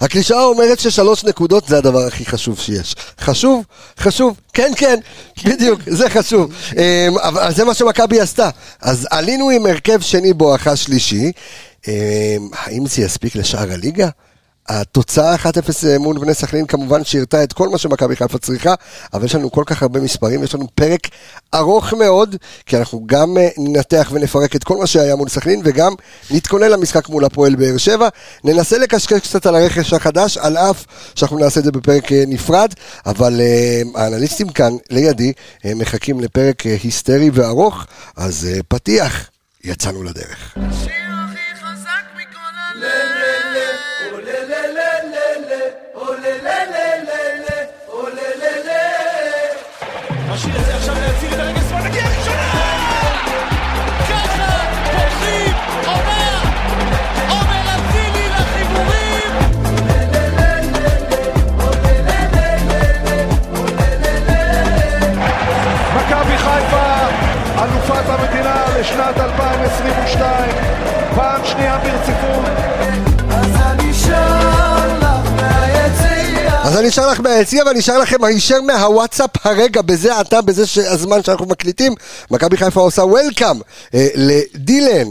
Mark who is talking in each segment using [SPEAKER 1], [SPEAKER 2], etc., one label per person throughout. [SPEAKER 1] הקלישאה אומרת ששלוש נקודות זה הדבר הכי חשוב שיש. חשוב? חשוב. כן, כן, בדיוק, זה חשוב. אמ, אבל זה מה שמכבי עשתה. אז עלינו עם הרכב שני בואכה שלישי. אמ, האם זה יספיק לשאר הליגה? התוצאה 1-0 מול בני סכנין כמובן שירתה את כל מה שמכבי חיפה צריכה, אבל יש לנו כל כך הרבה מספרים, יש לנו פרק ארוך מאוד, כי אנחנו גם אה, ננתח ונפרק את כל מה שהיה מול סכנין, וגם נתכונן למשחק מול הפועל באר שבע. ננסה לקשקש קצת על הרכש החדש, על אף שאנחנו נעשה את זה בפרק אה, נפרד, אבל אה, האנליסטים כאן, לידי, אה, מחכים לפרק אה, היסטרי וארוך, אז אה, פתיח, יצאנו לדרך.
[SPEAKER 2] השיר הכי חזק מכל הלב
[SPEAKER 3] השיר הזה עכשיו להציל את הרגל שמאל, נגיע ראשונה!
[SPEAKER 2] ככה פותחים עונה עומר אצילי לחיבורים
[SPEAKER 3] מכבי חיפה, אלופת המדינה לשנת 2022, פעם שנייה ברציפות.
[SPEAKER 1] אז אני אשאר לך מהיציע ואני אשאר לכם הישר מהוואטסאפ הרגע, בזה עתה, בזה ש- הזמן שאנחנו מקליטים. מכבי חיפה עושה וולקאם אה, לדילן,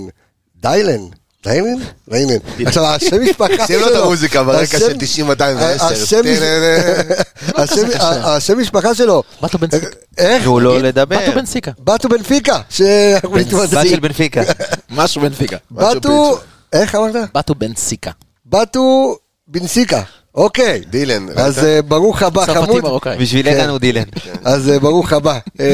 [SPEAKER 1] דיילן. דיילן? דיילן. עכשיו, השם משפחה שלו...
[SPEAKER 4] שים לו את המוזיקה ברקע
[SPEAKER 1] השם-
[SPEAKER 4] של 90-210.
[SPEAKER 1] השם- השם- השם משפחה שלו. אה,
[SPEAKER 5] בטו בן לא אה, סיק.
[SPEAKER 1] איך?
[SPEAKER 6] תנו לו לדבר.
[SPEAKER 5] בטו בנסיקה.
[SPEAKER 1] בתו בנפיקה. שאנחנו
[SPEAKER 6] בת של
[SPEAKER 1] מתמודדים.
[SPEAKER 6] בנפיקה.
[SPEAKER 5] משהו בנפיקה.
[SPEAKER 1] בתו... איך אמרת?
[SPEAKER 5] בטו בנסיקה.
[SPEAKER 1] בתו בנסיקה. אוקיי.
[SPEAKER 4] דילן, ראית?
[SPEAKER 1] אז אה, ברוך הבא,
[SPEAKER 5] צרפתי
[SPEAKER 1] חמוד.
[SPEAKER 5] מרוקאי.
[SPEAKER 6] בשביל
[SPEAKER 1] כן.
[SPEAKER 6] איתן הוא דילן.
[SPEAKER 1] אז אה, ברוך הבא. אה,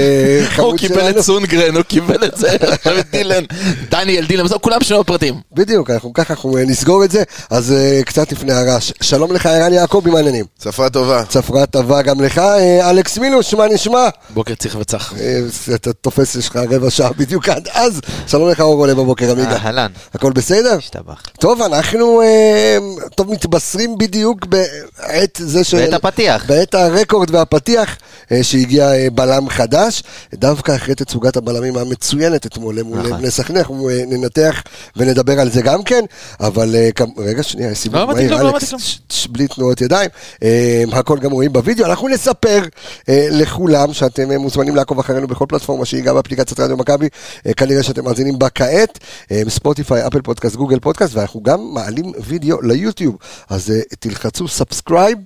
[SPEAKER 1] חמוד
[SPEAKER 5] הוא קיבל
[SPEAKER 1] שלנו.
[SPEAKER 5] את סונגרן, הוא קיבל את זה, עכשיו את דילן, דניאל דילן, בסוף כולם שמות פרטים.
[SPEAKER 1] בדיוק, אנחנו ככה אנחנו אה, נסגור את זה, אז אה, קצת לפני הרעש. שלום לך, ערן יעקבי, מה העניינים?
[SPEAKER 4] שפה טובה.
[SPEAKER 1] צפרה טובה גם לך, אה, אלכס מילוש, מה נשמע?
[SPEAKER 5] בוקר צריך וצח.
[SPEAKER 1] אה, אתה תופס, יש לך רבע שעה בדיוק עד אז. שלום לך, אור עולה בבוקר, עמיגה.
[SPEAKER 6] אהלן.
[SPEAKER 1] הכל בסדר?
[SPEAKER 6] השתבח.
[SPEAKER 1] טוב, אנחנו אה, טוב, מתבשרים בדיוק בעת זה ש...
[SPEAKER 6] בעת הפתיח.
[SPEAKER 1] בעת הרקורד והפתיח אה, שהגיע אה, בלם חדש, דווקא אחרי תצוגת הבלמים המצוינת אתמול מול
[SPEAKER 6] נכון.
[SPEAKER 1] בני סכנין, אנחנו אה, ננתח ונדבר על זה גם כן, אבל אה, כמ- רגע, שנייה, יש סיבוב
[SPEAKER 5] לא אמרתי
[SPEAKER 1] מהיר,
[SPEAKER 5] כלום, לא
[SPEAKER 1] אלכס,
[SPEAKER 5] אמרתי
[SPEAKER 1] ש- ש- בלי תנועות ידיים, אה, הכל גם רואים בווידאו, אנחנו נספר אה, לכולם שאתם אה, מוזמנים לעקוב אחרינו בכל פלטפורמה שהיא גם באפליקציית רדיו מכבי, אה, כנראה שאתם מאזינים בה כעת, אה, ספוטיפיי, אפל פודקאסט, גוגל פודקאסט, ואנחנו גם מעלים וידאו ליוטיוב, אז אה, תלחצו סאבסקרייב,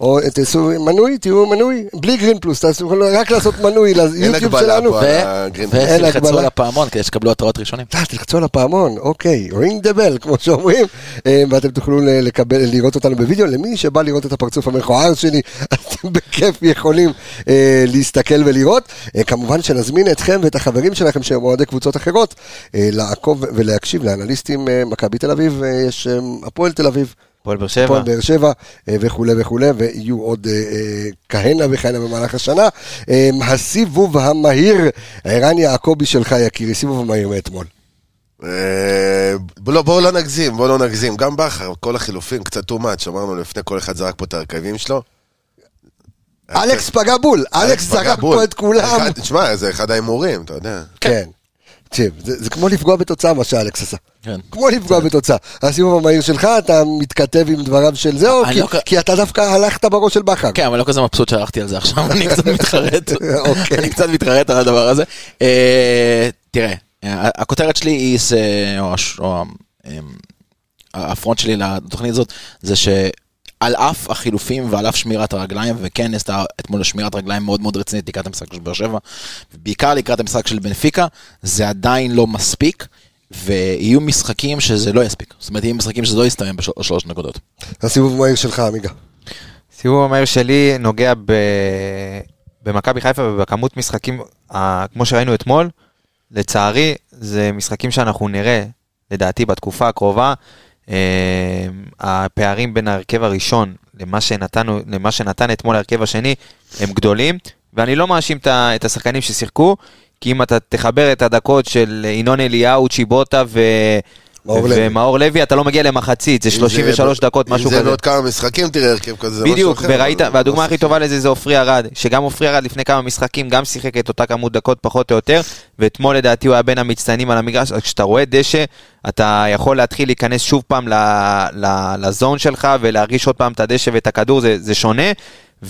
[SPEAKER 1] או אה, תעשו מנוי, תהיו מנוי, בלי גרין פלוס, תעשו רק לעשות מנוי ליוטיוב
[SPEAKER 4] הגבלה
[SPEAKER 1] שלנו.
[SPEAKER 4] פה. אה, גרין.
[SPEAKER 1] אין
[SPEAKER 5] ותלחצו
[SPEAKER 1] הגבלה.
[SPEAKER 5] על הפעמון כדי שתקבלו התראות ראשונים.
[SPEAKER 1] אה, תלחצו על הפעמון, אוקיי, ring the bell, כמו שאומרים, אה, ואתם תוכלו ל- לקבל, לראות אותנו בווידאו, למי שבא לראות את הפרצוף המכוער שלי, אתם בכיף יכולים אה, להסתכל ולראות. אה, כמובן שנזמין אתכם ואת החברים שלכם שהם אוהדי קבוצות אחרות, אה, לעקוב ולהקשיב לאנליסטים אה, מכבי תל אביב, אה, יש אה, הפועל תל אביב.
[SPEAKER 6] הפועל באר שבע.
[SPEAKER 1] הפועל באר שבע אה, וכולי וכולי, ויהיו עוד אה, אה, כהנה וכהנה במהלך השנה. אה, הסיבוב המהיר, ערן יעקבי שלך יקירי, סיבוב מהיר מאתמול.
[SPEAKER 4] אה, לא, בואו לא נגזים, בואו לא נגזים. גם בכר, כל החילופים, קצת too much, אמרנו לפני כל אחד זרק פה את הרכבים שלו.
[SPEAKER 1] אלכס פגע בול, אלכס זרק
[SPEAKER 4] בגבול.
[SPEAKER 1] פה את כולם.
[SPEAKER 4] אחד- תשמע, זה אחד ההימורים, אתה יודע.
[SPEAKER 1] כן. תקשיב, זה זה כמו לפגוע בתוצאה מה שאלכס עשה.
[SPEAKER 5] כן.
[SPEAKER 1] כמו לפגוע בתוצאה. הסיבוב המהיר שלך, אתה מתכתב עם דבריו של זה, או
[SPEAKER 5] אני
[SPEAKER 1] כי-
[SPEAKER 5] לא-
[SPEAKER 1] כי אתה דווקא הלכת בראש של בכר.
[SPEAKER 5] כן, אבל לא כזה מבסוט שהלכתי על זה עכשיו, אני קצת מתחרט.
[SPEAKER 1] אוקיי.
[SPEAKER 5] אני קצת מתחרט על הדבר הזה. אה, תראה, אה, הכותרת שלי היא, ס- או הש- או אמ, הפרונט שלי לתוכנית הזאת, זה ש... על אף החילופים ועל אף שמירת הרגליים, וכן נעשתה אתמול שמירת רגליים מאוד מאוד רצינית לקראת המשחק של באר שבע, בעיקר לקראת המשחק של בנפיקה, זה עדיין לא מספיק, ויהיו משחקים שזה לא יספיק. זאת אומרת, יהיו משחקים שזה לא יסתיים בשלוש נקודות.
[SPEAKER 1] הסיבוב המהיר שלך, עמיגה.
[SPEAKER 6] סיבוב המהיר שלי נוגע ב... במכבי חיפה ובכמות משחקים, ה... כמו שראינו אתמול. לצערי, זה משחקים שאנחנו נראה, לדעתי, בתקופה הקרובה. אה, הפערים בין ההרכב הראשון למה, שנתנו, למה שנתן אתמול ההרכב השני הם גדולים, ואני לא מאשים את ה- את השחקנים ששיחקו, כי אם אתה תחבר את הדקות של ינון אליהו, צ'יבוטה ו...
[SPEAKER 1] מאור לוי.
[SPEAKER 6] ומאור לוי, אתה לא מגיע למחצית, זה 33 דקות, משהו
[SPEAKER 4] אם זה
[SPEAKER 6] כזה.
[SPEAKER 4] בעוד כמה משחקים, תראה הרכב כזה, זה משהו
[SPEAKER 6] בדיוק,
[SPEAKER 4] אחר,
[SPEAKER 6] וראית,
[SPEAKER 4] אבל-
[SPEAKER 6] והדוגמה הכי טובה לזה זה עופרי ארד, שגם עופרי ארד לפני כמה משחקים גם שיחק את אותה כמות דקות פחות או יותר, ואתמול לדעתי הוא היה בין המצטיינים על המגרש, אז כשאתה רואה דשא, אתה יכול להתחיל להיכנס שוב פעם ל- ל- לזון שלך ולהרגיש עוד פעם את הדשא ואת הכדור, זה, זה שונה.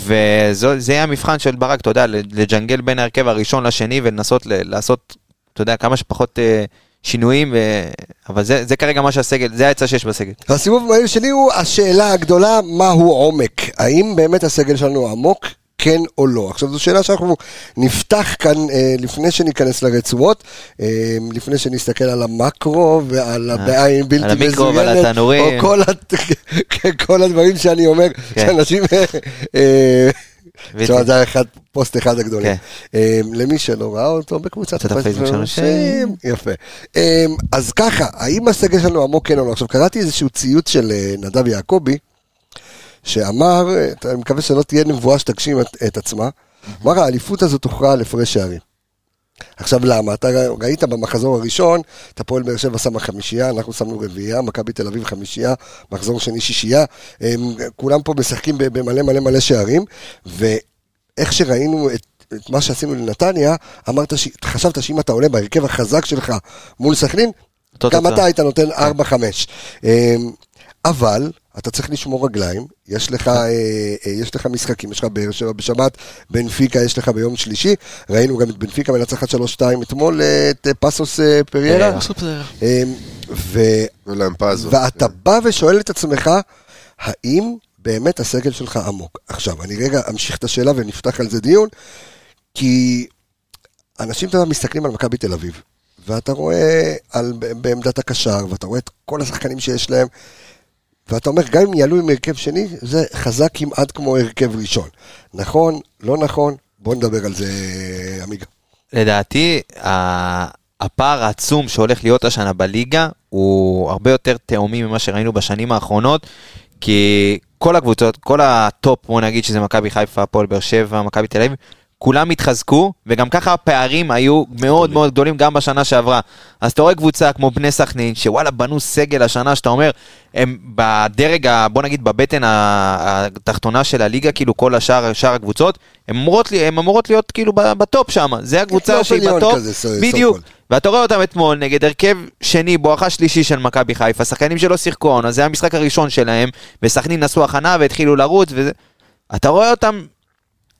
[SPEAKER 6] וזה יהיה המבחן של ברק, אתה יודע, לג'נגל בין ההרכב הראשון לשני ולנסות ל- לעשות, אתה יודע, כמה שפחות אה, שינויים, ו... אבל זה, זה כרגע מה שהסגל, זה העצה שיש בסגל.
[SPEAKER 1] הסיבוב המהיר שלי הוא השאלה הגדולה, מהו עומק? האם באמת הסגל שלנו עמוק? כן או לא. עכשיו זו שאלה שאנחנו נפתח כאן אה, לפני שניכנס לרצועות, אה, לפני שנסתכל על המקרו ועל הבעין בלתי
[SPEAKER 6] אה, על המיקרו ועל
[SPEAKER 1] מזוינת,
[SPEAKER 6] התנורים.
[SPEAKER 1] או כל, הת... כן, כל הדברים שאני אומר,
[SPEAKER 6] כן.
[SPEAKER 1] שאנשים... אה,
[SPEAKER 6] בלתי.
[SPEAKER 1] תשמע, זה היה אחד, פוסט אחד הגדולים.
[SPEAKER 6] כן.
[SPEAKER 1] אה, למי שלא ראה אותו, בקבוצת
[SPEAKER 6] קבוצת הפייסבוק של אנשים.
[SPEAKER 1] יפה. אמ, אז ככה, האם הסגל שלנו עמוק כן או לא? עכשיו, קראתי איזשהו ציוץ של אה, נדב יעקבי, שאמר, אה, אני מקווה שלא תהיה נבואה שתגשים את, את עצמה, אמר, האליפות הזו תוכרע על הפרש שערים. עכשיו למה? אתה ר- ראית במחזור הראשון, את הפועל באר שבע שמה חמישייה, אנחנו שמנו רביעייה, מכבי תל אביב חמישייה, מחזור שני שישייה, הם, כולם פה משחקים ב- במלא מלא מלא שערים, ואיך שראינו את, את מה שעשינו לנתניה, אמרת, ש... חשבת שאם אתה עולה בהרכב החזק שלך מול סכנין,
[SPEAKER 6] אותו
[SPEAKER 1] גם
[SPEAKER 6] תוצאה.
[SPEAKER 1] אתה היית נותן 4-5. אמ, אבל אתה צריך לשמור רגליים, יש לך, אה, אה, יש לך משחקים, יש לך באר שבע בשבת, בנפיקה יש לך ביום שלישי, ראינו גם את בנפיקה מנצחת 3-2 אתמול, אה, את אה, פסוס אה, פריירה. אמ, ו-
[SPEAKER 4] תנו להם פאזו.
[SPEAKER 1] ואתה בא ושואל את עצמך, האם באמת הסגל שלך עמוק? עכשיו, אני רגע אמשיך את השאלה ונפתח על זה דיון, כי אנשים אתה יודע, מסתכלים על מכבי תל אביב, ואתה רואה על, בעמדת הקשר, ואתה רואה את כל השחקנים שיש להם, ואתה אומר, גם אם יעלו עם הרכב שני, זה חזק כמעט כמו הרכב ראשון. נכון, לא נכון, בוא נדבר על זה, עמיגה.
[SPEAKER 6] לדעתי, ה- הפער העצום שהולך להיות השנה בליגה הוא הרבה יותר תאומי ממה שראינו בשנים האחרונות, כי כל הקבוצות, כל הטופ, בוא נגיד שזה מכבי חיפה, הפועל באר שבע, מכבי תל אביב, כולם התחזקו, וגם ככה הפערים היו מאוד מאוד גדולים גם בשנה שעברה. אז אתה רואה קבוצה כמו בני סכנין, שוואלה, בנו סגל השנה, שאתה אומר, הם בדרג, ה- בוא נגיד, בבטן ה- התחתונה של הליגה, כאילו כל השאר, שאר הקבוצות, הן אמורות, לי- הן אמורות להיות כאילו ב- בטופ שם, זה הקבוצה
[SPEAKER 1] פלייאוף
[SPEAKER 6] שהיא
[SPEAKER 1] עליון
[SPEAKER 6] בטופ,
[SPEAKER 1] כזה, so- so
[SPEAKER 6] בדיוק.
[SPEAKER 1] called.
[SPEAKER 6] ואתה רואה אותם אתמול נגד הרכב שני, בואכה שלישי של מכבי חיפה, שחקנים שלא שיחקו העונה, זה המשחק הראשון שלהם, וסכנין עשו הכנה והתחילו לרוץ, וזה... אתה רואה אותם,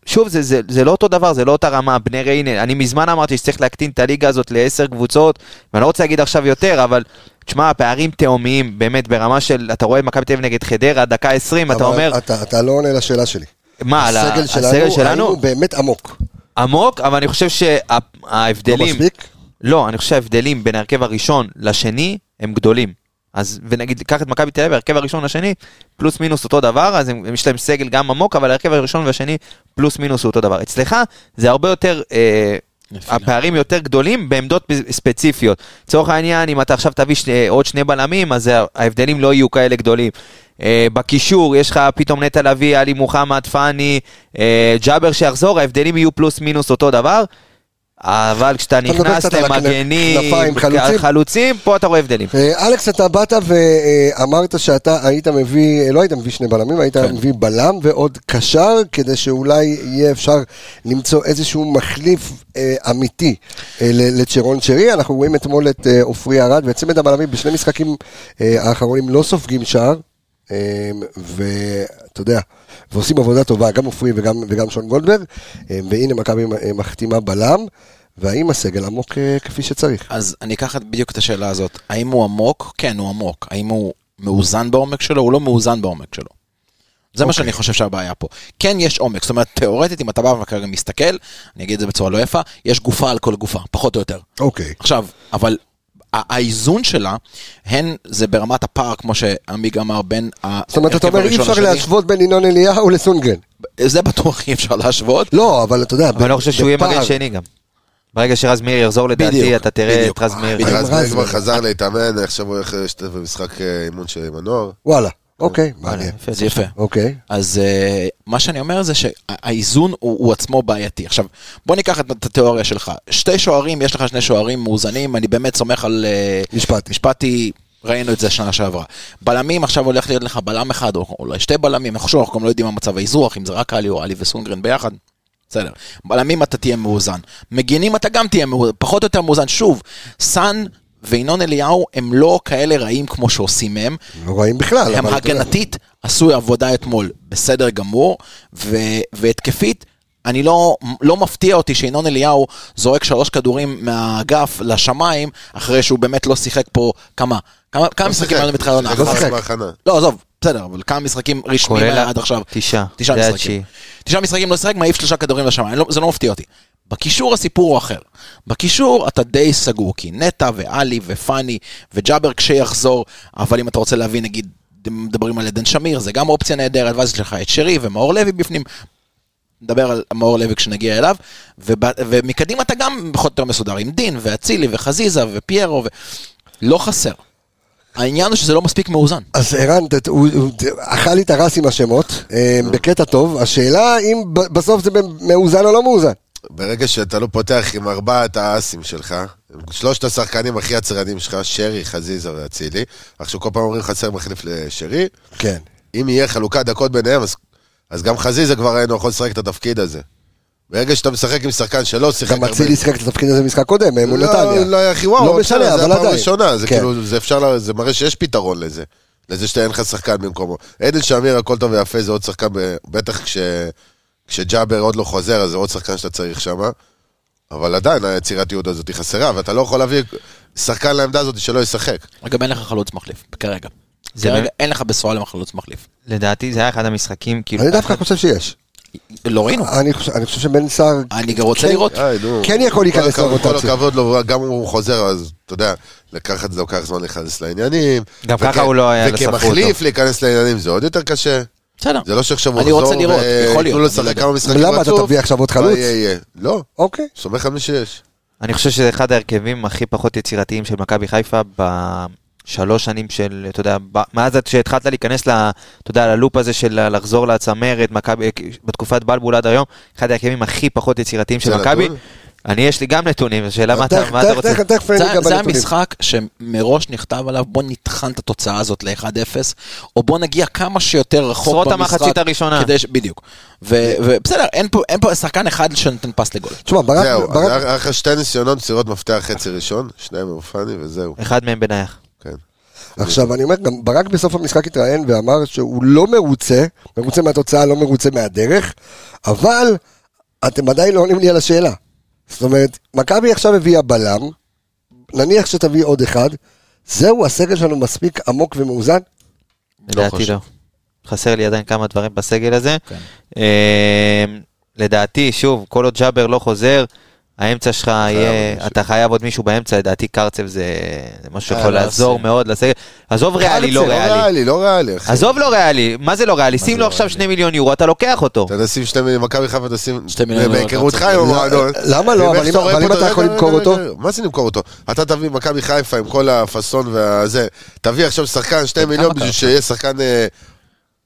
[SPEAKER 6] שוב, זה, זה, זה לא אותו דבר, זה לא אותה רמה, בני ריינה, אני מזמן אמרתי שצריך להקטין את הליגה הזאת לעשר קבוצות, ואני לא רוצה להגיד עכשיו יותר, אבל... תשמע, הפערים תהומיים, באמת, ברמה של, אתה רואה את מכבי תל אביב נגד חדרה, דקה 20, אתה
[SPEAKER 1] אבל
[SPEAKER 6] אומר,
[SPEAKER 1] אתה, אתה לא עונה לשאלה שלי.
[SPEAKER 6] מה, על ה-
[SPEAKER 1] הסגל שלנו,
[SPEAKER 6] הסגל שלנו?
[SPEAKER 1] היינו באמת עמוק.
[SPEAKER 6] עמוק, אבל אני חושב שההבדלים...
[SPEAKER 1] לא מספיק?
[SPEAKER 6] לא, אני חושב שההבדלים בין ההרכב הראשון לשני הם גדולים. אז, ונגיד, קח את מכבי תל אביב, ההרכב הראשון לשני, פלוס מינוס אותו דבר, אז הם, הם- יש להם סגל גם עמוק, אבל ההרכב הראשון והשני, פלוס מינוס הוא אותו דבר. אצלך, זה הרבה יותר, אה, הפערים יותר גדולים בעמדות פ- ספציפיות. לצורך העניין, אם אתה עכשיו תביא שני, אה, עוד שני בלמים, אז ה- ההבדלים לא יהיו כאלה גדולים. אה, בקישור, יש לך פתאום נטע לביא, עלי מוחמד, פאני, אה, ג'אבר שיחזור, ההבדלים יהיו פלוס מינוס אותו דבר. אבל כשאתה
[SPEAKER 1] מדבר
[SPEAKER 6] נכנס
[SPEAKER 1] קצת על הכנף-
[SPEAKER 6] למגנים,
[SPEAKER 1] כנפיים, חלוצים.
[SPEAKER 6] חלוצים, פה אתה רואה הבדלים.
[SPEAKER 1] אה, אלכס, אתה באת ואמרת שאתה היית מביא, אה, לא היית מביא שני בלמים, היית מביא בלם ועוד קשר, כדי שאולי יהיה אפשר למצוא איזשהו מחליף אה, אמיתי אה, ל- לצ'רון שרי. אנחנו רואים אתמול את אה, עופרי ארד, וצמד הבלמים בשני משחקים אה, האחרונים לא סופגים שער. אה, ואתה יודע, ועושים עבודה טובה, גם עופרי וגם, וגם שון גולדברג, אה, והנה מכבי אה, מחתימה בלם, והאם הסגל עמוק אה, כפי שצריך?
[SPEAKER 5] אז אני אקח בדיוק את השאלה הזאת. האם הוא עמוק? כן, הוא עמוק. האם הוא מאוזן בעומק שלו? הוא לא מאוזן בעומק שלו. זה
[SPEAKER 1] אוקיי.
[SPEAKER 5] מה שאני חושב שהבעיה פה. כן, יש עומק. זאת אומרת, תיאורטית, אם אתה בא וכרגע מסתכל, אני אגיד את זה בצורה לא יפה, יש גופה על כל גופה, פחות או יותר.
[SPEAKER 1] אוקיי.
[SPEAKER 5] עכשיו, אבל ה- האיזון שלה, הן זה ברמת הפער, כמו שעמיג אמר, בין ההרכב
[SPEAKER 1] זאת אומרת, אתה אומר, אי
[SPEAKER 5] הראשון
[SPEAKER 1] אפשר
[SPEAKER 5] לשני.
[SPEAKER 1] להשוות בין ינון אליהו לסונגרן.
[SPEAKER 5] זה בטוח אי אפשר להשוות.
[SPEAKER 1] לא, אבל אתה יודע,
[SPEAKER 6] אבל אני לא חושב שהוא יהיה
[SPEAKER 1] בפער.
[SPEAKER 6] מגן שני גם. ברגע שרז מאיר יחזור לדעתי,
[SPEAKER 5] בדיוק,
[SPEAKER 6] אתה תראה
[SPEAKER 5] בדיוק.
[SPEAKER 6] את רז מאיר.
[SPEAKER 5] בדיוק.
[SPEAKER 4] רז
[SPEAKER 1] רז
[SPEAKER 4] מאיר כבר
[SPEAKER 1] מאיר.
[SPEAKER 4] חזר להתאמן, עכשיו הוא הולך להשתתף במשחק אה, אימון של עם הנוער.
[SPEAKER 6] אה,
[SPEAKER 1] וואלה, אוקיי, מעניין.
[SPEAKER 5] זה יפה.
[SPEAKER 1] אוקיי.
[SPEAKER 5] אז uh, מה שאני אומר זה שהאיזון הוא, הוא עצמו בעייתי. עכשיו, בוא ניקח את, את התיאוריה שלך. שתי שוערים, יש לך שני שוערים מאוזנים, אני באמת סומך על... Uh,
[SPEAKER 1] משפטי.
[SPEAKER 5] משפטי ראינו את זה שנה שעברה. בלמים, עכשיו הולך להיות לך בלם אחד, או אולי שתי בלמים, עכשיו אנחנו גם לא יודעים מה מצב האזרוח, אם זה רק עלי או עלי וסונגרן ביחד. בסדר. בלמים אתה תהיה מאוזן. מגינים אתה גם תהיה מאוזן, פחות או יותר מאוזן. שוב, סאן וינון אליהו הם לא כאלה רעים כמו שעושים מהם.
[SPEAKER 1] לא רואים בכלל.
[SPEAKER 5] הם
[SPEAKER 1] אבל
[SPEAKER 4] כן.
[SPEAKER 1] אתה יודע.
[SPEAKER 5] הגנתית עשו עבודה אתמול בסדר גמור, ו- והתקפית, אני לא, לא מפתיע אותי שינון אליהו זורק שלוש כדורים מהאגף לשמיים, אחרי שהוא באמת לא שיחק פה כמה, כמה, כמה משחקים היו לנו בתחילת העונה?
[SPEAKER 4] לא
[SPEAKER 5] אחת.
[SPEAKER 4] שיחק. בהכנה.
[SPEAKER 5] לא, עזוב, בסדר, אבל כמה משחקים רשמיים
[SPEAKER 6] כולל
[SPEAKER 5] היה עד עכשיו?
[SPEAKER 6] תשעה.
[SPEAKER 5] תשעה
[SPEAKER 6] זה היה
[SPEAKER 5] משחקים.
[SPEAKER 6] התשיעי.
[SPEAKER 5] תשעה משחקים לא שיחק, מעיף שלושה כדורים לשמיים, אני לא- זה לא מפתיע אותי. בקישור הסיפור הוא אחר. בקישור אתה די סגור, כי נטע ואלי ופאני וג'אבר כשיחזור, אבל אם אתה רוצה להביא נגיד, מדברים על עדן שמיר, זה גם אופציה נהדרת, ואז יש לך את שרי ומאור לוי בפנים. נדבר על מאור לוי כשנגיע אליו, וב, ומקדימה אתה גם פחות או יותר מסודר עם דין ואצילי וחזיזה ופיירו, ו... לא חסר. העניין הוא שזה לא מספיק מאוזן.
[SPEAKER 1] אז ערן, ת- הוא הוא- ת- אכל לי את הרס עם השמות, אה, בקטע טוב, השאלה אם ב- בסוף זה מאוזן או לא מאוזן.
[SPEAKER 4] ברגע שאתה לא פותח עם ארבעת האסים שלך, עם שלושת השחקנים הכי יצרנים שלך, שרי, חזיזה ואצילי, עכשיו כל פעם אומרים חסר מחליף לשרי,
[SPEAKER 1] כן.
[SPEAKER 4] אם יהיה חלוקת דקות ביניהם, אז, אז גם חזיזה כבר ראינו יכול לשחק את התפקיד הזה. ברגע שאתה משחק עם שחקן שלא שיחק
[SPEAKER 1] גם
[SPEAKER 6] אה,
[SPEAKER 1] אצילי שיחק את התפקיד הזה במשחק קודם, אה, מול נתניה.
[SPEAKER 4] לא, לא היה הכי וואו,
[SPEAKER 1] לא משנה,
[SPEAKER 4] בסדר,
[SPEAKER 1] אבל
[SPEAKER 4] זה הפעם
[SPEAKER 1] עדיין.
[SPEAKER 4] הראשונה, זה
[SPEAKER 1] כן.
[SPEAKER 4] כאילו, זה אפשר, לה- זה מראה שיש פתרון לזה. לזה שאין לך שחקן במקומו. עדן שמיר, הכל טוב ויפה, זה עוד שחקן, ב- בטח כש, כשג'אבר עוד לא חוזר, אז זה עוד שחקן שאתה צריך שם. אבל עדיין היצירתיות הזאת היא חסרה, ואתה לא יכול להביא שחקן לעמדה הזאת שלא ישחק.
[SPEAKER 5] אגב, אין לך חלוץ מחליף, כרגע.
[SPEAKER 6] זה
[SPEAKER 5] כרגע
[SPEAKER 6] באמת-
[SPEAKER 5] אין לך בשורה לחלוץ מחליף.
[SPEAKER 6] לדעתי זה היה אחד המשחקים, כאילו...
[SPEAKER 1] אני דווקא חושב שיש.
[SPEAKER 5] לא ראינו.
[SPEAKER 1] אני חושב- אני חושב שבן סער...
[SPEAKER 6] אה.
[SPEAKER 5] אני גם רוצה
[SPEAKER 1] כן-
[SPEAKER 5] לראות.
[SPEAKER 4] איי, נו.
[SPEAKER 1] כן יכול להיכנס
[SPEAKER 4] כל הכבוד- כל
[SPEAKER 1] לרוטציה.
[SPEAKER 4] הכבוד לו, גם אם הוא חוזר, אז אתה יודע, לקחת זה לוקח זמן להיכנס לעניינים.
[SPEAKER 6] גם
[SPEAKER 4] וכ-
[SPEAKER 6] ככה הוא לא היה, לא ספרו אותו.
[SPEAKER 4] וכמחליף להיכנס לעניינים זה עוד יותר קשה.
[SPEAKER 5] בסדר.
[SPEAKER 4] זה לא שעכשיו הוא
[SPEAKER 5] אני
[SPEAKER 4] יחזור,
[SPEAKER 5] רוצה לראות, יכול להיות,
[SPEAKER 4] ויתנו לו
[SPEAKER 5] אני לא
[SPEAKER 4] לשחק
[SPEAKER 5] יודע.
[SPEAKER 4] כמה משחקים
[SPEAKER 1] למה, אתה תביא עכשיו עוד
[SPEAKER 4] מה
[SPEAKER 1] חלוץ?
[SPEAKER 4] יהיה, יהיה. לא,
[SPEAKER 1] אוקיי.
[SPEAKER 4] סומך על מי שיש.
[SPEAKER 6] אני חושב שזה אחד ההרכבים הכי פחות יצירתיים של מכבי חיפה בשלוש שנים של, אתה יודע, ב- מאז עד שהתחלת להיכנס, ל, אתה יודע, ללופ הזה של ה- לחזור לצמרת, מכבי, בתקופת בלבול עד היום, אחד ההרכבים הכי פחות יצירתיים של
[SPEAKER 4] זה
[SPEAKER 6] מכבי.
[SPEAKER 4] נתון?
[SPEAKER 6] אני, יש לי גם נתונים, השאלה מה אתה
[SPEAKER 1] תכף-
[SPEAKER 6] מה אתה
[SPEAKER 1] תכף-
[SPEAKER 6] רוצה.
[SPEAKER 1] תכף- תכף אני
[SPEAKER 5] זה,
[SPEAKER 1] אגע
[SPEAKER 5] זה
[SPEAKER 1] בנתונים.
[SPEAKER 5] המשחק שמראש נכתב עליו, בוא נטחן את התוצאה הזאת ל-1-0, או בוא נגיע כמה שיותר רחוק
[SPEAKER 6] שרוד
[SPEAKER 5] במשחק.
[SPEAKER 6] המחצית הראשונה.
[SPEAKER 5] כדי ש... בדיוק. ו- ובסדר, אין פה, אין פה שחקן אחד שנותן פס לגול.
[SPEAKER 1] תשמע, ברק...
[SPEAKER 4] זהו,
[SPEAKER 1] אה, ברק-
[SPEAKER 4] אז היה לך שתי ניסיונות מסירות מפתח חצי ראשון, שניים מאופני וזהו.
[SPEAKER 6] אחד מהם בנייח.
[SPEAKER 4] כן.
[SPEAKER 1] עכשיו, אני אומר, גם ברק בסוף המשחק התראיין ואמר שהוא לא מרוצה, מרוצה מהתוצאה, לא מרוצה מהדרך, אבל אתם עדיין לא עונים לי על השאלה. זאת אומרת, מכבי עכשיו הביאה בלם, נניח שתביא עוד אחד, זהו, הסגל שלנו מספיק עמוק ומאוזן?
[SPEAKER 6] לדעתי
[SPEAKER 5] חושב.
[SPEAKER 6] לא. חסר לי עדיין כמה דברים בסגל הזה.
[SPEAKER 5] כן.
[SPEAKER 6] אה, לדעתי, שוב, כל עוד ג'אבר לא חוזר, האמצע שלך יהיה,
[SPEAKER 4] מישהו.
[SPEAKER 6] אתה חייב עוד מישהו באמצע, לדעתי קרצב זה זה משהו שיכול
[SPEAKER 5] לא,
[SPEAKER 6] לעזור
[SPEAKER 5] זה-
[SPEAKER 6] מאוד לסגל. עזוב ריאלי, לא
[SPEAKER 4] קרצה,
[SPEAKER 6] ריאלי.
[SPEAKER 4] לא ריאלי, אחי.
[SPEAKER 6] עזוב לא ריאלי, מה זה לא ריאלי? שים לו עכשיו שני מיליון יורו, אתה לוקח אותו.
[SPEAKER 4] תנסים שתי מיליון, מכבי חיפה תשים,
[SPEAKER 5] שתי מיליון יורו,
[SPEAKER 4] בהיכרותך
[SPEAKER 5] קרצה.
[SPEAKER 4] עם המועדון.
[SPEAKER 1] למה לא?
[SPEAKER 4] ואיך
[SPEAKER 1] אבל אם-
[SPEAKER 4] שאתה רואה
[SPEAKER 1] אבל אם
[SPEAKER 4] אותו,
[SPEAKER 1] אתה יכול
[SPEAKER 4] רגע,
[SPEAKER 1] למכור
[SPEAKER 4] רגע,
[SPEAKER 1] אותו?
[SPEAKER 4] רגע, מה זה למכור אותו? אתה תביא מכבי חיפה עם כל הפאסון והזה, תביא עכשיו שחקן
[SPEAKER 5] אה,
[SPEAKER 4] שתי מיליון בשביל שיהיה שחקן אה,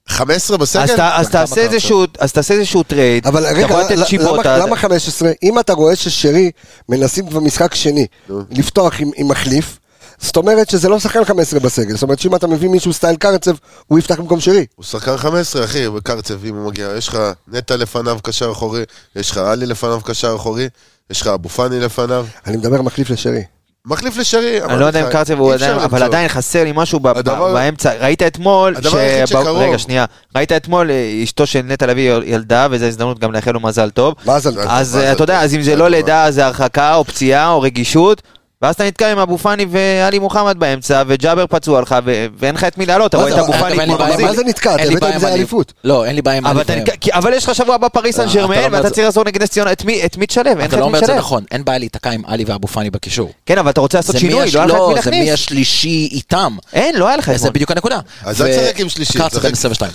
[SPEAKER 4] 15 בסגל?
[SPEAKER 6] אז אתה- אז
[SPEAKER 5] כמה
[SPEAKER 6] תעשה
[SPEAKER 5] קרצב?
[SPEAKER 6] איזשהו- אז תעשה איזשהו טרייד,
[SPEAKER 1] אבל
[SPEAKER 6] אתה
[SPEAKER 1] רגע,
[SPEAKER 6] יכול לתת
[SPEAKER 1] למה-
[SPEAKER 6] צ'יבוטה.
[SPEAKER 1] למה 15? אם אתה רואה ששרי מנסים כבר משחק שני לפתוח עם עם מחליף, זאת אומרת שזה לא שחקן 15 בסגל, זאת אומרת שאם אתה מביא מישהו סטייל קרצב, הוא יפתח במקום שרי.
[SPEAKER 4] הוא שחקן 15, אחי, בקרצב, אם הוא מגיע. יש לך נטע לפניו קשר אחורי, יש לך עלי לפניו קשר אחורי, יש לך אבו פאני לפניו.
[SPEAKER 1] אני מדבר מחליף לשרי.
[SPEAKER 4] מחליף לשרי.
[SPEAKER 6] אני
[SPEAKER 4] אמרתי
[SPEAKER 6] לא יודע אם
[SPEAKER 4] לך,
[SPEAKER 6] קרצב
[SPEAKER 4] אי
[SPEAKER 6] הוא
[SPEAKER 4] אפשר
[SPEAKER 6] עדיין, אבל
[SPEAKER 4] למצוא.
[SPEAKER 6] עדיין חסר לי משהו ב- ב-
[SPEAKER 4] הדבר-
[SPEAKER 6] באמצע. ראית אתמול,
[SPEAKER 4] הדבר היחיד
[SPEAKER 6] שב-
[SPEAKER 4] שקרוב.
[SPEAKER 6] רגע, שנייה. ראית אתמול, אה, אשתו של נטע לביא ילדה, וזו הזדמנות גם לאחל לו מזל טוב.
[SPEAKER 1] מזל
[SPEAKER 4] טוב.
[SPEAKER 6] אז
[SPEAKER 4] מזל
[SPEAKER 6] אה, אתה יודע,
[SPEAKER 4] טוב.
[SPEAKER 6] אז אם זה
[SPEAKER 4] מזל
[SPEAKER 6] לא
[SPEAKER 4] טוב.
[SPEAKER 6] לידה, אז זה הרחקה, או פציעה, או רגישות. ואז אתה נתקע עם אבו פאני ועלי מוחמד באמצע, וג'אבר פצוע לך, ו- ואין לך את מי לעלות, אתה
[SPEAKER 1] מה
[SPEAKER 6] רואה את
[SPEAKER 1] זה,
[SPEAKER 6] אבו
[SPEAKER 1] אבל-
[SPEAKER 6] פאני
[SPEAKER 5] אגב, אין לי
[SPEAKER 6] כמו
[SPEAKER 5] בעיה עם
[SPEAKER 6] ברזיל.
[SPEAKER 1] מה זה נתקע? אתה
[SPEAKER 5] אין לי
[SPEAKER 1] הבאת
[SPEAKER 5] בעיה
[SPEAKER 1] עם זה
[SPEAKER 5] עלי.
[SPEAKER 1] אליפות.
[SPEAKER 5] לא, אין לי בעיה עם
[SPEAKER 6] אבל
[SPEAKER 5] עלי.
[SPEAKER 6] אתה
[SPEAKER 5] ואם.
[SPEAKER 6] נתקע- כי- אבל יש לך שבוע הבא פריס סן
[SPEAKER 4] אה,
[SPEAKER 5] אתה לא
[SPEAKER 6] ג'רמן,
[SPEAKER 5] אומר
[SPEAKER 6] ואתה
[SPEAKER 5] את
[SPEAKER 6] צריך לעשות נגד נס ציונה, את מי- את מי תשלב? אין לך
[SPEAKER 5] אתה
[SPEAKER 6] את
[SPEAKER 5] לא
[SPEAKER 6] מי
[SPEAKER 5] אומר את זה
[SPEAKER 6] תשלב.
[SPEAKER 5] נכון, אין בעיה להיתקע עם עלי ואבו פאני בקישור.
[SPEAKER 6] כן, אבל אתה רוצה לעשות
[SPEAKER 5] זה מי
[SPEAKER 6] שינוי,
[SPEAKER 5] הש-
[SPEAKER 6] לא היה לך את מי
[SPEAKER 5] זה מי
[SPEAKER 6] להכניס.
[SPEAKER 5] השלישי איתם.
[SPEAKER 6] אין, לא היה לך
[SPEAKER 5] אה, זה
[SPEAKER 6] אתמול.
[SPEAKER 5] בדיוק הנקודה.
[SPEAKER 4] אז לא אל
[SPEAKER 5] ו-
[SPEAKER 4] תשחק עם שלישי,
[SPEAKER 5] קרצה
[SPEAKER 4] תשחק-
[SPEAKER 5] בן 22.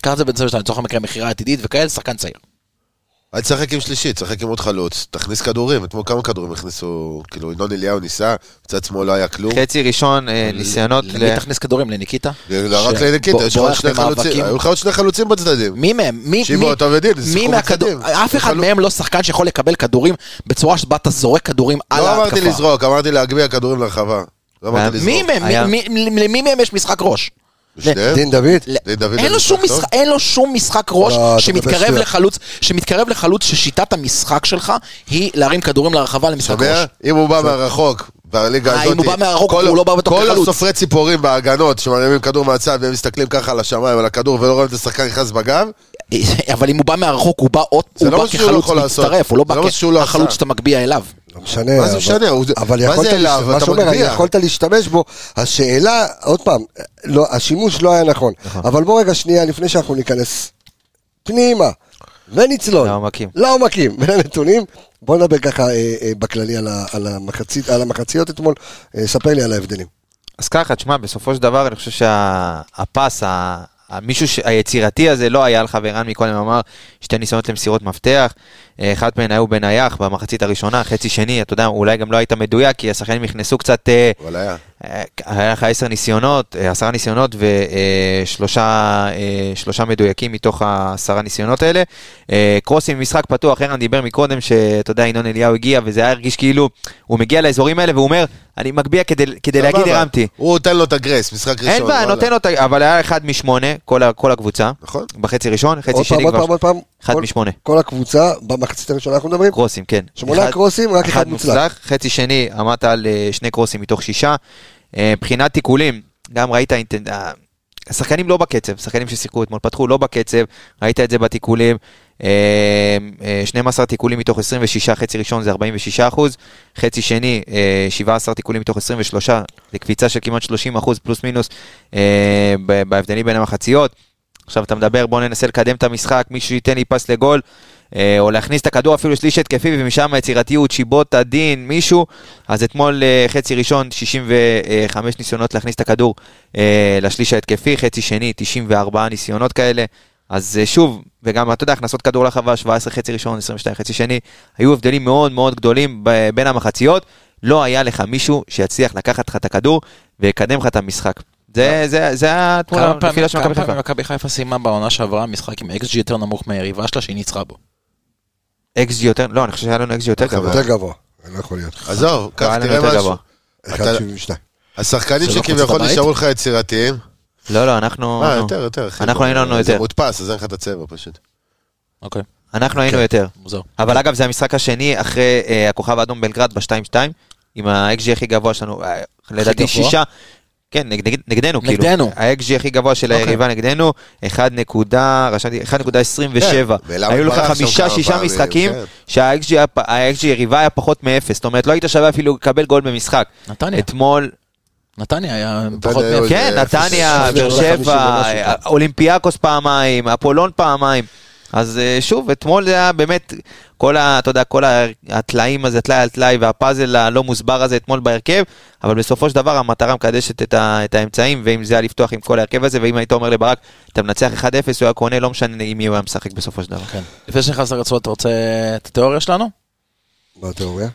[SPEAKER 5] קרצה בן 22, לצורך המקרה מכירה עתידית וכאלה, שחקן צעיר.
[SPEAKER 4] אל תשחק עם שלישי, תשחק עם עוד חלוץ, תכניס כדורים, אתמול כמה כדורים הכניסו, כאילו ינון אליהו ניסה, מצד שמאל לא היה כלום.
[SPEAKER 6] חצי ראשון, אה, ניסיונות
[SPEAKER 5] למי
[SPEAKER 6] ל...
[SPEAKER 5] תכניס כדורים? לניקיטה?
[SPEAKER 4] לא רק
[SPEAKER 5] ש-
[SPEAKER 4] לניקיטה, יש לך עוד
[SPEAKER 5] בורח
[SPEAKER 4] שני
[SPEAKER 5] ממאבקים.
[SPEAKER 4] חלוצים, היו לך עוד שני חלוצים בצדדים.
[SPEAKER 5] מי מהם? מי-
[SPEAKER 4] שיבו,
[SPEAKER 5] מי-
[SPEAKER 4] אתה ודין, זה
[SPEAKER 5] מי
[SPEAKER 4] שיחקו
[SPEAKER 5] מהכדור...
[SPEAKER 4] בצדדים.
[SPEAKER 5] אף אחד
[SPEAKER 4] חלו-
[SPEAKER 5] מהם לא שחקן שיכול לקבל כדורים בצורה שבה אתה זורק כדורים על
[SPEAKER 4] לא
[SPEAKER 5] ההתקפה.
[SPEAKER 4] אמרתי לזרוק, אמרתי להגביה כדורים לרחבה. לא אמרת לזרוק.
[SPEAKER 5] מי מהם?
[SPEAKER 6] היה-
[SPEAKER 5] מי- מי- למי מהם יש משחק ראש?
[SPEAKER 4] שניהם?
[SPEAKER 1] דין דוד?
[SPEAKER 5] ל-
[SPEAKER 4] דין דוד
[SPEAKER 5] אין לו
[SPEAKER 4] במשחק
[SPEAKER 5] שום
[SPEAKER 4] טוב?
[SPEAKER 5] משחק- אין לו שום משחק ראש
[SPEAKER 1] לא, אתה מדבר
[SPEAKER 5] שמתקרב
[SPEAKER 1] שטויות.
[SPEAKER 5] לחלוץ, שמתקרב לחלוץ ששיטת המשחק שלך היא להרים כדורים לרחבה למשחק
[SPEAKER 4] שומע?
[SPEAKER 5] ראש.
[SPEAKER 4] אם הוא בא מהרחוק, בליגה
[SPEAKER 5] אה,
[SPEAKER 4] הזאת,
[SPEAKER 5] אם הוא בא מהרחוק,
[SPEAKER 4] כל-
[SPEAKER 5] הוא לא בא בתור
[SPEAKER 4] כל
[SPEAKER 5] חלוץ.
[SPEAKER 4] הסופרי ציפורים בהגנות, שמרימים כדור מהצד והם מסתכלים ככה על השמיים, על הכדור, ולא רואים את השחקן נכנס בגב,
[SPEAKER 5] אה, אבל אם הוא בא מהרחוק, הוא בא עוד,
[SPEAKER 4] זה
[SPEAKER 5] הוא
[SPEAKER 4] לא
[SPEAKER 5] בא
[SPEAKER 4] מה שהוא לא
[SPEAKER 5] כחלוץ
[SPEAKER 4] יכול לעשות.
[SPEAKER 5] מצטרף, הוא לא
[SPEAKER 4] זה לא
[SPEAKER 5] בא
[SPEAKER 4] מה שהוא לא
[SPEAKER 5] כחלוץ
[SPEAKER 4] עשה.
[SPEAKER 5] שאתה מגביה אליו.
[SPEAKER 1] לא משנה.
[SPEAKER 4] מה זה
[SPEAKER 1] אבל-
[SPEAKER 4] משנה? הוא-
[SPEAKER 1] אבל
[SPEAKER 4] מה
[SPEAKER 1] יכולת,
[SPEAKER 4] זה אליו?
[SPEAKER 1] להשת- מה
[SPEAKER 4] אתה
[SPEAKER 1] שאומר,
[SPEAKER 4] מגביה.
[SPEAKER 1] יכולת להשתמש בו. השאלה, עוד פעם, לא, השימוש לא היה נכון. אבל בוא רגע שנייה, לפני שאנחנו ניכנס פנימה ונצלול.
[SPEAKER 6] לעומקים.
[SPEAKER 1] לעומקים ולנתונים. בוא נדבר ככה אה, אה, בכללי על, ה, על, המחצית, על המחציות אתמול. אה, ספר לי על ההבדלים.
[SPEAKER 6] אז ככה, תשמע, בסופו של דבר אני חושב שהפס, ה... מישהו ש... היצירתי הזה לא היה לך, וערן מקודם אמר, שתי ניסיונות למסירות מפתח, אה, אחת מהן היו בנייח במחצית הראשונה, חצי שני, אתה יודע, אולי גם לא היית מדויק, כי השחקנים נכנסו קצת, אה,
[SPEAKER 4] אבל היה.
[SPEAKER 6] אה, היה לך עשר ניסיונות, אה, עשרה ניסיונות ושלושה אה, שלושה מדויקים מתוך העשרה ניסיונות האלה. אה, קרוסים במשחק פתוח, ערן דיבר מקודם שאתה יודע, ינון אליהו הגיע, וזה היה הרגיש כאילו, הוא מגיע לאזורים האלה והוא אומר, אני מגביה כדי- כדי
[SPEAKER 4] סבבה.
[SPEAKER 6] להגיד הרמתי.
[SPEAKER 4] הוא נותן לו את הגרייס, משחק ראשון.
[SPEAKER 6] אין בעיה,
[SPEAKER 4] וואלה.
[SPEAKER 6] נותן לו, את ה- אבל היה אחד משמונה, כל ה- כל הקבוצה,
[SPEAKER 4] נכון.
[SPEAKER 6] בחצי ראשון, חצי
[SPEAKER 1] עוד פעם,
[SPEAKER 6] שני
[SPEAKER 1] עוד
[SPEAKER 6] כבר,
[SPEAKER 1] פעם, עוד פעם.
[SPEAKER 6] אחד
[SPEAKER 1] כל-
[SPEAKER 6] משמונה.
[SPEAKER 1] כל הקבוצה, במחצית הראשונה אנחנו מדברים.
[SPEAKER 6] קרוסים, כן.
[SPEAKER 1] שמונה
[SPEAKER 6] אחד-
[SPEAKER 1] קרוסים, רק אחד מוצלח.
[SPEAKER 6] חצי שני, עמדת על אה, שני קרוסים מתוך שישה. אה, מבחינת תיקולים, גם ראית אינטנד... אה, השחקנים לא בקצב, שחקנים ששיחקו אתמול פתחו לא בקצב, ראית את זה בתיקולים. אה, אה, 12 תיקולים מתוך 26, חצי ראשון זה 46 אחוז, חצי שני אה, 17 תיקולים מתוך 23, זה קפיצה של כמעט 30 אחוז פלוס מינוס אה, ב- בהבדלים בין המחציות. עכשיו אתה מדבר, בוא ננסה לקדם את המשחק, מישהו ייתן לי פס לגול, אה, או להכניס את הכדור אפילו שליש התקפי, ומשם היצירתיות, שיבוטה, דין, מישהו. אז אתמול אה, חצי ראשון, 65 ניסיונות להכניס את הכדור אה, לשליש ההתקפי, חצי שני, 94 ניסיונות כאלה. אז אה, שוב, וגם, אתה יודע, הכנסות כדור לחווה, 17 חצי ראשון, 22 חצי שני, היו הבדלים מאוד מאוד גדולים ב- בין המחציות. לא היה לך מישהו שיצליח לקחת לך את הכדור ויקדם לך את המשחק. זה, זה, זה התמונה,
[SPEAKER 5] כמה פעמים-
[SPEAKER 6] הנפילה של
[SPEAKER 5] כמה
[SPEAKER 6] מכבי חיפה.
[SPEAKER 5] פעמים מכבי חיפה סיימה בעונה שעברה משחק עם אקס יותר נמוך מהיריבה שלה שהיא ניצחה בו?
[SPEAKER 6] XG יותר, לא, אני חושב שהיה לנו XG יותר גבוה.
[SPEAKER 1] יותר גבוה. לא יכול להיות.
[SPEAKER 4] עזוב,
[SPEAKER 6] לא,
[SPEAKER 4] אוקיי, כך
[SPEAKER 6] היה לנו
[SPEAKER 4] תראה
[SPEAKER 6] יותר
[SPEAKER 4] משהו.
[SPEAKER 6] גבוה.
[SPEAKER 4] אתה-
[SPEAKER 1] 1.72.
[SPEAKER 4] השחקנים
[SPEAKER 5] זה לא חוץ
[SPEAKER 4] שכביכול
[SPEAKER 5] לבית?
[SPEAKER 4] נשארו לך יצירתיים.
[SPEAKER 6] לא, לא, אנחנו...
[SPEAKER 4] אה, יותר, יותר, אחי.
[SPEAKER 6] אנחנו היינו לנו
[SPEAKER 4] זה
[SPEAKER 6] יותר.
[SPEAKER 4] מודפס, אז אין לך את הצבע פשוט.
[SPEAKER 5] אוקיי,
[SPEAKER 6] אנחנו
[SPEAKER 4] כן.
[SPEAKER 6] היינו יותר.
[SPEAKER 5] מוזר.
[SPEAKER 6] אבל אגב, זה המשחק השני אחרי אה, הכוכב האדום בלגרד ב-2-2, עם ה-XG הכי גבוה שלנו, אה, לדעתי
[SPEAKER 5] גבוה?
[SPEAKER 6] שישה. כן, נגד- נגד- נגדנו, כאילו.
[SPEAKER 5] נגדנו.
[SPEAKER 6] ה-XG הכי גבוה של
[SPEAKER 5] אוקיי.
[SPEAKER 6] היריבה נגדנו, 1 נקודה, רשמתי, 1.27.
[SPEAKER 4] כן, ולמה
[SPEAKER 6] היו לך
[SPEAKER 4] התברכנו כמה
[SPEAKER 6] חמישה, שישה
[SPEAKER 4] פעמים,
[SPEAKER 6] משחקים,
[SPEAKER 4] כן.
[SPEAKER 6] שה-XG היה פ- ה-XG יריבה היה פחות מאפס. זאת אומרת, לא היית שווה אפילו לקבל גול במשחק.
[SPEAKER 5] נתניה,
[SPEAKER 6] אתמול,
[SPEAKER 5] נתניה היה פחות
[SPEAKER 4] היו
[SPEAKER 5] מ...
[SPEAKER 4] איזה-
[SPEAKER 6] כן, נתניה,
[SPEAKER 1] אפס,
[SPEAKER 6] באר
[SPEAKER 1] אפס, אה, חמישים
[SPEAKER 6] שבע,
[SPEAKER 1] ומשהו.
[SPEAKER 6] אה, אולימפיאקוס פעמיים, אפולון פעמיים. אז אה, שוב, אתמול זה היה באמת, כל ה... אתה יודע, כל ה- הטלאים הזה, טלאי על טלאי, והפאזל הלא מוסבר הזה אתמול בהרכב, אבל בסופו של דבר המטרה מקדשת את, ה... את האמצעים, ואם זה היה לפתוח עם כל ההרכב הזה, ואם היית אומר לברק, אתה מנצח 1-0, הוא היה קונה, לא משנה עם מי הוא היה משחק בסופו של דבר.
[SPEAKER 5] כן. לפני שנכנס לרצועות, אתה רוצה את התיאוריה שלנו?
[SPEAKER 1] מה התיאוריה?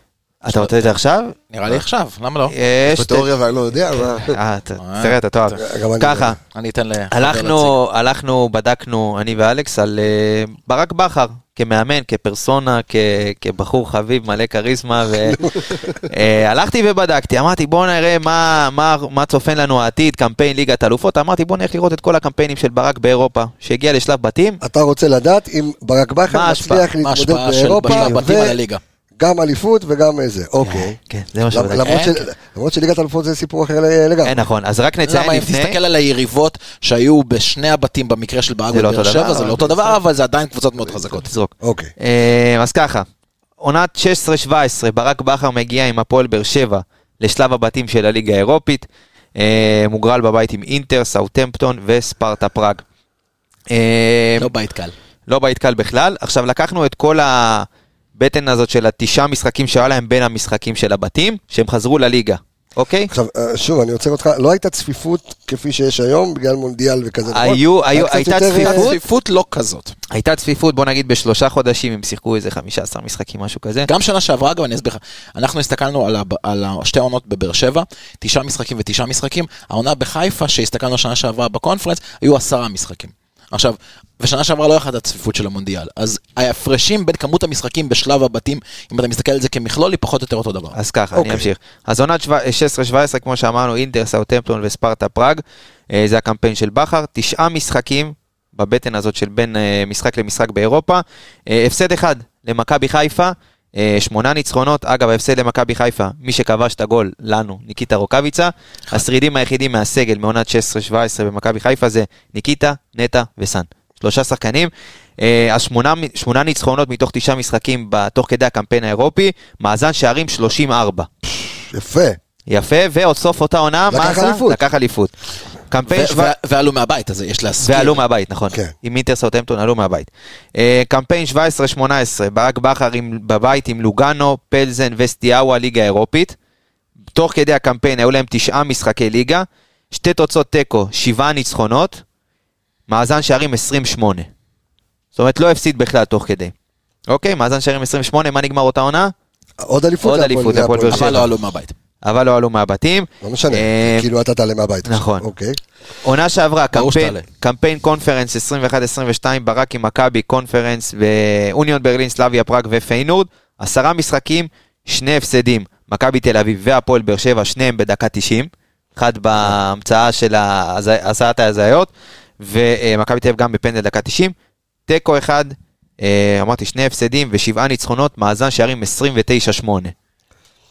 [SPEAKER 6] אתה רוצה את זה עכשיו?
[SPEAKER 5] נראה לי עכשיו, למה לא?
[SPEAKER 1] אה,
[SPEAKER 6] יש...
[SPEAKER 4] בתיאוריה ואני לא יודע, מה?
[SPEAKER 6] אה, ת- תראה, אתה תאהב.
[SPEAKER 1] גם אני לא.
[SPEAKER 6] ככה.
[SPEAKER 5] אני אתן ל...
[SPEAKER 6] הלכנו, הלכנו, בדקנו, אני ואלכס, על אה, ברק בכר, כמאמן, כפרסונה, כ, כבחור חביב, מלא כריזמה, והלכתי ובדקתי, אמרתי בואו נראה מה, מה, מה צופן לנו העתיד, קמפיין ליגת אלופות, אמרתי בואו נלך לראות את כל הקמפיינים של ברק באירופה, שהגיע לשלב בתים,
[SPEAKER 1] אתה רוצה לדעת אם ברק
[SPEAKER 6] מה
[SPEAKER 1] בכר
[SPEAKER 6] ההשפעה-
[SPEAKER 1] מצליח
[SPEAKER 5] מה
[SPEAKER 1] להתמודד
[SPEAKER 5] ההשפעה של
[SPEAKER 1] באירופה,
[SPEAKER 5] בשלב בתים על הליגה?
[SPEAKER 1] וגם אליפות וגם זה. אוקיי.
[SPEAKER 6] כן, זה מה
[SPEAKER 1] למ-
[SPEAKER 6] שבדקתי.
[SPEAKER 1] למרות
[SPEAKER 5] כן,
[SPEAKER 1] של- למרות שליגת אלופות זה סיפור אחר ל- לגמרי.
[SPEAKER 6] אה, נכון, אז רק נציין
[SPEAKER 5] למה אם
[SPEAKER 6] לפני,
[SPEAKER 5] תסתכל על היריבות שהיו בשני הבתים במקרה של ברק
[SPEAKER 6] זה לא אותו
[SPEAKER 5] ובאר שבע,
[SPEAKER 6] דבר,
[SPEAKER 5] זה
[SPEAKER 6] אבל
[SPEAKER 5] לא אותו דבר, אבל זה עדיין קבוצות מאוד חזקות.
[SPEAKER 6] תזרוק.
[SPEAKER 1] אוקיי.
[SPEAKER 6] אה, אז ככה, עונת 16-17, ברק בכר מגיע עם הפועל באר שבע לשלב הבתים של הליגה האירופית, אה, מוגרל בבית עם אינטר, סאוטמפטון וספרטה פראג. אה,
[SPEAKER 5] לא בית קל.
[SPEAKER 6] לא בית קל בכלל. עכשיו לקחנו את כל הבטן הזאת של התשעה משחקים שהיה להם בין המשחקים של הבתים, שהם חזרו לליגה, אוקיי?
[SPEAKER 1] עכשיו, אה, שוב, אני עוצר אותך, לא הייתה צפיפות כפי שיש היום, בגלל מונדיאל וכזה. נכון?
[SPEAKER 6] היו- היו-
[SPEAKER 1] היה קצת
[SPEAKER 6] הייתה
[SPEAKER 1] יותר, אה,
[SPEAKER 6] צפיפות.
[SPEAKER 5] הצפיפות לא כזאת.
[SPEAKER 6] הייתה צפיפות, בוא נגיד בשלושה חודשים, הם שיחקו איזה 15 משחקים, משהו כזה.
[SPEAKER 5] גם שנה שעברה, אגב, אני אסביר לך. אנחנו הסתכלנו על, הב- על ה- שתי העונות בבאר שבע, תשעה משחקים ותשעה משחקים. העונה בחיפה, שהסתכלנו שנה שעברה בקונפרנס, היו עשרה משחקים. עכשיו, ושנה שעברה לא יחד הצפיפות של המונדיאל. אז ההפרשים בין כמות המשחקים בשלב הבתים, אם אתה מסתכל על זה כמכלול, היא פחות או יותר אותו דבר.
[SPEAKER 6] אז ככה,
[SPEAKER 1] אוקיי.
[SPEAKER 6] אני אמשיך. אז עונת שבע- 16-17, כמו שאמרנו, אינטר, סאוטמפטון וספרטה פראג, אה, זה הקמפיין של בכר, תשעה משחקים בבטן הזאת של בין אה, משחק למשחק באירופה, אה, הפסד אחד למכבי חיפה. אה, שמונה ניצחונות, אגב ההפסד למכבי חיפה, מי שכבש את הגול לנו, ניקיטה רוקאביצה, השרידים היחידים מהסגל מעונת 16-17 במכבי חיפה זה ניקיטה, נטע וסאן. שלושה שחקנים. אה, אז שמונה, מ- שמונה ניצחונות מתוך תשעה משחקים ב- תוך כדי הקמפיין האירופי, מאזן שערים 34.
[SPEAKER 1] יפה.
[SPEAKER 6] יפה, ועוד סוף אותה עונה,
[SPEAKER 1] לקח
[SPEAKER 6] מה עשה?
[SPEAKER 1] אליפות.
[SPEAKER 6] לקח אליפות. קמפיין
[SPEAKER 5] ו-
[SPEAKER 6] שבע...
[SPEAKER 5] ו- ועלו מהבית, אז יש להסכים.
[SPEAKER 6] ועלו מהבית, נכון.
[SPEAKER 1] כן.
[SPEAKER 6] עם אינטר סאוטהמפטון עלו מהבית. אה, קמפיין 17-18, ברק בכר עם- בבית עם לוגאנו, פלזן וסטיאאווה, ליגה אירופית. תוך כדי הקמפיין היו להם תשעה משחקי ליגה, שתי תוצאות תיקו, שבעה ניצחונות, מאזן שערים 28. זאת אומרת, לא הפסיד בכלל תוך כדי. אוקיי, מאזן שערים 28, מה נגמר אותה עונה?
[SPEAKER 1] עוד אליפות.
[SPEAKER 6] עוד
[SPEAKER 1] להפועל-
[SPEAKER 6] אליפות להפועל באר שבע.
[SPEAKER 5] אבל לא עלו מהבית.
[SPEAKER 6] אבל לא עלו מהבתים.
[SPEAKER 1] לא משנה,
[SPEAKER 6] אה,
[SPEAKER 1] כאילו אתה תעלה מהבית. עכשיו.
[SPEAKER 6] נכון.
[SPEAKER 1] אוקיי.
[SPEAKER 6] עונה שעברה,
[SPEAKER 5] ברור
[SPEAKER 6] קמפיין,
[SPEAKER 5] שתעלה.
[SPEAKER 6] קמפיין קונפרנס 21-22, ברק עם מכבי, קונפרנס ואוניון ברלין, סלאביה פראג ופיינורד, עשרה משחקים, שני הפסדים, מכבי תל אביב והפועל באר שבע, שניהם בדקה 90, אחד בהמצאה של ההז- הסעת ההזיות, ומכבי תל אביב גם בפנדל דקה 90, תיקו אחד, אה, אמרתי שני הפסדים ושבעה ניצחונות, מאזן שערים 29-8.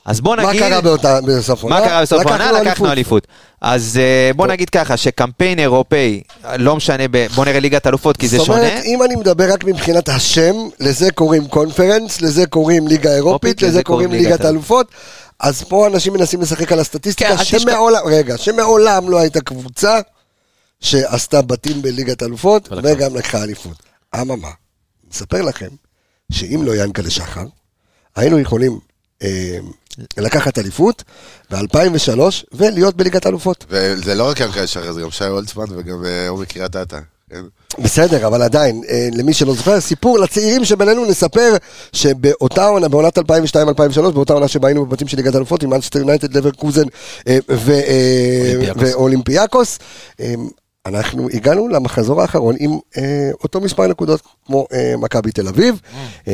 [SPEAKER 6] אז בוא
[SPEAKER 1] מה
[SPEAKER 6] נגיד...
[SPEAKER 1] קרה באותה- בסוף
[SPEAKER 5] לא
[SPEAKER 6] מה קרה בסוף העונה? לקחנו אליפות. אז אה, בוא נגיד ככה, שקמפיין אירופאי, לא משנה, ב- בוא נראה ליגת אלופות, כי זה
[SPEAKER 1] זאת
[SPEAKER 6] שונה.
[SPEAKER 1] אומרת, אם אני מדבר רק מבחינת השם, לזה קוראים קונפרנס, לזה קוראים ליגה אירופית, לזה קוראים ליגת אלופות, אז פה אנשים מנסים לשחק על
[SPEAKER 5] כן,
[SPEAKER 1] הסטטיסטיקה,
[SPEAKER 5] אל תשכח-
[SPEAKER 1] שמעולם, רגע, שמעולם לא הייתה קבוצה שעשתה בתים בליגת אלופות,
[SPEAKER 5] ולקחה.
[SPEAKER 1] וגם לקחה אליפות. אממה, נספר לכם, שאם לא ינקלה שחר, היינו יכולים אה, לקחת אליפות ב-2003 ולהיות בליגת אלופות.
[SPEAKER 4] וזה לא רק ינקל שחר, זה גם שי הולצמן וגם אה, הוא מקריית אתא. כן?
[SPEAKER 1] בסדר, אבל עדיין, אה, למי שלא זוכר, סיפור לצעירים שבינינו נספר שבאותה עונה, בעונת 2002-2003, באותה עונה שבה היינו בבתים של ליגת אלופות עם אנסטר יונייטד, לברקוזן אה, ו- אה,
[SPEAKER 5] אולימפיאקוס.
[SPEAKER 1] ואולימפיאקוס, אה, אנחנו הגענו למחזור האחרון עם אה, אותו מספר נקודות כמו אה, מכבי תל אביב,
[SPEAKER 4] Mm.
[SPEAKER 1] אה,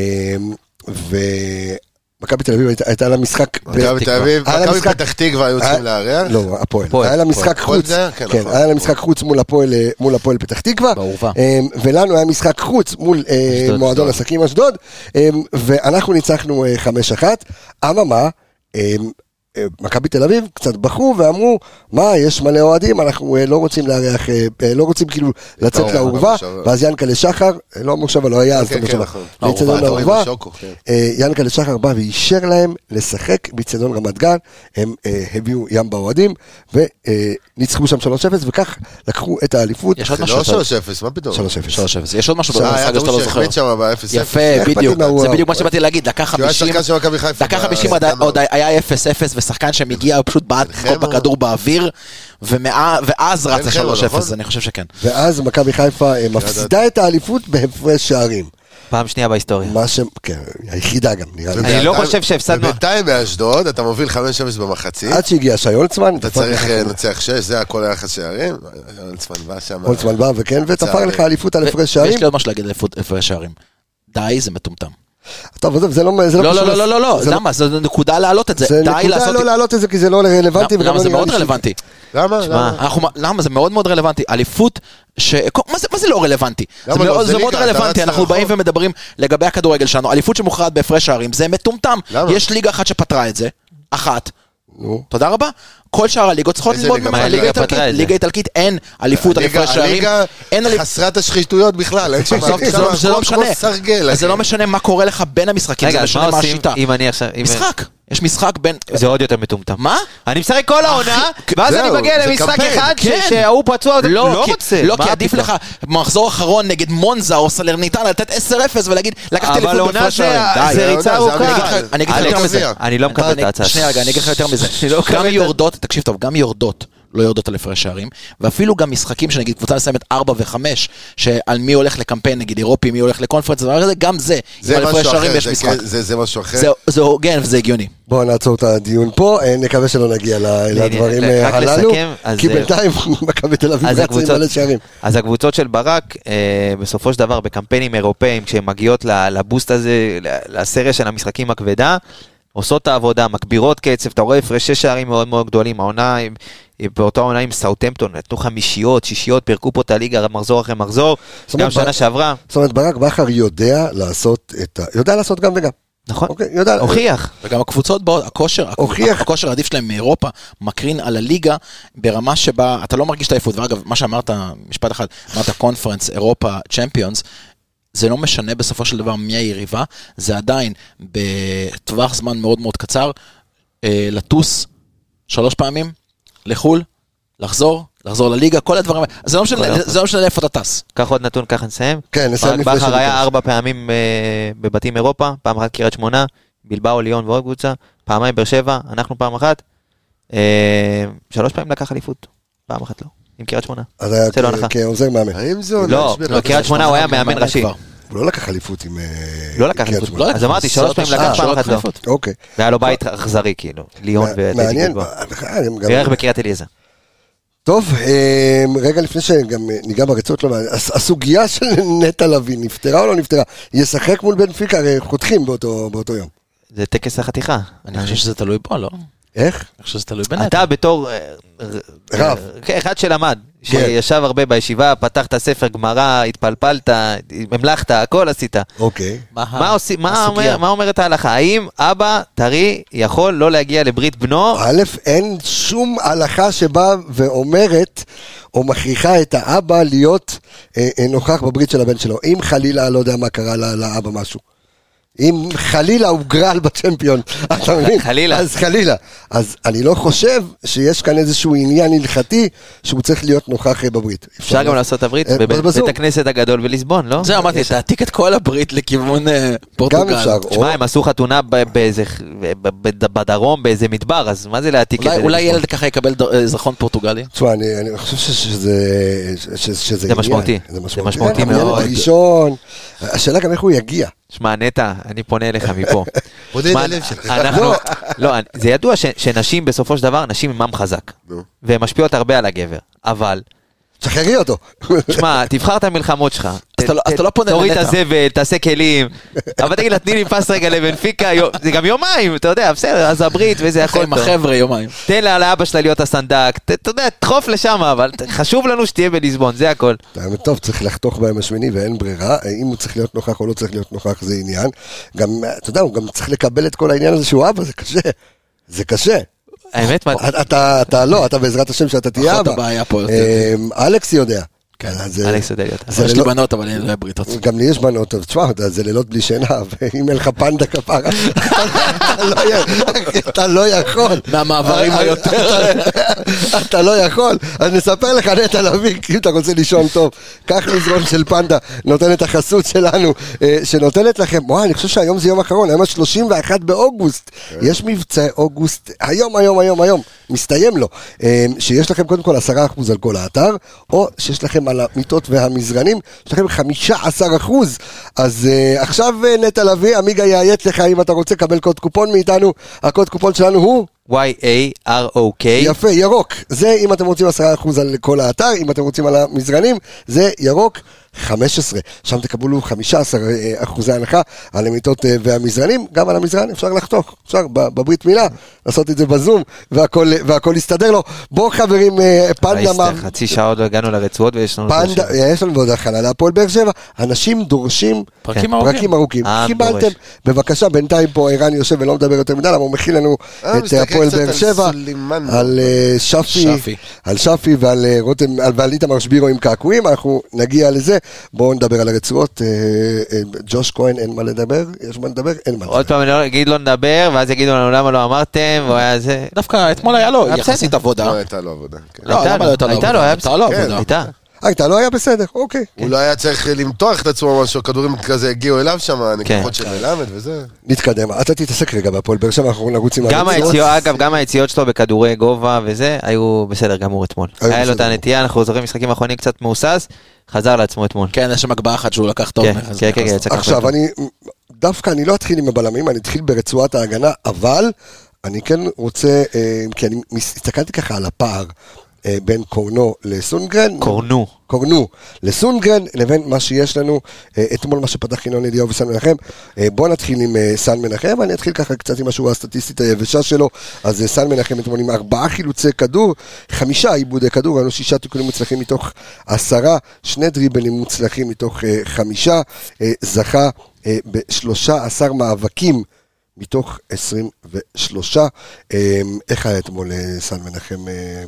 [SPEAKER 1] ומכבי תל אביב הייתה- הייתה לה משחק... ב-
[SPEAKER 4] מכבי תל אביב,
[SPEAKER 1] היה לה
[SPEAKER 4] מכבי
[SPEAKER 1] משחק-
[SPEAKER 4] פתח תקווה היו צריכים לארח.
[SPEAKER 1] לא, הפועל.
[SPEAKER 6] הפועל,
[SPEAKER 1] היה לה משחק
[SPEAKER 4] הפועל
[SPEAKER 1] חוץ.
[SPEAKER 4] זה היה? כן,
[SPEAKER 1] כן,
[SPEAKER 4] נכון.
[SPEAKER 1] היה לה משחק חוץ מול הפועל, אה, מול הפועל פתח תקווה.
[SPEAKER 5] באורווה.
[SPEAKER 1] אמ, ולנו היה משחק חוץ מול אה,
[SPEAKER 6] אשדוד,
[SPEAKER 1] מועדון
[SPEAKER 6] אשדוד.
[SPEAKER 1] עסקים אשדוד. אמ, ואנחנו ניצחנו אה, 5-1. אממה, אמ, אה, מכבי תל אביב קצת בכו ואמרו, מה, יש מלא אוהדים, אנחנו אה, לא רוצים לארח, אה, אה, לא רוצים כאילו לצאת
[SPEAKER 4] האורווה,
[SPEAKER 1] לאורווה,
[SPEAKER 4] במושבה.
[SPEAKER 1] ואז ינקלה שחר, אה, לא המושבה, לא היה אז את
[SPEAKER 4] לא, כן, כן,
[SPEAKER 1] המושבה,
[SPEAKER 4] נכון.
[SPEAKER 1] לאיצטדיון
[SPEAKER 4] האורווה,
[SPEAKER 1] האורווה,
[SPEAKER 4] בשוקו, כן.
[SPEAKER 1] אה, ינקלה שחר בא ואישר להם לשחק באיצטדיון רמת גן, הם אה, הביאו ים באוהדים, וניצחו שם 3-0, וכך לקחו את האליפות.
[SPEAKER 5] יש עוד
[SPEAKER 4] זה
[SPEAKER 5] משהו.
[SPEAKER 4] לא
[SPEAKER 5] אתה-
[SPEAKER 4] 3-0, מה פתאום?
[SPEAKER 1] 3-0.
[SPEAKER 5] 3-0. יש עוד משהו
[SPEAKER 4] אה, היה
[SPEAKER 5] במשחק
[SPEAKER 4] טעות
[SPEAKER 5] שאתה לא זוכר.
[SPEAKER 4] שהחמיץ שם ב-0-0.
[SPEAKER 5] יפה,
[SPEAKER 1] איך
[SPEAKER 5] בדיוק.
[SPEAKER 1] פתאום הוא-
[SPEAKER 5] זה בדיוק מה שבאתי להגיד, דקה
[SPEAKER 4] כי הוא היה
[SPEAKER 5] 50.
[SPEAKER 4] שחקן של מכבי חיפה.
[SPEAKER 5] דקה
[SPEAKER 4] ב-
[SPEAKER 5] 50 עד-
[SPEAKER 4] סתם
[SPEAKER 5] עוד
[SPEAKER 4] לא.
[SPEAKER 5] היה 0-0 ושחקן שמגיע פשוט בעט
[SPEAKER 4] חמו.
[SPEAKER 5] בכדור באוויר ומאה- ואז רץ
[SPEAKER 4] בן חמו,
[SPEAKER 5] ה-3-0
[SPEAKER 4] נכון?
[SPEAKER 5] אני חושב שכן.
[SPEAKER 1] ואז מכבי חיפה אה, מפסידה את האליפות בהפרש שערים.
[SPEAKER 6] פעם שנייה בהיסטוריה.
[SPEAKER 1] מה ש... כן, היחידה גם, נראה לי.
[SPEAKER 6] אני לא
[SPEAKER 4] ובינתיים-
[SPEAKER 6] חושב שהפסדנו.
[SPEAKER 4] ובינתיים באשדוד, אתה מוביל 5-0 במחצית,
[SPEAKER 1] עד שהגיע שי הולצמן,
[SPEAKER 4] אתה
[SPEAKER 1] דפק
[SPEAKER 4] צריך
[SPEAKER 1] לך-
[SPEAKER 4] אה, לנצח 6, זה הכל היחס שערים. הולצמן בא שם.
[SPEAKER 1] הולצמן בא וכן, ותפר
[SPEAKER 4] צערי.
[SPEAKER 1] לך אליפות על הפרש
[SPEAKER 5] ו-
[SPEAKER 1] שערים.
[SPEAKER 5] ויש לי עוד משהו להגיד על הפוד- איפה השערים. די, זה מטומטם.
[SPEAKER 1] טוב, עזוב, זה לא... זה
[SPEAKER 5] לא,
[SPEAKER 1] קשור
[SPEAKER 5] לא,
[SPEAKER 1] לס-
[SPEAKER 5] לא, לא, לא,
[SPEAKER 1] זה
[SPEAKER 5] למה? זו נקודה להעלות את זה.
[SPEAKER 1] זה
[SPEAKER 5] די
[SPEAKER 1] נקודה
[SPEAKER 5] לעשות...
[SPEAKER 1] לא להעלות את זה כי זה לא רלוונטי. וגם
[SPEAKER 5] למה
[SPEAKER 1] לא
[SPEAKER 5] זה
[SPEAKER 1] נראה
[SPEAKER 5] מאוד
[SPEAKER 1] לי ש-
[SPEAKER 5] רלוונטי?
[SPEAKER 4] למה? למה?
[SPEAKER 5] אנחנו, למה זה מאוד מאוד רלוונטי, אליפות, ש... מה, זה, מה זה לא רלוונטי? זה,
[SPEAKER 4] למה לא?
[SPEAKER 5] מאוד,
[SPEAKER 4] זה
[SPEAKER 5] זה, מאוד
[SPEAKER 4] ליגה, אתה
[SPEAKER 5] רלוונטי,
[SPEAKER 4] רץ
[SPEAKER 5] אנחנו
[SPEAKER 4] לרחוב.
[SPEAKER 5] באים ומדברים לגבי הכדורגל שלנו, אליפות שמוכרעת בהפרש שערים, זה מטומטם.
[SPEAKER 4] למה?
[SPEAKER 5] יש ליגה אחת שפתרה את זה, אחת.
[SPEAKER 1] נו.
[SPEAKER 5] תודה רבה. כל שאר הליגות צריכות
[SPEAKER 4] איזה
[SPEAKER 5] ללמוד
[SPEAKER 4] ליגה?
[SPEAKER 5] ממנה.
[SPEAKER 4] מה,
[SPEAKER 5] ליגה
[SPEAKER 4] הליגה
[SPEAKER 5] איטלקית,
[SPEAKER 6] פתרה את זה?
[SPEAKER 5] ליגה איטלקית אין אליפות על
[SPEAKER 4] הליגה-
[SPEAKER 5] הפרש שערים.
[SPEAKER 4] הליגה
[SPEAKER 5] אין אליפות.
[SPEAKER 4] חסרת השחיתויות בכלל, אין שם-
[SPEAKER 5] עזוב, זה לא- זה לא
[SPEAKER 4] כמו- כמו
[SPEAKER 5] משנה.
[SPEAKER 4] סרגל.
[SPEAKER 5] אז זה
[SPEAKER 4] אחי.
[SPEAKER 5] לא משנה מה קורה לך בין המשחקים, זה
[SPEAKER 6] רגע, אז מה
[SPEAKER 5] משנה מה
[SPEAKER 6] עושים
[SPEAKER 5] השיטה.
[SPEAKER 6] אם אני עכשיו... אם-
[SPEAKER 5] משחק. יש משחק בין...
[SPEAKER 6] זה עוד יותר מטומטם.
[SPEAKER 5] מה?
[SPEAKER 6] אני משחק כל העונה, ואז
[SPEAKER 4] זהו,
[SPEAKER 6] אני מגיע
[SPEAKER 4] זה
[SPEAKER 6] למשחק
[SPEAKER 4] קמפיין,
[SPEAKER 6] אחד ש-
[SPEAKER 5] כן.
[SPEAKER 6] שההוא פצוע,
[SPEAKER 5] לא,
[SPEAKER 6] לא
[SPEAKER 5] כי-
[SPEAKER 6] רוצה.
[SPEAKER 5] לא,
[SPEAKER 6] מה
[SPEAKER 5] כי עדיף
[SPEAKER 6] הפתאום?
[SPEAKER 5] לך מחזור אחרון נגד מונזה או סלרניטן לתת 10-0 ולהגיד, לקחתי
[SPEAKER 6] אבל
[SPEAKER 5] אליפות
[SPEAKER 6] עונה
[SPEAKER 5] בפרש
[SPEAKER 6] זה
[SPEAKER 5] שערים. די.
[SPEAKER 6] זה
[SPEAKER 4] העונה,
[SPEAKER 6] ריצה
[SPEAKER 4] זה
[SPEAKER 5] אני
[SPEAKER 6] ארוכה.
[SPEAKER 5] אגיד לך- אני אגיד לך
[SPEAKER 4] אלכס,
[SPEAKER 5] יותר מזה.
[SPEAKER 4] גביע.
[SPEAKER 6] אני לא מקבל את
[SPEAKER 5] אני-
[SPEAKER 6] ההצעה.
[SPEAKER 5] שנייה רגע, אני אגיד לך יותר מזה.
[SPEAKER 6] אני לא מקבל
[SPEAKER 5] גם
[SPEAKER 6] את-
[SPEAKER 5] יורדות, תקשיב טוב, גם יורדות לא יורדות על הפרש שערים, ואפילו גם משחקים שנגיד קבוצה מסיימת 4 ו-5, שעל מי הולך לקמפיין, נגיד אירופי, מי הולך לקונפרנס, הדבר הזה, גם זה,
[SPEAKER 4] זה
[SPEAKER 5] אם על הפרש
[SPEAKER 4] משהו
[SPEAKER 5] שערים
[SPEAKER 4] אחר,
[SPEAKER 5] יש
[SPEAKER 4] זה
[SPEAKER 5] משחק.
[SPEAKER 4] כן- זה זה משהו אחר.
[SPEAKER 5] זה- זה הוגן וזה הגיוני.
[SPEAKER 1] בואו נעצור את הדיון פה, אה, נקווה שלא נגיע ל- לדברים אה,
[SPEAKER 6] רק
[SPEAKER 1] הללו,
[SPEAKER 6] לסכם, אז,
[SPEAKER 1] כי
[SPEAKER 6] אה,
[SPEAKER 1] בינתיים מכבי תל אביב
[SPEAKER 6] אז
[SPEAKER 1] מייצרים
[SPEAKER 6] הקבוצות-
[SPEAKER 1] מלא שערים.
[SPEAKER 6] אז הקבוצות של ברק, אה, בסופו של דבר, בקמפיינים אירופאיים, כשהן מגיעות ל- לבוסט הזה, ל- לסריה של המשחקים הכבדה, עושות את העבודה, מגבירות קצב, אתה רואה הפרשי שערים מאוד מאוד גדולים, העונה, עם- עם- באותה עונה עם סאוטמפטון, נתנו חמישיות, שישיות, פירקו פה את הליגה מחזור אחרי מחזור,
[SPEAKER 1] זאת אומרת,
[SPEAKER 6] גם שנה
[SPEAKER 1] ב-
[SPEAKER 6] שעברה,
[SPEAKER 1] זאת אומרת, ברק בכר יודע לעשות את ה... יודע לעשות גם וגם.
[SPEAKER 5] אה,
[SPEAKER 6] נכון,
[SPEAKER 1] אוקיי, יודע...
[SPEAKER 6] הוכיח.
[SPEAKER 5] וגם הקבוצות באות, הכושר,
[SPEAKER 1] הוכיח.
[SPEAKER 5] הכושר העדיף שלהם מאירופה, מקרין על הליגה ברמה שבה אתה לא מרגיש את העייפות. ואגב, מה שאמרת, משפט אחד, אמרת קונפרנס, אירופה, צ'מפיונס, זה לא משנה בסופו של דבר מי היריבה, זה עדיין בטווח זמן מאוד מאוד קצר, אה, לטוס שלוש פעמים לחו"ל, לחזור, לחזור לליגה, כל הדברים האלה, זה לא משנה- זה לא משנה לאיפה אתה טס.
[SPEAKER 6] קח עוד נתון, ככה נסיים.
[SPEAKER 1] כן, נסיים
[SPEAKER 6] ברק
[SPEAKER 1] לפני
[SPEAKER 6] בכר
[SPEAKER 1] שניכנס.
[SPEAKER 6] היה ארבע פעמים אה, בבתים אירופה, פעם אחת קריית שמונה, בלבאו, ליון ועוד קבוצה, פעמיים באר שבע, אנחנו פעם אחת. אה, שלוש פעמים לקח אליפות, פעם אחת לא, עם קריית שמונה.
[SPEAKER 1] אז היה
[SPEAKER 6] זה לא הנחה.
[SPEAKER 1] כ- כעוזר מאמן.
[SPEAKER 4] האם זה עונה
[SPEAKER 6] לא,
[SPEAKER 4] שביעית?
[SPEAKER 6] לא, קריית שמונה הוא היה מאמן
[SPEAKER 5] מאמן
[SPEAKER 6] ראשי.
[SPEAKER 5] כבר.
[SPEAKER 1] הוא לא לקח אליפות עם... אה,
[SPEAKER 6] לא לקח
[SPEAKER 1] קריית
[SPEAKER 6] אליפות,
[SPEAKER 1] שמונה.
[SPEAKER 6] לא אז אמרתי, שלוש פעמים לקח, פעם אחת לא.
[SPEAKER 1] אוקיי.
[SPEAKER 6] והיה לו בית אכזרי כאילו, ליון
[SPEAKER 1] מע-
[SPEAKER 6] ואתלטי
[SPEAKER 1] מעניין.
[SPEAKER 6] בלבאו.
[SPEAKER 1] אה, הם גם-
[SPEAKER 6] בערך בקריית אליעזר.
[SPEAKER 1] טוב, אה, רגע לפני שגם אה, ניגע ברצועות, לא, הס- הסוגיה של נטע לביא, נפתרה או לא נפתרה? ישחק מול בנפיקה, הרי חותכים באותו באותו יום.
[SPEAKER 6] זה טקס החתיכה.
[SPEAKER 5] אני חושב שזה תלוי בו, לא? אני
[SPEAKER 1] איך?
[SPEAKER 5] חושב שזה תלוי בנטע.
[SPEAKER 6] אתה בתור... אה,
[SPEAKER 1] רב.
[SPEAKER 6] אה, כן, אחד שלמד, שישב הרבה בישיבה, פתח את הספר גמרא, התפלפלת, המלכת, הכל עשית.
[SPEAKER 1] אוקיי.
[SPEAKER 6] מה, עושים, מה,
[SPEAKER 5] אה, הסוגיה?
[SPEAKER 6] אומר, מה אומרת ההלכה? האם אבא טרי יכול לא להגיע לברית בנו?
[SPEAKER 1] א', אין שום הלכה שבאה ואומרת או מכריחה את האבא להיות אה, אה, נוכח בברית של הבן שלו. אם חלילה, לא יודע מה קרה ל- לאבא משהו. אם חלילה הוא גרל בצ'מפיון, אתה מבין?
[SPEAKER 6] חלילה.
[SPEAKER 1] אז חלילה. אז אני לא חושב שיש כאן איזשהו עניין הלכתי שהוא צריך להיות נוכח אה, בברית.
[SPEAKER 6] אפשר גם לעשות את הברית
[SPEAKER 1] אה,
[SPEAKER 6] בב-
[SPEAKER 1] בזום.
[SPEAKER 6] בבית הכנסת הגדול בליסבון, לא?
[SPEAKER 5] זהו, אמרתי, תעתיק את כל הברית לכיוון אה, פורטוגל.
[SPEAKER 1] גם אפשר.
[SPEAKER 6] תשמע, הם עשו חתונה ב- באיזה, ח- ב- ב- בדרום, באיזה מדבר, אז מה זה להעתיק את
[SPEAKER 5] אולי-
[SPEAKER 6] זה?
[SPEAKER 5] אולי
[SPEAKER 6] לליסבון?
[SPEAKER 5] ילד ככה יקבל ד- אה, אזרחון פורטוגלי.
[SPEAKER 1] תשמע, אני, אני חושב ש- שזה, ש- ש- שזה עניין.
[SPEAKER 6] משמעותי.
[SPEAKER 1] זה
[SPEAKER 6] זה
[SPEAKER 1] משמעותי.
[SPEAKER 6] משמעותי
[SPEAKER 1] גם הילד
[SPEAKER 6] מאוד.
[SPEAKER 1] הראשון. השאלה גם איך הוא יגיע.
[SPEAKER 6] שמע, נטע, אני פונה אליך מפה.
[SPEAKER 4] פונה אל
[SPEAKER 6] שמע,
[SPEAKER 4] הלב שלך.
[SPEAKER 6] אנחנו, לא, אני- זה ידוע ש- שנשים בסופו של דבר, נשים עם עם חזק.
[SPEAKER 4] נו.
[SPEAKER 6] והן משפיעות הרבה על הגבר. אבל,
[SPEAKER 1] שחררי אותו.
[SPEAKER 6] תשמע, תבחר את המלחמות שלך.
[SPEAKER 5] אז אתה לא- אז אתה לא פונה
[SPEAKER 6] תוריד את
[SPEAKER 5] לנטע.
[SPEAKER 6] הזבל, תעשה כלים. אבל תגיד לה, תני לי פס רגע לבנפיקה, יו- זה גם יומיים, אתה יודע, בסדר, אז הברית וזה הכל
[SPEAKER 5] עם
[SPEAKER 6] טוב.
[SPEAKER 5] החבר'ה יומיים.
[SPEAKER 6] תן לה לאבא שלה להיות הסנדק, ת- אתה יודע, תדחוף לשם, אבל ת- חשוב לנו שתהיה בליסבון, זה הכל.
[SPEAKER 1] האמת, טוב, צריך לחתוך בהם השמיני ואין ברירה, אם הוא צריך להיות נוכח או לא צריך להיות נוכח זה עניין. גם, אתה יודע, הוא גם צריך לקבל את כל העניין הזה שהוא אבא, זה קשה. זה קשה.
[SPEAKER 6] האמת, מה-
[SPEAKER 1] אתה- אתה, אתה לא, אתה בעזרת השם שאתה תהיה
[SPEAKER 5] פחות
[SPEAKER 1] אבא.
[SPEAKER 5] הבעיה פה יותר.
[SPEAKER 1] אמ, אלכס יודע. כן, אז זה-
[SPEAKER 6] אלכס יודע להיות.
[SPEAKER 1] זה
[SPEAKER 5] יש לי
[SPEAKER 1] ללא-
[SPEAKER 5] בנות, אבל אין לי בריתות.
[SPEAKER 1] גם לי יש בנות, טוב, תשמע, אתה- זה לילות בלי שינה, ואם אין לך פנדה כפרה, אתה לא י- אתה לא יכול. אה,
[SPEAKER 5] מהמעברים היותר.
[SPEAKER 1] אתה- אתה לא יכול. אז נספר לך נטע לביא, אם אתה רוצה לישון טוב. קח מזרון של פנדה, נותן את החסות שלנו, אה, שנותנת לכם, וואי, אני חושב שהיום זה יום אחרון, היום ה-31 באוגוסט. יש מבצע אוגוסט, היום, היום, היום, היום, מסתיים לו. אה, שיש לכם קודם כל 10% על כל האתר, או שיש לכם על המיטות והמזרנים, יש לכם 15%. אז אה, עכשיו אה, נטע לביא, עמיגה יאיית לך, אם אתה רוצה, קבל קוד קופון מאיתנו. הקוד קופון שלנו הוא?
[SPEAKER 6] Y-A-R-O-K.
[SPEAKER 1] יפה, ירוק. זה אם אתם רוצים 10% על כל האתר, אם אתם רוצים על המזרנים, זה ירוק 15. שם תקבלו 15 אה, אחוזי הנחה על המיטות אה, והמזרנים, גם על המזרן אפשר לחתוך, אפשר ב- בברית מילה, לעשות את זה בזום, והכל, אה, והכל יסתדר לו. בואו חברים, אה, פנדה
[SPEAKER 6] אייסטר,
[SPEAKER 1] אמר...
[SPEAKER 6] חצי שעה עוד לא הגענו לרצועות ויש לנו...
[SPEAKER 1] פנדה, יש לנו עוד הכנה להפועל באר שבע, אנשים דורשים
[SPEAKER 5] פרקים ארוכים.
[SPEAKER 1] פרקים ארוכים.
[SPEAKER 6] העם
[SPEAKER 1] קיבלתם,
[SPEAKER 6] כן. אה, דורש.
[SPEAKER 1] בבקשה, בינתיים פה ערן יושב ולא מדבר יותר מדי, למה הוא מכין לנו
[SPEAKER 4] אה,
[SPEAKER 1] את
[SPEAKER 4] מסתכל
[SPEAKER 1] הפועל
[SPEAKER 4] קצת
[SPEAKER 1] באר
[SPEAKER 4] על
[SPEAKER 1] שבע,
[SPEAKER 4] סולימאן.
[SPEAKER 1] על אה, שפי,
[SPEAKER 5] שפי.
[SPEAKER 1] על שפי ועל אה, רותם, על- ועל איתמר שבירו עם קעקועים, אנחנו נגיע לזה, בואו נדבר על הרצועות, אה, אה, ג'וש כהן אין מה לדבר, יש מה לדבר, אין מה
[SPEAKER 6] עוד
[SPEAKER 1] לדבר.
[SPEAKER 6] פעם אני לא אגיד לא נדבר, ואז יגידו לנו למה לא אמרתם, והוא היה זה...
[SPEAKER 5] דווקא אתמול היה לו
[SPEAKER 6] אה, בסדר.
[SPEAKER 5] יחסית עבודה.
[SPEAKER 4] לא הייתה לו עבודה. כן.
[SPEAKER 5] לא, למה לא הייתה לו
[SPEAKER 6] הייתה
[SPEAKER 1] לא
[SPEAKER 5] עבודה? הייתה
[SPEAKER 6] לו, היה
[SPEAKER 5] לו
[SPEAKER 6] בסדר.
[SPEAKER 5] עבודה.
[SPEAKER 6] הייתה.
[SPEAKER 1] אה, אתה לא היה בסדר, אוקיי.
[SPEAKER 4] הוא לא היה צריך למתוח את עצמו משהו, הכדורים כזה הגיעו אליו שם,
[SPEAKER 6] כן.
[SPEAKER 4] הנקחות
[SPEAKER 1] כן.
[SPEAKER 4] של מלמד וזה.
[SPEAKER 1] נתקדם, אתה תתעסק רגע בהפועל באר שבע, אנחנו נרוץ עם
[SPEAKER 6] גם
[SPEAKER 1] הביצועות.
[SPEAKER 6] היציאות, אגב, גם היציאות שלו בכדורי גובה וזה, היו בסדר גמור אתמול.
[SPEAKER 1] היו
[SPEAKER 6] היה לו את
[SPEAKER 1] בסדר
[SPEAKER 6] הנטייה, אנחנו זוכרים משחקים אחרונים קצת מהוסס, חזר לעצמו אתמול.
[SPEAKER 5] כן, יש שם הגבהה אחת שהוא לקח טוב.
[SPEAKER 6] כן, כן, כן, כן, צקח
[SPEAKER 1] עכשיו,
[SPEAKER 6] אותו.
[SPEAKER 1] אני, דווקא אני לא אתחיל עם הבלמים, אני אתחיל ברצועת ההגנה, אבל אני כן רוצה, אה, כי אני מס- הסתכלתי ככה על הפער אה, בין קורנו לסונגרן.
[SPEAKER 6] קורנו.
[SPEAKER 1] קורנו לסונגרן לבין מה שיש לנו אה, אתמול מה שפתח ינון אליהו וסן מנחם. אה, בוא נתחיל עם אה, סן מנחם, אני אתחיל ככה קצת עם השורה הסטטיסטית היבשה שלו. אז אה, סן מנחם אתמול עם ארבעה חילוצי כדור, חמישה עיבודי כדור, היו שישה תיקונים מוצלחים מתוך עשרה, שני דריבלים מוצלחים מתוך אה, חמישה, אה, זכה אה, ב-13 מאבקים. מתוך 23, אה, איך היה אתמול אה, סן מנחם אה,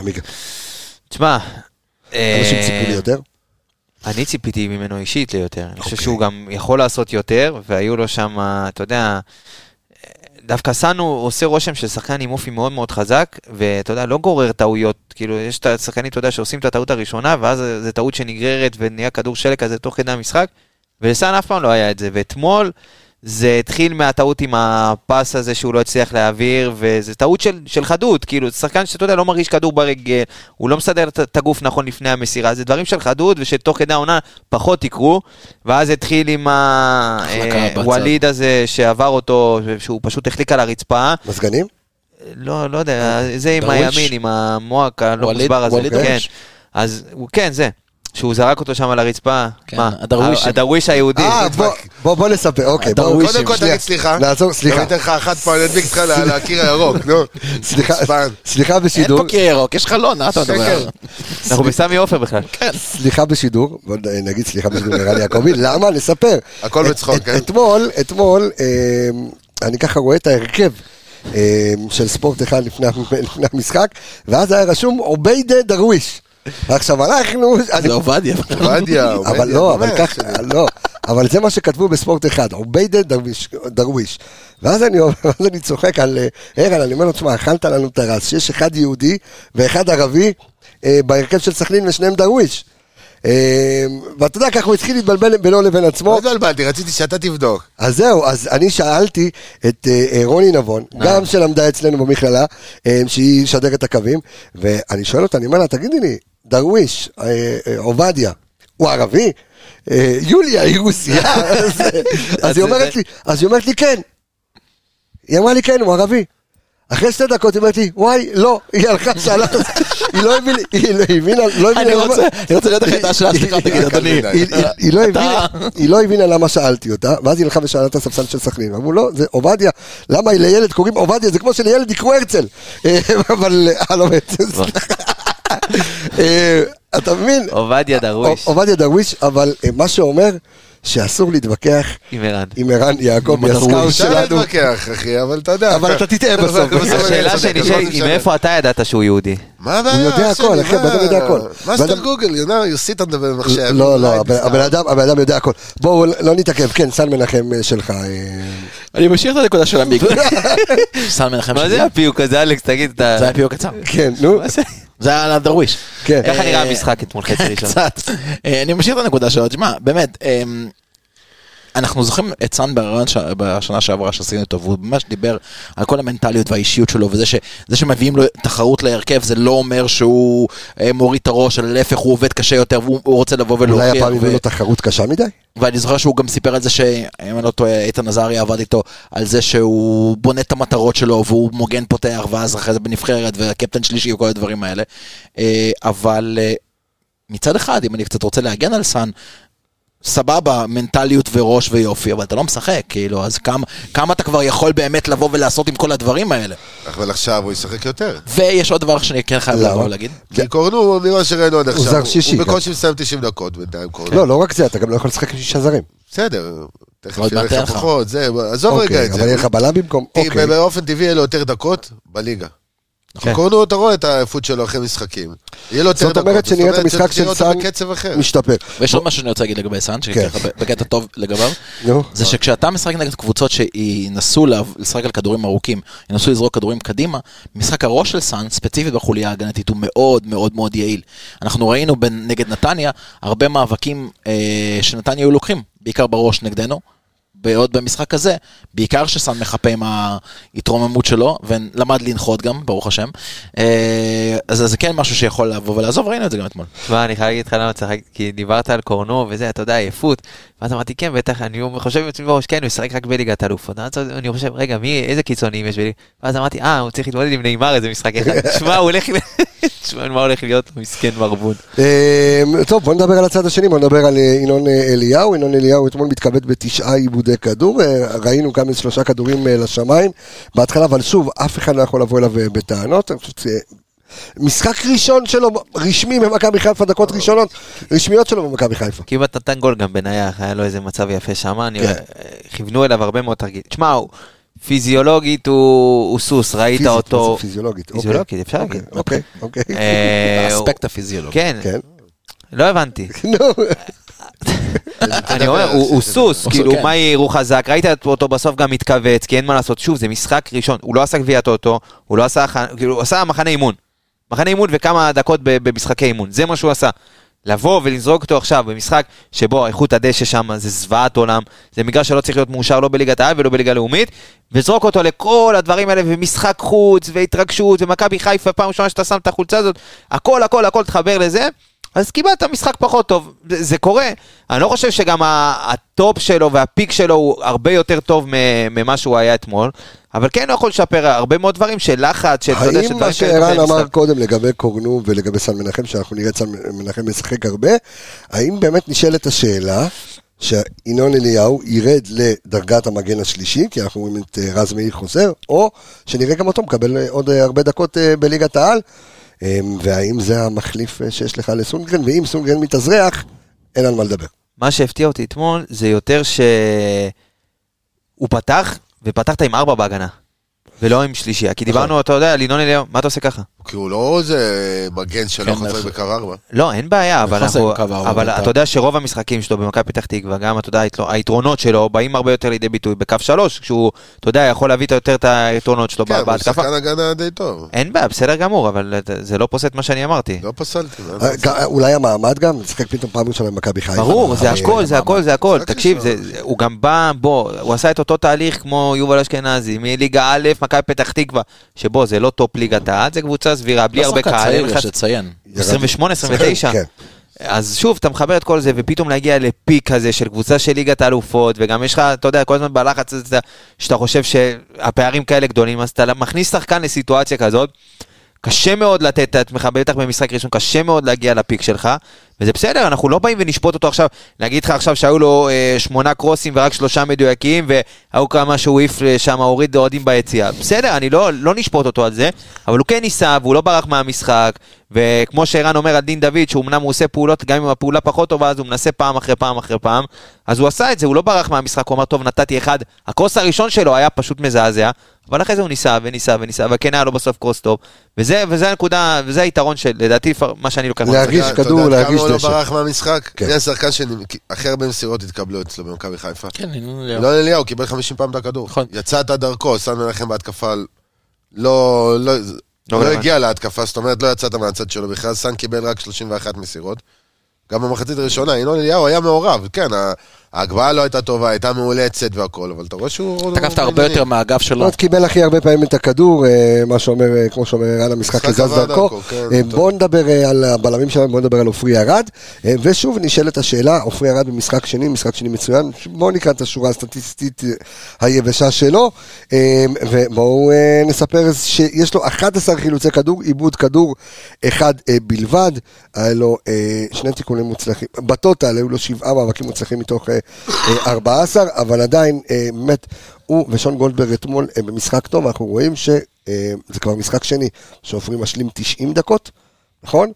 [SPEAKER 1] עמיגה?
[SPEAKER 6] תשמע,
[SPEAKER 1] אנשים
[SPEAKER 6] אה,
[SPEAKER 1] ציפו לי יותר? אוקיי.
[SPEAKER 6] אני ציפיתי ממנו אישית ליותר. אני חושב שהוא גם יכול לעשות יותר, והיו לו שם, אתה יודע, דווקא סאן הוא עושה רושם של שחקן עם אופי מאוד מאוד חזק, ואתה יודע, לא גורר טעויות. כאילו, יש את השחקנים, אתה יודע, שעושים את הטעות הראשונה, ואז זו טעות שנגררת ונהיה כדור שלג כזה תוך כדי המשחק, ולסאן אף פעם לא היה את זה. ואתמול זה התחיל מהטעות עם הפס הזה שהוא לא הצליח להעביר, וזו טעות של, של חדות, כאילו, זה שחקן שאתה יודע, לא מרגיש כדור ברגל, הוא לא מסדר את- את הגוף נכון לפני המסירה, זה דברים של חדות, ושתוך כדי העונה פחות יקרו, ואז התחיל עם ה...
[SPEAKER 5] החלקה
[SPEAKER 6] אה,
[SPEAKER 5] בצד.
[SPEAKER 6] ווליד היחיד הזה שעבר אותו, שהוא פשוט החליק על הרצפה,
[SPEAKER 1] מזגנים?
[SPEAKER 6] לא, לא יודע, זה עם
[SPEAKER 5] דרוויש?
[SPEAKER 6] הימין, עם המועק הלא
[SPEAKER 5] ווליד-
[SPEAKER 6] מוסבר הזה,
[SPEAKER 5] ווליד
[SPEAKER 6] כן.
[SPEAKER 5] דרוויש?
[SPEAKER 6] אז, הוא- כן, זה. שהוא זרק אותו שם על הרצפה,
[SPEAKER 5] כן,
[SPEAKER 6] מה?
[SPEAKER 5] הדרוויש.
[SPEAKER 6] הדרוויש היהודי.
[SPEAKER 1] אה, בוא- בוא בוא נספר, אוקיי. בוא-
[SPEAKER 5] הדרווישים.
[SPEAKER 1] קודם כל תגיד
[SPEAKER 4] סליחה.
[SPEAKER 1] נעזור,
[SPEAKER 4] אני
[SPEAKER 1] סליחה. לא,
[SPEAKER 4] אתן לך אחת פעם, אני אדביק אותך על הקיר הירוק, נו.
[SPEAKER 1] סליחה,
[SPEAKER 4] חוצפן.
[SPEAKER 1] סליחה
[SPEAKER 5] אין פה
[SPEAKER 1] בשידור,
[SPEAKER 5] קיר ירוק, יש חלון, מה אתה
[SPEAKER 6] כן,
[SPEAKER 5] מדבר?
[SPEAKER 4] שקר.
[SPEAKER 6] אנחנו בסמי עופר בכלל.
[SPEAKER 1] סליחה בשידור, בוא נ- נגיד סליחה בשידור נראה לי יעקבי, למה? נספר.
[SPEAKER 4] הכל
[SPEAKER 1] את-
[SPEAKER 4] בצחוק,
[SPEAKER 1] את-
[SPEAKER 4] כן?
[SPEAKER 1] אתמול, אתמול, אמ, אני ככה רואה את ההרכב אמ, של ספורט אחד לפני ה- לפני המשחק, ואז היה רשום עוביידה דרוויש. עכשיו אנחנו, אני-
[SPEAKER 5] זה עובדיה.
[SPEAKER 4] עובדיה, עובדיה.
[SPEAKER 1] אבל לא,
[SPEAKER 4] באמת,
[SPEAKER 1] אבל ככה,
[SPEAKER 4] שלי.
[SPEAKER 1] לא. אבל זה מה שכתבו בספורט אחד, עוביידה דרוויש- דרוויש. ואז אני אומר- ואז אני צוחק על אה, ערן, אני אומר לו, תשמע, אכלת לנו את הרס, שיש אחד יהודי ואחד ערבי אה, בהרכב של סכנין ושניהם דרוויש. אה, ואתה יודע, ככה הוא התחיל להתבלבל בינו לבין עצמו.
[SPEAKER 4] לא התבלבלתי, רציתי שאתה תבדוק.
[SPEAKER 1] אז זהו, אז אני שאלתי את אה, אה, רוני נבון, גם שלמדה אצלנו במכללה, אה, שהיא משדרת את הקווים, ואני שואל אותה, אני אומר לה, תגידי לי, דרוויש, אה, אה, עובדיה, הוא ערבי? אה, יוליה היא רוסייה. אז- אז היא אומרת לי, אז היא אומרת לי, כן. היא אמרה לי, כן, הוא ערבי. אחרי שתי דקות היא אומרת לי, וואי, לא, היא הלכה, שאלה, היא לא הבינה, היא לא הבינה, לא הבינה.
[SPEAKER 5] אני
[SPEAKER 1] למה-
[SPEAKER 5] רוצה, אני רוצה לראות לך את ההשאלה שלך, תגיד, אדוני.
[SPEAKER 4] די.
[SPEAKER 1] היא- היא- היא לא
[SPEAKER 5] אתה-
[SPEAKER 1] הבינה- היא לא הבינה למה שאלתי אותה, ואז היא הלכה ושאלה את הספסל של סכנין. אמרו, לא, זה עובדיה, למה לילד קוראים עובדיה? זה כמו שלילד יקראו הרצל. אה, אבל, אה, לא בעצם, סליחה. אה, אתה מבין?
[SPEAKER 6] עובדיה דרוויש.
[SPEAKER 1] עובדיה דרוויש, אבל אה, מה שאומר, שאסור להתווכח
[SPEAKER 6] עם ערן.
[SPEAKER 1] עם ערן יעקבי, הסקאוט
[SPEAKER 4] אפשר
[SPEAKER 1] שלנו.
[SPEAKER 4] להתווכח, אחי, אבל אתה יודע.
[SPEAKER 1] אבל אתה תטעה בסוף.
[SPEAKER 6] השאלה שנשאלת היא, מאיפה אתה ידעת שהוא יהודי?
[SPEAKER 4] מה הבעיה?
[SPEAKER 1] הוא יודע
[SPEAKER 4] שלי,
[SPEAKER 1] הכל, אחי,
[SPEAKER 4] מה?
[SPEAKER 1] הבן אדם יודע הכל. בן
[SPEAKER 4] מאסטר
[SPEAKER 1] אדם-
[SPEAKER 4] גוגל, you know, you sit on the מחשב.
[SPEAKER 1] לא, לא,
[SPEAKER 4] Right,
[SPEAKER 1] הבן
[SPEAKER 4] it's
[SPEAKER 1] הבן
[SPEAKER 4] not.
[SPEAKER 1] אדם הבן אדם יודע הכל. בואו, לא נתעכב, כן, סן מנחם אה, שלך. אה,
[SPEAKER 5] אני משאיר את הנקודה של עמיגה. סן מנחם
[SPEAKER 6] מה
[SPEAKER 5] שלי.
[SPEAKER 6] זה הפיוק הזה, אלכס, תגיד, אתה...
[SPEAKER 5] זה היה פיור קצר.
[SPEAKER 1] כן, נו.
[SPEAKER 5] מה זה? זה היה על הדרוויש.
[SPEAKER 1] כן.
[SPEAKER 5] אה,
[SPEAKER 6] ככה נראה המשחק אתמול, חצי ראשון.
[SPEAKER 5] קצת. אה, אני משאיר את הנקודה שלו, תשמע, באמת, אמ, אנחנו זוכרים את סאן ברעיון ש- בשנה שעברה שעשינו אותו, והוא ממש דיבר על כל המנטליות והאישיות שלו, וזה ש, זה שמביאים לו תחרות להרכב, זה לא אומר שהוא אה, מוריד את הראש, אלא להפך, הוא עובד קשה יותר, והוא הוא לא רוצה לבוא
[SPEAKER 1] אולי
[SPEAKER 5] ולהוכיח.
[SPEAKER 1] הפעם לא
[SPEAKER 5] ו-
[SPEAKER 1] הביאו לו תחרות קשה מדי?
[SPEAKER 5] ואני זוכר שהוא גם סיפר על זה שאם אני לא טועה, איתן עזריה עבד איתו על זה שהוא בונה את המטרות שלו והוא מוגן פותח ואז אחרי זה בנבחרת והקפטן שלישי וכל הדברים האלה. אה, אבל אה, מצד אחד, אם אני קצת רוצה להגן על סאן, סבבה, מנטליות וראש ויופי, אבל אתה לא משחק, כאילו, אז כמה, כמה אתה כבר יכול באמת לבוא ולעשות עם כל הדברים האלה?
[SPEAKER 4] אבל עכשיו הוא ישחק יותר.
[SPEAKER 5] ויש עוד דבר שאני כן חייב
[SPEAKER 1] למה?
[SPEAKER 5] לבוא ולהגיד.
[SPEAKER 4] כי קורנו, ממה שראינו עד עכשיו,
[SPEAKER 1] זר כן. שישי,
[SPEAKER 4] הוא
[SPEAKER 1] גם.
[SPEAKER 4] בקושי מסיים 90 דקות בינתיים קורנו.
[SPEAKER 1] לא, לא רק זה, אתה גם לא יכול לשחק עם שישה זרים.
[SPEAKER 4] בסדר, תכף
[SPEAKER 5] עוד
[SPEAKER 4] יהיה
[SPEAKER 5] מעט יהיה
[SPEAKER 4] לך
[SPEAKER 5] לך.
[SPEAKER 4] פחות, זה, עזוב רגע
[SPEAKER 1] אוקיי,
[SPEAKER 4] את
[SPEAKER 1] אבל יהיה
[SPEAKER 4] זה.
[SPEAKER 1] לך בלם במקום,
[SPEAKER 4] כי
[SPEAKER 1] אוקיי. נכון.
[SPEAKER 4] באופן טבעי יהיה לו יותר דקות בליגה. כי קורנו, אתה רואה את העייפות שלו אחרי משחקים. יהיה לו יותר
[SPEAKER 1] זאת
[SPEAKER 4] דקות.
[SPEAKER 1] אומרת שנראה את המשחק של
[SPEAKER 4] נראה
[SPEAKER 1] סאן
[SPEAKER 4] אותו בקצב אחר.
[SPEAKER 1] משתפר.
[SPEAKER 5] ויש עוד משהו שאני רוצה להגיד לגבי סאן, שאני
[SPEAKER 1] כן.
[SPEAKER 5] אתן לך בקטע טוב לגביו,
[SPEAKER 1] נו.
[SPEAKER 5] זה שכשאתה משחק נגד קבוצות שינסו לה- לשחק על כדורים ארוכים, ינסו לזרוק כדורים קדימה, משחק הראש של סאן, ספציפית בחוליה ההגנתית, הוא מאוד מאוד מאוד יעיל. אנחנו ראינו בין- נגד נתניה הרבה מאבקים אה, שנתניה היו לוקחים, בעיקר בראש נגדנו. בעוד במשחק הזה, בעיקר שסאן מחפה עם ההתרוממות שלו, ולמד לנחות גם, ברוך השם. אה, אז אז זה כן משהו שיכול לבוא ולעזוב, ראינו את זה גם אתמול.
[SPEAKER 6] תשמע, אני חייב להגיד לך למה צחק, כי דיברת על קורנו וזה, אתה יודע, עייפות. ואז אמרתי, כן, בטח, אני חושב עם עצמי בראש, כן, הוא ישחק רק בליגת אלופות. ואז אני חושב, רגע, מי, איזה קיצוניים יש בליגת... ואז אמרתי, אה, הוא צריך להתמודד עם נאמר איזה משחק אחד. תשמע, הוא הולך... תשמע, מה הולך להיות? מסכן מרבון.
[SPEAKER 1] אמ, טוב, בוא נדבר על הצד השני, בוא נדבר על אה, ינון אה, אליהו. ינון אליהו אתמול מתכבד בתשעה עיבודי כדור, אה, ראינו גם שלושה כדורים אה, לשמיים בהתחלה, אבל שוב, אף אחד לא יכול לבוא אליו אה, בטענות. אני חושב שזה משחק ראשון שלו, רשמי במכבי חיפה, דקות ראשונות, רשמיות שלו במכבי חיפה.
[SPEAKER 6] כמעט נתן גול גם בנייח, היה לו איזה מצב יפה שם, אני- אה,
[SPEAKER 1] כן.
[SPEAKER 6] כיוונו אליו הרבה מאוד תרגיל. תשמע, הוא- פיזיולוגית הוא הוא סוס, ראית
[SPEAKER 1] פיזית,
[SPEAKER 6] אותו...
[SPEAKER 1] מה זה פיזיולוגית, אוקיי.
[SPEAKER 6] פיזיולוגית, אפשר
[SPEAKER 1] אוקיי,
[SPEAKER 6] להגיד.
[SPEAKER 1] אוקיי, אוקיי.
[SPEAKER 6] אה, הוא-
[SPEAKER 5] האספקט הפיזיולוגי.
[SPEAKER 6] כן,
[SPEAKER 1] כן.
[SPEAKER 6] לא הבנתי.
[SPEAKER 1] נו,
[SPEAKER 6] אני אומר, הוא הוא סוס,
[SPEAKER 5] הוא
[SPEAKER 6] כאילו,
[SPEAKER 5] סוס, כן.
[SPEAKER 6] מה יהיה, הוא חזק, ראית אותו בסוף גם מתכווץ, כי אין מה לעשות. שוב, זה משחק ראשון, הוא לא עשה גביע טוטו, הוא לא עשה, הכנה- כאילו, הוא עשה מחנה אימון. מחנה אימון וכמה דקות ב- במשחקי אימון, זה מה שהוא עשה. לבוא ולזרוק אותו עכשיו במשחק שבו איכות הדשא שם זה זוועת עולם, זה מגרש שלא צריך להיות מאושר לא בליגת העל ולא בליגה לאומית, וזרוק אותו לכל הדברים האלה, ומשחק חוץ, והתרגשות, ומכבי חיפה, פעם ראשונה שאתה שם את החולצה הזאת, הכל הכל הכל תחבר לזה, אז קיבלת משחק פחות טוב, זה, זה קורה. אני לא חושב שגם ה- הטופ שלו והפיק שלו הוא הרבה יותר טוב מ- ממה שהוא היה אתמול, אבל כן הוא יכול לשפר הרבה מאוד דברים של לחץ, של... אתה יודע,
[SPEAKER 1] האם
[SPEAKER 6] שדברים
[SPEAKER 1] מה
[SPEAKER 6] כאלה
[SPEAKER 1] שערן
[SPEAKER 6] תוך כדי
[SPEAKER 1] אמר
[SPEAKER 6] משחק.
[SPEAKER 1] קודם לגבי קורנו ולגבי סן מנחם, שאנחנו נראה את סן מנחם משחק הרבה, האם באמת נשאלת השאלה שינון אליהו ירד לדרגת המגן השלישי, כי אנחנו רואים את אה, רז מאיר חוזר, או שנראה גם אותו מקבל אה, עוד אה, הרבה דקות אה, בליגת העל, אה, והאם זה המחליף אה, שיש לך לסונגרן, ואם סונגרן מתאזרח, אין על מה לדבר.
[SPEAKER 6] מה שהפתיע אותי אתמול זה יותר ש... הוא פתח, ופתחת עם ארבע בהגנה, ולא עם שלישייה,
[SPEAKER 1] נכון.
[SPEAKER 6] כי דיברנו, אתה יודע, על ינון אליהו, מה אתה עושה ככה?
[SPEAKER 4] כי הוא לא איזה מגן שלא
[SPEAKER 5] כן,
[SPEAKER 4] חוזר
[SPEAKER 5] נכון.
[SPEAKER 4] בקו ארבע.
[SPEAKER 6] לא, אין בעיה, אבל,
[SPEAKER 5] נכנס
[SPEAKER 6] אנחנו,
[SPEAKER 5] עם קו ארבע,
[SPEAKER 6] אבל
[SPEAKER 5] אתה-
[SPEAKER 6] אתה יודע שרוב המשחקים שלו במכבי פתח תקווה, גם, אתה יודע, היתל- היתרונות שלו באים הרבה יותר לידי ביטוי בקו שלוש, כשהוא, אתה יודע, יכול להביא יותר את היתרונות שלו
[SPEAKER 4] כן, הוא
[SPEAKER 6] בהתקפה.
[SPEAKER 4] שחקן הגנה די טוב.
[SPEAKER 1] אה.
[SPEAKER 6] אין בעיה, בסדר גמור, אבל זה לא פוסט מה שאני אמרתי.
[SPEAKER 4] לא פסלתי. לא
[SPEAKER 1] אה, ג- אולי המעמד גם, משחק פתאום פעם ראשונה במכבי חיפה.
[SPEAKER 6] ברור, זה
[SPEAKER 1] אה,
[SPEAKER 6] הכל, זה הכל, זה הכל.
[SPEAKER 4] רק
[SPEAKER 6] תקשיב,
[SPEAKER 4] לשאול.
[SPEAKER 6] זה- זה- הוא גם בא, בוא, הוא עשה את אותו תהליך כמו יובל אשכנזי, מליגה א', מכבי פתח תקווה, שבו זה לא טופ ליגת העל, זה קבוצה סבירה, בלי
[SPEAKER 5] לא
[SPEAKER 6] הרבה
[SPEAKER 5] שחקן
[SPEAKER 6] קהל.
[SPEAKER 5] צעיר,
[SPEAKER 6] אין לך-
[SPEAKER 5] יש לציין.
[SPEAKER 6] 28, 29.
[SPEAKER 1] כן.
[SPEAKER 6] אז שוב, אתה מחבר את כל זה, ופתאום להגיע לפיק כזה של קבוצה של ליגת האלופות, וגם יש לך, אתה יודע, כל הזמן בלחץ הזה, שאתה חושב שהפערים כאלה גדולים, אז אתה מכניס שחקן לסיטואציה כזאת, קשה מאוד לתת את עצמך, בטח במשחק ראשון, קשה מאוד להגיע לפיק שלך, וזה בסדר, אנחנו לא באים ונשפוט אותו עכשיו, נגיד לך עכשיו שהיו לו אה, שמונה קרוסים ורק שלושה מדויקים, והיו כמה שהוא העיף אה, שם, הוריד אוהדים ביציאה. בסדר, אני לא, לא נשפוט אותו על זה, אבל הוא כן ניסה, והוא לא ברח מהמשחק, וכמו שערן אומר על דין דוד, שאומנם הוא עושה פעולות, גם אם הפעולה פחות טובה, אז הוא מנסה פעם אחרי פעם אחרי פעם, אז הוא עשה את זה, הוא לא ברח מהמשחק, הוא אמר, טוב, נתתי אחד. הקרוס הראשון שלו היה פשוט מזעזע, אבל אחרי זה הוא ניסה וניסה וניסה, אבל כן היה לו בסוף קרוס טוב. וזה, וזה הנקודה, וזה היתרון של, לדעתי, לפ- מה שאני לוקח. מהמשחק.
[SPEAKER 1] להרגיש
[SPEAKER 4] אתה יודע
[SPEAKER 1] כדור,
[SPEAKER 4] כמה
[SPEAKER 1] להרגיש
[SPEAKER 4] הוא לא
[SPEAKER 1] דשא.
[SPEAKER 4] ברח מהמשחק?
[SPEAKER 1] כן.
[SPEAKER 4] זה השחקן שהכי הרבה מסירות התקבלו אצלו במכבי חיפה.
[SPEAKER 5] כן,
[SPEAKER 4] ינון אליהו לא קיבל 50 פעם את הכדור.
[SPEAKER 5] נכון.
[SPEAKER 4] יצאת דרכו, סן מנחם בהתקפה, על- לא, לא, לא
[SPEAKER 6] רלוונטי.
[SPEAKER 4] הגיע להתקפה, זאת אומרת, לא יצאת מהצד שלו בכלל, סן קיבל רק 31 מסירות. גם במחצית הראשונה, ינון אליהו היה מעורב, כן, ה- ההגבהה לא הייתה טובה, הייתה מאולצת והכל, אבל אתה רואה שהוא...
[SPEAKER 5] תקפת הרבה יותר מהגב שלו.
[SPEAKER 1] עוד קיבל הכי הרבה פעמים את הכדור, אה, מה שאומר, אה, כמו שאומר ערן, המשחק
[SPEAKER 4] משחק
[SPEAKER 1] כזז
[SPEAKER 4] עבר
[SPEAKER 1] דרכו.
[SPEAKER 4] דרכו, כן,
[SPEAKER 1] אה,
[SPEAKER 4] טוב.
[SPEAKER 1] בואו נדבר אה, על הבלמים שלנו, בואו נדבר על עופרי ארד. אה, ושוב נשאלת השאלה, עופרי ארד במשחק שני, משחק שני מצוין, בואו נקרא את השורה הסטטיסטית אה, היבשה שלו, אה, ובואו אה, נספר שיש לו 11 חילוצי כדור, עיבוד כדור אחד אה, בלבד, היה לו אה, שני תיקונים מוצלחים, בטוטל היו לו שבעה מאבקים מוצלחים מתוך אה, אה, 14, אבל עדיין, אה, באמת, הוא ושון גולדברג אתמול אה, במשחק טוב, אנחנו רואים ש... אה, זה כבר משחק שני, שעופרי משלים 90 דקות, נכון?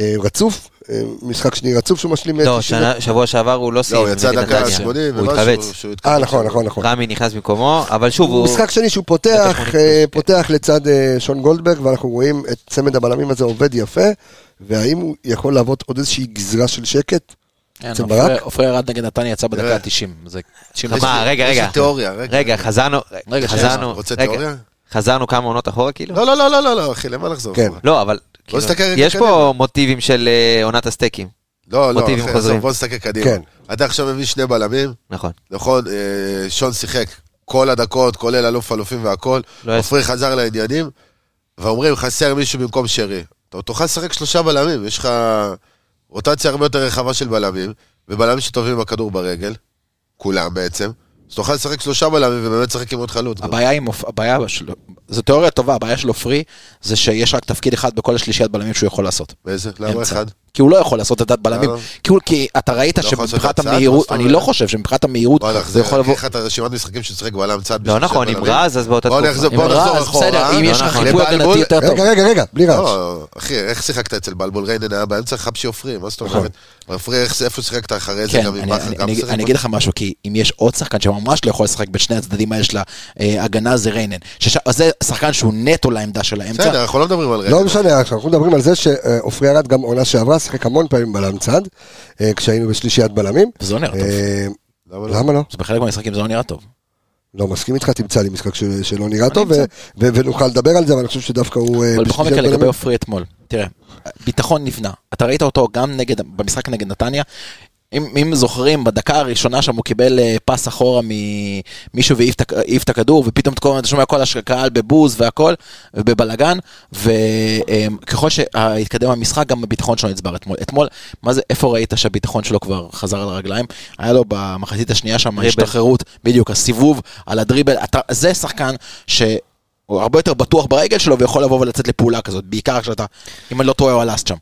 [SPEAKER 1] אה, רצוף, אה, משחק שני רצוף שהוא משלים אה,
[SPEAKER 6] לא,
[SPEAKER 1] 90.
[SPEAKER 6] שנה- שבוע שעבר הוא לא סיים.
[SPEAKER 4] לא, הוא יצא
[SPEAKER 6] נגד
[SPEAKER 4] דקה
[SPEAKER 6] נתניה.
[SPEAKER 4] 80
[SPEAKER 6] הוא
[SPEAKER 4] ומשהו,
[SPEAKER 6] התכווץ.
[SPEAKER 4] שהוא
[SPEAKER 1] אה,
[SPEAKER 4] התכווץ.
[SPEAKER 1] נכון, נכון, נכון.
[SPEAKER 6] רמי נכנס במקומו, אבל שוב, הוא...
[SPEAKER 1] משחק שני שהוא פותח,
[SPEAKER 6] דקה
[SPEAKER 1] אה, פותח לצד אה, שון גולדברג, ואנחנו רואים את צמד הבלמים הזה עובד יפה, והאם הוא יכול להוות עוד איזושהי גזרה של שקט?
[SPEAKER 5] כן,
[SPEAKER 1] אצל
[SPEAKER 5] עופרי-
[SPEAKER 1] ברק?
[SPEAKER 5] עופרי ירד נגד נתניה, יצא בדקה
[SPEAKER 4] תראה.
[SPEAKER 5] ה-90. זה 90
[SPEAKER 4] יש
[SPEAKER 6] מה,
[SPEAKER 4] לי-
[SPEAKER 6] רגע,
[SPEAKER 4] יש לי
[SPEAKER 6] רגע.
[SPEAKER 4] תיאוריה, רגע.
[SPEAKER 6] רגע, חזרנו,
[SPEAKER 5] רגע, שנייה,
[SPEAKER 6] חזרנו,
[SPEAKER 4] רוצה
[SPEAKER 6] רגע,
[SPEAKER 4] תיאוריה?
[SPEAKER 6] חזרנו כמה עונות אחורה כאילו?
[SPEAKER 4] לא, לא, לא, לא, לא, לא, אחי, למה לחזור?
[SPEAKER 1] כן.
[SPEAKER 4] אחורה?
[SPEAKER 6] לא, אבל כאילו,
[SPEAKER 4] נסתכל רגע
[SPEAKER 6] יש פה
[SPEAKER 4] קדימה.
[SPEAKER 6] מוטיבים של אה, עונת הסטייקים,
[SPEAKER 4] לא, לא,
[SPEAKER 6] מוטיבים
[SPEAKER 4] אחי,
[SPEAKER 6] חוזרים.
[SPEAKER 4] עזוב, בוא נסתכל קדימה.
[SPEAKER 1] כן.
[SPEAKER 4] אתה עכשיו מביא שני בלמים,
[SPEAKER 6] נכון.
[SPEAKER 4] נכון, אה, שון שיחק כל הדקות, כולל אלוף אלופים והכל.
[SPEAKER 6] לא היה-
[SPEAKER 4] עופרי חזר לעניינים, ואומרים, חסר מישהו במקום שרי. אתה תוכל לשחק שלושה בלמים, יש לך רוטציה הרבה יותר רחבה של בלמים, ובלמים שטובים עם הכדור ברגל, כולם בעצם, אז תוכל לשחק שלושה בלמים ובאמת לשחק עם עוד חלוץ.
[SPEAKER 5] הבעיה עם עופ- הבעיה של... זו תיאוריה טובה, הבעיה של עופרי זה שיש רק תפקיד אחד בכל השלישיית בלמים שהוא יכול לעשות.
[SPEAKER 4] באיזה? למה
[SPEAKER 5] אמצע.
[SPEAKER 4] אחד?
[SPEAKER 5] כי הוא לא יכול לעשות עדת בלמים.
[SPEAKER 4] למה?
[SPEAKER 5] כי הוא- כי אתה ראית
[SPEAKER 4] יכול לעשות
[SPEAKER 5] שמבחינת
[SPEAKER 4] הצעת, מה
[SPEAKER 5] המהירות,
[SPEAKER 4] זאת
[SPEAKER 5] אני
[SPEAKER 4] אומרת?
[SPEAKER 5] לא חושב שמבחינת המהירות
[SPEAKER 4] וואלכ,
[SPEAKER 5] זה יכול לבוא...
[SPEAKER 4] לך את הרשימת משחקים שצחק בלם צד.
[SPEAKER 6] לא
[SPEAKER 4] בשביל
[SPEAKER 6] נכון,
[SPEAKER 4] שני
[SPEAKER 6] עם
[SPEAKER 4] בלמים.
[SPEAKER 6] רז אז באותה
[SPEAKER 4] בוא
[SPEAKER 6] תקופה.
[SPEAKER 4] נחזור,
[SPEAKER 5] עם
[SPEAKER 4] בוא נחזור
[SPEAKER 5] רז,
[SPEAKER 4] אחורה.
[SPEAKER 5] בסדר, אם יש לך
[SPEAKER 4] נכון.
[SPEAKER 5] חיפוי
[SPEAKER 4] לבלבול-
[SPEAKER 5] הגנתי יותר לא, טוב.
[SPEAKER 1] רגע, רגע, רגע, בלי רעש.
[SPEAKER 4] לא, אחי, איך שיחקת אצל בלבול ריינן היה באמצע חפשי עופרי, מה זאת אומרת? עופרי, איך- איפה שיחקת אחרי זה
[SPEAKER 5] נכון. כן,
[SPEAKER 4] גם עם
[SPEAKER 5] אני-
[SPEAKER 4] בכר?
[SPEAKER 5] אני-
[SPEAKER 4] גם
[SPEAKER 5] אני-
[SPEAKER 4] שיחק
[SPEAKER 5] אני
[SPEAKER 4] בו?
[SPEAKER 5] אגיד לך משהו, כי אם יש עוד שחקן שממש לא יכול לשחק בין שני הצדדים האלה של ההגנה זה ריינן. שש- זה שחקן שהוא נטו לעמדה של
[SPEAKER 4] בסדר,
[SPEAKER 5] האמצע.
[SPEAKER 4] אנחנו לא מדברים על ריינן.
[SPEAKER 1] לא משנה, אנחנו מדברים על זה שעופרי ארד גם עונה שעברה, שיחק המון פעמים בלם צד, אה, כשהיינו בשלישיית בלמים.
[SPEAKER 5] זה לא נראה טוב.
[SPEAKER 1] אה,
[SPEAKER 4] למה לא?
[SPEAKER 1] למה לא?
[SPEAKER 5] אז בחלק מהמשחקים זה לא נראה טוב.
[SPEAKER 1] לא, מסכים איתך, תמצא לי משחק של- שלא נראה טוב,
[SPEAKER 5] אמצא.
[SPEAKER 1] ו- ו- ונוכל לדבר על זה, אבל אני חושב שדווקא הוא... אה,
[SPEAKER 5] אבל בכל
[SPEAKER 1] בשלישיית
[SPEAKER 5] מקרה לגבי
[SPEAKER 1] בלמים-
[SPEAKER 5] עופרי אתמול, תראה, ביטחון נבנה. אתה ראית אותו גם נגד, במשחק נגד נתניה. אם, אם זוכרים, בדקה הראשונה שם הוא קיבל אה, פס אחורה ממישהו והעיף את הכ- העיף את הכדור, ופתאום אתה כל- אתה שומע כל הקהל בבוז והכל, ובבלאגן, וככל שהתקדם המשחק, גם הביטחון שלו נצבר אתמול. אתמול, מה זה, איפה ראית שהביטחון שלו כבר חזר על הרגליים? היה לו במחצית השנייה שם
[SPEAKER 6] דריבל.
[SPEAKER 5] השתחררות, בדיוק, הסיבוב על הדריבל, אתה, זה שחקן ש... הוא הרבה יותר בטוח ברגל שלו ויכול לבוא ולצאת לפעולה כזאת, בעיקר כשאתה, אם אני לא טועה, הוא הלאסט שם.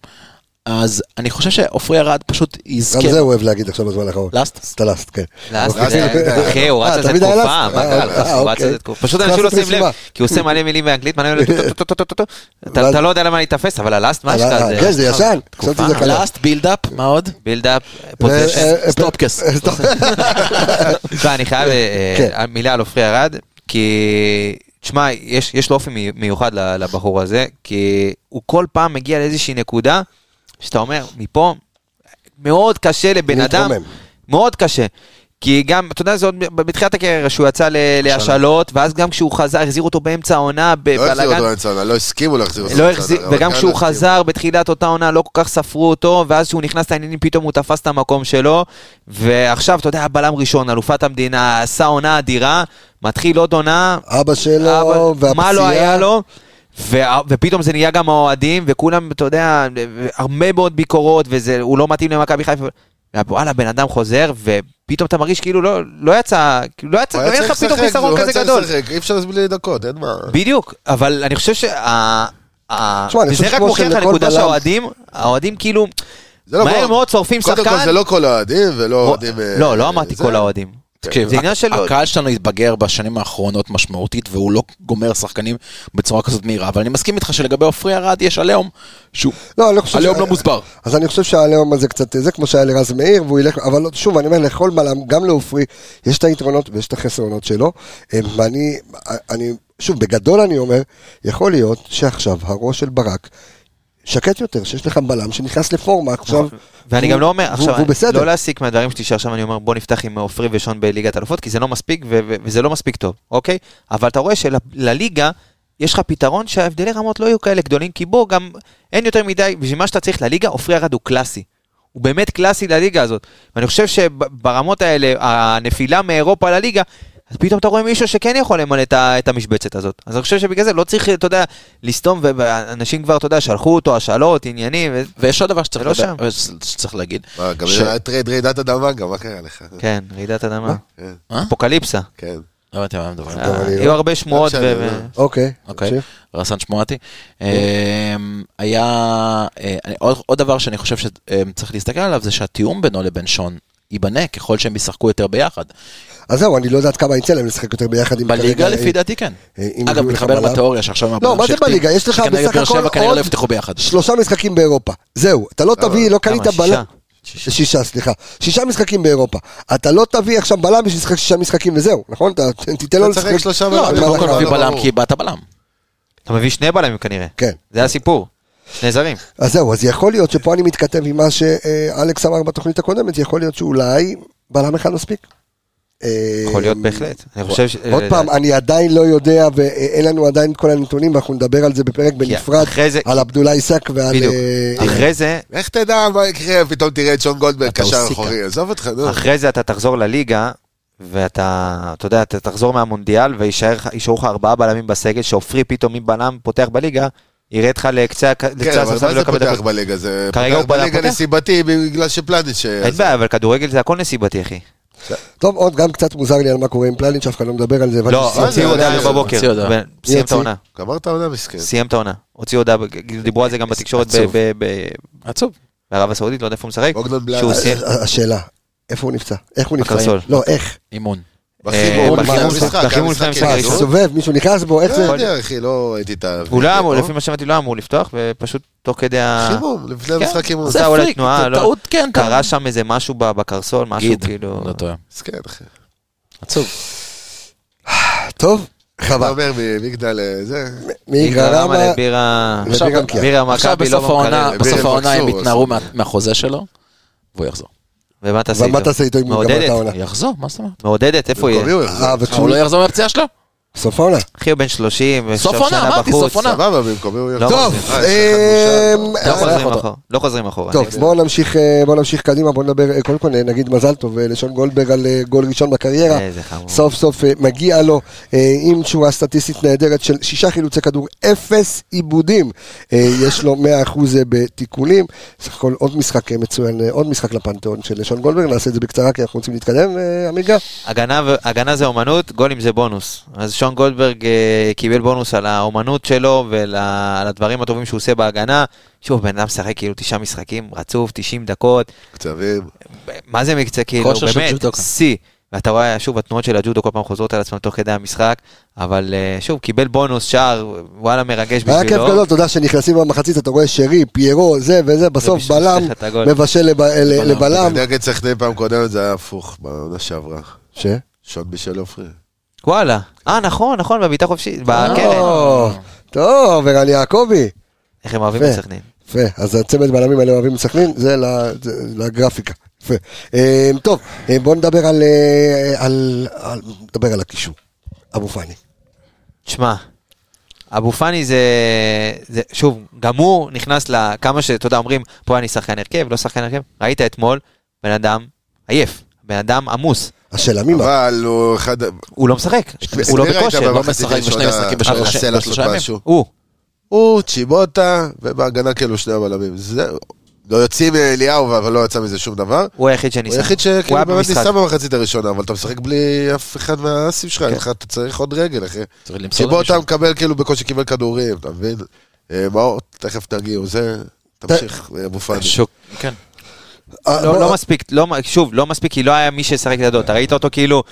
[SPEAKER 5] אז אני חושב שעופרי ארד פשוט יזכה.
[SPEAKER 1] גם זה הוא אוהב להגיד עכשיו בזמן האחרון.
[SPEAKER 5] לאסט?
[SPEAKER 1] סטלסט, כן.
[SPEAKER 6] כן. לאסט,
[SPEAKER 1] אוקיי.
[SPEAKER 6] אה, אחי, הוא
[SPEAKER 1] אה,
[SPEAKER 6] רץ על זה
[SPEAKER 1] תמיד היה
[SPEAKER 6] תקופה,
[SPEAKER 1] לאסט?
[SPEAKER 6] מה
[SPEAKER 1] אה,
[SPEAKER 6] זה לאסט?
[SPEAKER 1] אה,
[SPEAKER 6] הוא רץ על
[SPEAKER 1] אוקיי.
[SPEAKER 6] זה תקופה. פשוט אנשים לא
[SPEAKER 1] קלאסית
[SPEAKER 6] שמים לב,
[SPEAKER 1] רשימה.
[SPEAKER 6] כי הוא עושה מלא מילים באנגלית, מלא מילים, טו-טו-טו-טו-טו. אתה אתה לא יודע למה להתאפס, אבל הלאסט, מה יש לך?
[SPEAKER 1] אה,
[SPEAKER 6] זה-
[SPEAKER 1] כן, זה ישן.
[SPEAKER 6] תקופה.
[SPEAKER 1] חשבתי שזה חדש.
[SPEAKER 5] לאסט, בילדאפ, מה עוד?
[SPEAKER 6] בילדאפ,
[SPEAKER 1] אה, אה, אה,
[SPEAKER 5] סטופקס.
[SPEAKER 6] לא, אני חייב אה,
[SPEAKER 1] כן.
[SPEAKER 6] אה, מילה על עופרי ארד, כי... תשמע, יש, יש לו אופי מי- מיוחד ל- לבחור הזה, כי הוא כל פעם מגיע לאיזושהי נקודה, שאתה אומר, מפה, מאוד קשה לבן אדם,
[SPEAKER 1] להתרומם.
[SPEAKER 6] מאוד קשה. כי גם, אתה יודע, זה עוד בתחילת הקריירה, שהוא יצא ל- להשאלות, ואז גם כשהוא חזר, החזיר אותו באמצע העונה,
[SPEAKER 4] לא החזירו
[SPEAKER 6] בבלאגן.
[SPEAKER 4] אותו לאמצע העונה, לא הסכימו להחזיר אותו
[SPEAKER 6] לא
[SPEAKER 4] לאמצע
[SPEAKER 6] החזיר,
[SPEAKER 4] העונה, אבל
[SPEAKER 6] וגם
[SPEAKER 4] כאן
[SPEAKER 6] כשהוא
[SPEAKER 4] לא
[SPEAKER 6] חזר בתחילת אותה עונה לא כל כך ספרו אותו, ואז כשהוא נכנס לעניינים פתאום הוא תפס את המקום שלו, ועכשיו, אתה יודע, בלם ראשון, אלופת המדינה, עשה עונה אדירה, מתחיל עוד עונה,
[SPEAKER 1] אבא
[SPEAKER 6] אבא-
[SPEAKER 1] שלו, והפציעה.
[SPEAKER 6] מה לא היה לו, ו- ופתאום זה נהיה גם האוהדים, וכולם, אתה יודע, הרבה מאוד ביקורות, והוא לא מתאים למכבי חיפה. וואלה, בן אדם חוזר, ופתאום אתה מרגיש כאילו לא, לא יצא, כאילו לא יצא,
[SPEAKER 4] הוא היה
[SPEAKER 6] אין
[SPEAKER 4] צריך
[SPEAKER 6] לך פתאום
[SPEAKER 4] לשחק,
[SPEAKER 6] חיסרון
[SPEAKER 4] הוא היה
[SPEAKER 6] כזה
[SPEAKER 4] צריך
[SPEAKER 6] גדול.
[SPEAKER 4] לשחק, אי אפשר בלי דקות, אין מה.
[SPEAKER 6] בדיוק, אבל אני חושב שה... ה-
[SPEAKER 1] תשמע, אני חושב
[SPEAKER 6] וזה רק
[SPEAKER 1] שכמו
[SPEAKER 6] מוכיח
[SPEAKER 1] שלכל
[SPEAKER 6] לנקודה
[SPEAKER 1] בלם-
[SPEAKER 6] שהאוהדים, האוהדים כאילו,
[SPEAKER 4] זה לא
[SPEAKER 6] מהר
[SPEAKER 4] כל-
[SPEAKER 6] מאוד שורפים
[SPEAKER 4] קודם כל
[SPEAKER 6] שחקן.
[SPEAKER 4] זה לא כל האוהדים ולא אוהדים... אה,
[SPEAKER 6] לא, לא אמרתי
[SPEAKER 4] זה.
[SPEAKER 6] כל האוהדים.
[SPEAKER 5] תקשיב,
[SPEAKER 6] זה עניין של...
[SPEAKER 5] הקהל שלנו התבגר בשנים האחרונות משמעותית, והוא לא גומר שחקנים בצורה כזאת מהירה, אבל אני מסכים איתך שלגבי עופרי ארד יש עליהום, שהוא
[SPEAKER 1] לא, אני לא חושב...
[SPEAKER 5] עליהום
[SPEAKER 1] ש-
[SPEAKER 5] לא מוסבר.
[SPEAKER 1] אז אני חושב שהעליהום הזה קצת, זה כמו שהיה לרז מאיר, והוא ילך, אבל לא- שוב, אני אומר, לכל בלם, גם לעופרי, יש את היתרונות ויש את החסרונות שלו, אה, ואני, אני, שוב, בגדול אני אומר, יכול להיות שעכשיו הראש של ברק שקט יותר, שיש לך בלם שנכנס לפורמה עכשיו.
[SPEAKER 6] ואני
[SPEAKER 1] והוא-
[SPEAKER 6] גם לא אומר,
[SPEAKER 1] והוא-
[SPEAKER 6] עכשיו,
[SPEAKER 1] והוא בסדר.
[SPEAKER 6] לא להסיק מהדברים שלי שעכשיו אני אומר, בוא נפתח עם עופרי ושון בליגת אלופות, כי זה לא מספיק ו- ו- וזה לא מספיק טוב, אוקיי? אבל אתה רואה שלליגה, יש לך פתרון שההבדלי רמות לא יהיו כאלה גדולים, כי בוא, גם אין יותר מדי, בשביל מה שאתה צריך לליגה, עופרי ארד הוא קלאסי. הוא באמת קלאסי לליגה הזאת. ואני חושב שברמות האלה, הנפילה מאירופה לליגה, אז פתאום אתה רואה מישהו שכן יכול למלא את ה- את המשבצת הזאת. אז אני חושב שבגלל זה לא צריך, אתה יודע, לסתום, ו- ואנשים כבר, אתה יודע, שלחו אותו, השאלות, עניינים, ו-
[SPEAKER 5] ויש עוד דבר שצריך
[SPEAKER 6] זה לא
[SPEAKER 5] לדע- שצריך להגיד.
[SPEAKER 4] מה, גם
[SPEAKER 5] ש-
[SPEAKER 4] היה טרייד רעידת אדמה גם, מה קרה לך?
[SPEAKER 6] כן, רעידת אדמה.
[SPEAKER 4] כן,
[SPEAKER 6] אפוקליפסה.
[SPEAKER 4] כן.
[SPEAKER 5] לא הבנתי מה הם
[SPEAKER 6] אה,
[SPEAKER 5] מדברים.
[SPEAKER 1] גם אני לא.
[SPEAKER 6] היו הרבה שמועות.
[SPEAKER 4] לא
[SPEAKER 6] ו-
[SPEAKER 4] משנה,
[SPEAKER 6] ו-
[SPEAKER 1] אוקיי,
[SPEAKER 5] אוקיי,
[SPEAKER 1] תמשיך.
[SPEAKER 5] רסן שמואטי.
[SPEAKER 1] כן.
[SPEAKER 5] אמ, אה, היה, אה, אני- עוד- עוד דבר שאני חושב שצריך להסתכל עליו זה שהתיאום בינו לבין שון ייבנה ככל שהם ישחקו יותר ביחד.
[SPEAKER 1] אז זהו, אני לא יודעת כמה יצא להם לשחק יותר ביחד. אם
[SPEAKER 5] בליגה
[SPEAKER 1] כרגע-
[SPEAKER 5] לפי דעתי כן.
[SPEAKER 1] אה, אם
[SPEAKER 5] אגב,
[SPEAKER 1] יהיו
[SPEAKER 5] מתחבר
[SPEAKER 1] לך
[SPEAKER 5] לתיאוריה שעכשיו...
[SPEAKER 1] לא, מה זה בליגה? יש לך
[SPEAKER 5] שכנראה
[SPEAKER 1] בסך
[SPEAKER 5] באר שבע
[SPEAKER 1] הכל
[SPEAKER 5] כנראה לא
[SPEAKER 1] עוד
[SPEAKER 5] יפתחו ביחד.
[SPEAKER 1] שלושה משחקים באירופה. זהו, אתה לא תביא, לא קנית
[SPEAKER 6] כמה? שישה?
[SPEAKER 1] בלם. שישה, סליחה. שישה משחקים באירופה. אתה לא תביא עכשיו בלם בשביל לשחק שישה משחקים וזהו, נכון? אתה תיתן לו
[SPEAKER 4] אתה
[SPEAKER 1] לשחק...
[SPEAKER 4] תשחק שלושה
[SPEAKER 1] לא,
[SPEAKER 5] אתה
[SPEAKER 4] בלמים.
[SPEAKER 1] אתה
[SPEAKER 5] קודם
[SPEAKER 1] לא
[SPEAKER 5] כל
[SPEAKER 1] חייב.
[SPEAKER 5] מביא
[SPEAKER 4] לא, לא,
[SPEAKER 5] בלם
[SPEAKER 4] לא.
[SPEAKER 5] כי באת בלם.
[SPEAKER 6] אתה מביא שני בלמים כנראה.
[SPEAKER 1] כן.
[SPEAKER 6] זה הסיפור. שני זרים.
[SPEAKER 1] אז זהו, אז יכול להיות שפה אני מתכתב עם מה שאלכס אמר בתוכנית הקודמת, יכול להיות שאולי בלם אחד מספיק.
[SPEAKER 6] יכול להיות בהחלט. אני חושב ש...
[SPEAKER 1] אה,
[SPEAKER 6] אה,
[SPEAKER 1] עוד פעם, אני עדיין לא יודע ואין לנו עדיין את כל הנתונים, ואנחנו נדבר על זה בפרק בנפרד,
[SPEAKER 6] אחרי זה-
[SPEAKER 1] על עבדולאי עיסק ועל...
[SPEAKER 6] בדיוק.
[SPEAKER 1] אה,
[SPEAKER 6] אחרי זה,
[SPEAKER 4] איך תדע מה יקרה, פתאום תראה את שון גולדברג
[SPEAKER 5] אתה
[SPEAKER 4] קשר
[SPEAKER 5] הוסיקה.
[SPEAKER 4] אחורי, עזוב אותך, נו.
[SPEAKER 6] אחרי זה אתה תחזור לליגה, ואתה, אתה יודע, אתה תחזור מהמונדיאל ויישאר לך- יישארו לך ארבעה בלמים בסגל, שעופרי פתאום מבלם פותח בליגה, יראה אותך לקצה הק-
[SPEAKER 4] כן,
[SPEAKER 6] לקצה
[SPEAKER 4] אבל
[SPEAKER 6] הסרטן
[SPEAKER 4] מה
[SPEAKER 6] ולא
[SPEAKER 4] זה
[SPEAKER 6] יקבל
[SPEAKER 4] פותח
[SPEAKER 6] לא דקות.
[SPEAKER 4] בליגה? זה
[SPEAKER 6] כרגע
[SPEAKER 4] פותח
[SPEAKER 6] הוא בלם
[SPEAKER 4] בליגה
[SPEAKER 6] פותח.
[SPEAKER 4] נסיבתי בגלל שפלניץ'... אה, ש-
[SPEAKER 6] אין בעיה, אבל כדורגל זה הכל נסיבתי, אחי.
[SPEAKER 1] טוב, עוד גם קצת מוזר לי על מה קורה עם פלניץ', אף אחד לא מדבר על זה. הבנתי
[SPEAKER 6] לא,
[SPEAKER 1] שזה-
[SPEAKER 4] אה, זה-
[SPEAKER 6] הוציאו הודעה
[SPEAKER 4] זה-
[SPEAKER 6] היום בבוקר.
[SPEAKER 5] הוציאו הודעה.
[SPEAKER 6] ו- סיים את
[SPEAKER 1] יוציא.
[SPEAKER 6] העונה.
[SPEAKER 4] גמר את העונה מסכן.
[SPEAKER 6] סיים את העונה. הוציאו הודעה, ב- דיברו על זה גם בתקשורת ב-
[SPEAKER 5] עצוב.
[SPEAKER 6] ב- ב-
[SPEAKER 5] עצוב.
[SPEAKER 6] בערב הסעודית, לא יודע איפה הוא
[SPEAKER 1] אוקיי.
[SPEAKER 6] משחק.
[SPEAKER 4] בוגדן בלאט.
[SPEAKER 6] שהוא
[SPEAKER 1] אז-
[SPEAKER 6] סיים.
[SPEAKER 1] אז- השאלה, איפה הוא נפצע? איך הוא נפצע?
[SPEAKER 6] בקרסול.
[SPEAKER 1] לא, איך?
[SPEAKER 5] אימון.
[SPEAKER 6] אה,
[SPEAKER 4] בחיבור,
[SPEAKER 1] בחימום
[SPEAKER 4] מה,
[SPEAKER 1] שלך,
[SPEAKER 4] המשחק,
[SPEAKER 6] בחימום
[SPEAKER 4] המשחק
[SPEAKER 6] שלך,
[SPEAKER 4] של
[SPEAKER 1] מה,
[SPEAKER 6] משחק
[SPEAKER 4] הזוג?
[SPEAKER 6] ראשון.
[SPEAKER 1] הסתובב, מישהו נכנס בו, איך
[SPEAKER 4] לא
[SPEAKER 1] זה?
[SPEAKER 6] נכון.
[SPEAKER 4] יודע, אחי, לא ראיתי את ה...
[SPEAKER 6] הוא לא אמור,
[SPEAKER 1] אוקיי.
[SPEAKER 4] לא?
[SPEAKER 6] לפי מה שהבנתי, לא אמור לפתוח, ופשוט תוך כדי ה...
[SPEAKER 4] חימום, לפני
[SPEAKER 5] כן,
[SPEAKER 4] המשחק אימון.
[SPEAKER 5] זה
[SPEAKER 6] עשה אולי
[SPEAKER 5] פריק,
[SPEAKER 6] תנועה,
[SPEAKER 5] זה
[SPEAKER 6] לא-
[SPEAKER 5] טעות, כן,
[SPEAKER 6] קרה שם איזה משהו ב- בקרסול, משהו
[SPEAKER 5] גיד.
[SPEAKER 6] כאילו...
[SPEAKER 5] לא טועה.
[SPEAKER 4] מסכן, כן, אחי.
[SPEAKER 5] עצוב.
[SPEAKER 1] טוב,
[SPEAKER 4] אתה
[SPEAKER 1] חבל.
[SPEAKER 4] אומר ממגדל אה, זה...
[SPEAKER 1] מאיגרא
[SPEAKER 6] בירה
[SPEAKER 1] רמה,
[SPEAKER 6] רמה לבירה...
[SPEAKER 1] עכשיו-
[SPEAKER 6] לא, בירה
[SPEAKER 1] כן.
[SPEAKER 6] בירה
[SPEAKER 5] עכשיו
[SPEAKER 6] מכבי
[SPEAKER 5] בסוף
[SPEAKER 6] לא
[SPEAKER 5] העונה,
[SPEAKER 6] במכבי.
[SPEAKER 5] בסוף
[SPEAKER 1] אה,
[SPEAKER 4] בירה
[SPEAKER 5] העונה הם
[SPEAKER 4] מחזור,
[SPEAKER 5] יתנערו מה- מהחוזה שלו, והוא יחזור.
[SPEAKER 6] ומה תעשה
[SPEAKER 1] ומה תעשה איתו אם הוא גמר את
[SPEAKER 6] מעודדת,
[SPEAKER 1] העונה?
[SPEAKER 5] יחזור, מה זאת אומרת?
[SPEAKER 6] מעודדת, איפה הוא
[SPEAKER 4] במקומי
[SPEAKER 6] יהיה?
[SPEAKER 4] הוא
[SPEAKER 1] אה,
[SPEAKER 4] יחזור.
[SPEAKER 5] הוא
[SPEAKER 1] וכשהוא...
[SPEAKER 5] לא יחזור מהפציעה שלו?
[SPEAKER 1] סוף העונה.
[SPEAKER 6] אחי, הוא בן 30,
[SPEAKER 5] סוף
[SPEAKER 6] עכשיו
[SPEAKER 5] עונה,
[SPEAKER 6] שנה
[SPEAKER 5] אמרתי,
[SPEAKER 6] בחוץ.
[SPEAKER 5] סוף עונה.
[SPEAKER 4] סבבה, במקומי הוא יחזור.
[SPEAKER 1] טוב,
[SPEAKER 4] אה, יש לך
[SPEAKER 1] אה,
[SPEAKER 4] בושה,
[SPEAKER 6] לא
[SPEAKER 1] אה,
[SPEAKER 5] יכול-
[SPEAKER 6] חוזרים
[SPEAKER 5] אותו.
[SPEAKER 6] אחורה. לא חוזרים אחורה.
[SPEAKER 1] טוב,
[SPEAKER 6] אני-
[SPEAKER 1] בואו נמשיך, אה, בואו נמשיך קדימה, בואו נדבר, אה, קודם כל אה, נגיד מזל טוב אה, לשון גולדברג על אה, גול ראשון בקריירה.
[SPEAKER 6] איזה חמור.
[SPEAKER 1] סוף סוף אה, מגיע לו אה, עם תשובה סטטיסטית נהדרת של שישה חילוצי כדור, אפס עיבודים. אה, יש לו 100% בתיקולים. סך הכל עוד משחק אה, מצוין, אה, עוד משחק לפנתיאון של לשון גולדברג, נעשה את זה בקצרה כי אנחנו רוצים להתקדם, אה, עמיגה.
[SPEAKER 6] הגנה ו- הגנה זה אומנות, גולים זה בונוס. אז שון גולדברג אה, קיבל בונוס על האומנות שלו ועל ה- על הדברים הטובים שהוא עושה בהגנה. שוב, בן אדם משחק כאילו תשעה משחקים, רצוף, 90 דקות.
[SPEAKER 4] קצבים.
[SPEAKER 6] מה זה מקצה כאילו,
[SPEAKER 5] כושר של
[SPEAKER 6] באמת,
[SPEAKER 5] ג'ודוקה.
[SPEAKER 6] שיא. ואתה רואה, שוב, התנועות של הג'ודו כל פעם חוזרות על עצמן תוך כדי המשחק, אבל אה, שוב, קיבל בונוס, שער, וואלה, מרגש בשבילו.
[SPEAKER 1] היה כיף גדול, תודה שנכנסים במחצית, אתה רואה שרי, פיירו, זה וזה, בסוף
[SPEAKER 6] ובשביל
[SPEAKER 1] בלם,
[SPEAKER 6] לך את הגול.
[SPEAKER 1] מבשל לב- ל-
[SPEAKER 5] אה,
[SPEAKER 1] לבלם.
[SPEAKER 4] נגד סכנין פעם קודמת זה היה הפוך, בעונה שעברה.
[SPEAKER 1] ש?
[SPEAKER 4] שון בישל עופרי.
[SPEAKER 6] וואלה. אה, נכון, נכון, בבעיטה חופשית,
[SPEAKER 1] אה,
[SPEAKER 6] בקרן.
[SPEAKER 1] או, טוב, ערן יעקבי.
[SPEAKER 6] איך הם אוהבים
[SPEAKER 1] יפה.
[SPEAKER 6] את סכנין.
[SPEAKER 1] יפה, אז הצמד בלמים האלה אוהבים את סכנין, זה ל- זה לגרפיקה. יפה. אה, טוב, אה, בואו נדבר על... אה, על- על- נדבר על הקישור. אבו פאני.
[SPEAKER 6] תשמע, אבו פאני זה, זה, שוב, גם הוא נכנס לכמה ש- אתה יודע, אומרים, פה אני שחקן הרכב, לא שחקן הרכב. ראית אתמול, בן אדם עייף, בן אדם עמוס,
[SPEAKER 1] השאלה ממה?
[SPEAKER 4] אבל הוא אחד...
[SPEAKER 6] הוא לא משחק, הוא לא
[SPEAKER 4] מירה הייתה
[SPEAKER 6] בכושר.
[SPEAKER 5] לא
[SPEAKER 4] במחצית
[SPEAKER 5] משחק בשני
[SPEAKER 4] הראשונה,
[SPEAKER 5] משחקים בשלוש-
[SPEAKER 4] אבל הסלע
[SPEAKER 5] בשלושה
[SPEAKER 4] שלו
[SPEAKER 5] ימים.
[SPEAKER 4] משהו.
[SPEAKER 6] הוא,
[SPEAKER 4] הוא, צ'יבוטה, ובהגנה כאילו שני הבלמים. זהו. לא יוצאים מאליהו, אבל לא יצא מזה שום דבר.
[SPEAKER 6] הוא היחיד
[SPEAKER 4] הוא
[SPEAKER 6] שניסה.
[SPEAKER 4] היחיד שכאילו
[SPEAKER 6] היה
[SPEAKER 4] באמת
[SPEAKER 6] במשחק.
[SPEAKER 4] ניסה במחצית הראשונה, אבל אתה משחק בלי אף אחד מהאסים
[SPEAKER 6] כן.
[SPEAKER 4] שלך, אין לך- אתה צריך עוד רגל, אחי.
[SPEAKER 5] צריך למצוא לו
[SPEAKER 4] שבו אתה
[SPEAKER 5] מישהו.
[SPEAKER 4] מקבל כאילו בקושי קיבל כדורים, אתה מבין? אה, מאור, תכף תגיעו, זה... תמשיך, אה, אבו פאני.
[SPEAKER 5] שוק. כן.
[SPEAKER 1] אה,
[SPEAKER 6] לא,
[SPEAKER 1] בוא-
[SPEAKER 6] לא מספיק, לא, מ- שוב, לא מספיק, כי לא היה מי שישחק לידו. אתה ראית אותו כאילו,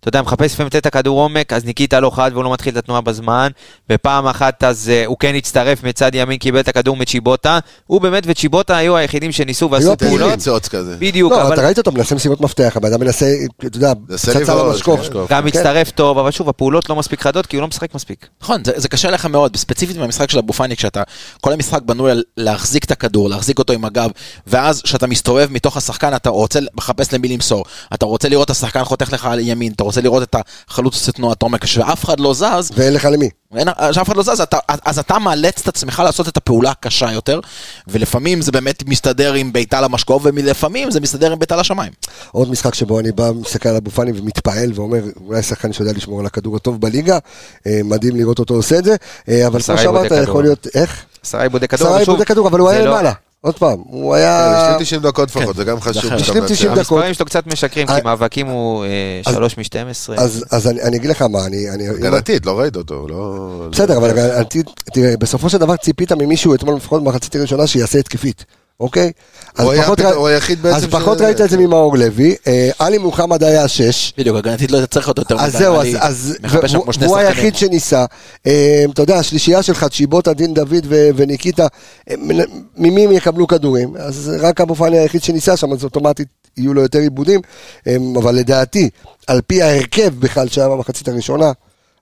[SPEAKER 6] אתה יודע, מחפש לפעמים לתת את הכדור עומק, אז ניקיטה לא חד והוא לא מתחיל את התנועה בזמן, ופעם אחת אז אה, הוא כן הצטרף מצד ימין, קיבל את הכדור מצ'יבוטה. הוא באמת וצ'יבוטה היו היחידים שניסו ועשו
[SPEAKER 1] הפעילים.
[SPEAKER 6] פעולות.
[SPEAKER 4] ניצוץ כזה.
[SPEAKER 6] בדיוק,
[SPEAKER 1] לא,
[SPEAKER 6] אבל
[SPEAKER 1] אתה ראית אותו מנסה משימות מפתח, הבן אדם מנסה, אתה יודע,
[SPEAKER 4] מנסה
[SPEAKER 1] פצצה
[SPEAKER 4] לבעוט,
[SPEAKER 1] למשקוף.
[SPEAKER 4] כן.
[SPEAKER 6] גם
[SPEAKER 1] כן.
[SPEAKER 6] מצטרף טוב, אבל שוב, הפעולות לא מספיק חדות, כי הוא לא משחק מספיק.
[SPEAKER 5] נכון, זה, זה קשה לך מאוד, ספציפית במשחק של אבו פאני, כשאתה, כל המשחק בנוי על להחזיק את הכדור, להחזיק אותו עם הגב, ואז כשאתה מסתובב מתוך השחקן, אתה רוצה לחפש למי למסור, אתה רוצה לראות את השחקן חותך לך על ימין, אתה רוצה לראות את החלוץ עושה תנועת עומק, כשאף אחד לא זז,
[SPEAKER 1] ואין לך למי.
[SPEAKER 5] אין, כשאף אחד לא זז, אתה, אז- אז אתה מאלץ את עצמך לעשות את הפעולה הקשה יותר, ולפעמים זה באמת מסתדר עם בעיטה למשקוף, ולפעמים זה מסתדר עם בעיטה לשמיים.
[SPEAKER 1] עוד משחק שבו אני בא, מסתכל על אבו פאני ומתפעל ואומר, אולי שחקן שיודע לשמור על הכדור הטוב בליגה, אה, מדהים לראות אותו עושה את זה, אה, אבל כמו
[SPEAKER 6] עשרה עיבודי
[SPEAKER 1] שאמרת,
[SPEAKER 6] כדור.
[SPEAKER 1] יכול להיות, איך?
[SPEAKER 6] עשרה עיבודי כדור,
[SPEAKER 1] עשרה
[SPEAKER 6] אבל שוב,
[SPEAKER 1] עיבודי כדור, אבל הוא
[SPEAKER 6] זה
[SPEAKER 1] היה
[SPEAKER 6] לא-
[SPEAKER 1] למעלה. עוד פעם, הוא
[SPEAKER 4] הוא
[SPEAKER 1] היה...
[SPEAKER 4] השלים 90 אה, דקות לפחות, זה
[SPEAKER 6] כן,
[SPEAKER 4] גם חשוב.
[SPEAKER 5] אחרת.
[SPEAKER 4] שאתה
[SPEAKER 1] השלים 90
[SPEAKER 4] מאפשר.
[SPEAKER 1] דקות.
[SPEAKER 6] המספרים שלו קצת משקרים,
[SPEAKER 1] אה,
[SPEAKER 6] כי מאבקים הוא אה,
[SPEAKER 1] אז-
[SPEAKER 6] 3 מ-12.
[SPEAKER 1] אז, אז אני, אני אגיד לך מה, אני... אני
[SPEAKER 4] הגנתית, לא ראית אותו, לא...
[SPEAKER 1] בסדר, אבל הגנתית, תראה, בסופו של דבר ציפית ממישהו אתמול לפחות במחצית הראשונה שיעשה התקפית. אוקיי? אז
[SPEAKER 4] הוא היה
[SPEAKER 1] פחות
[SPEAKER 4] הפת-
[SPEAKER 1] ר-
[SPEAKER 4] הוא היחיד בעצם
[SPEAKER 1] אז
[SPEAKER 4] ש-
[SPEAKER 1] פחות ראית את זה ממאור לוי. אה, עלי מוחמד היה שש.
[SPEAKER 5] בדיוק, הגנתית לא צריך אותו יותר
[SPEAKER 1] אז
[SPEAKER 5] מדי,
[SPEAKER 1] זהו, אז,
[SPEAKER 5] אני
[SPEAKER 1] אז
[SPEAKER 5] מחפש שם
[SPEAKER 1] והוא-
[SPEAKER 5] כמו שני
[SPEAKER 1] והוא
[SPEAKER 5] שחקנים.
[SPEAKER 1] היחיד שניסה. אה, אתה יודע, השלישייה שלך, צ'יבוטה, דין דוד ו- וניקיטה, אה, מנ- ממי הם יקבלו כדורים? אז רק אבו פאני היחיד שניסה שם, אז אוטומטית יהיו לו יותר עיבודים. אה, אבל לדעתי, על פי ההרכב בכלל שהיה במחצית הראשונה,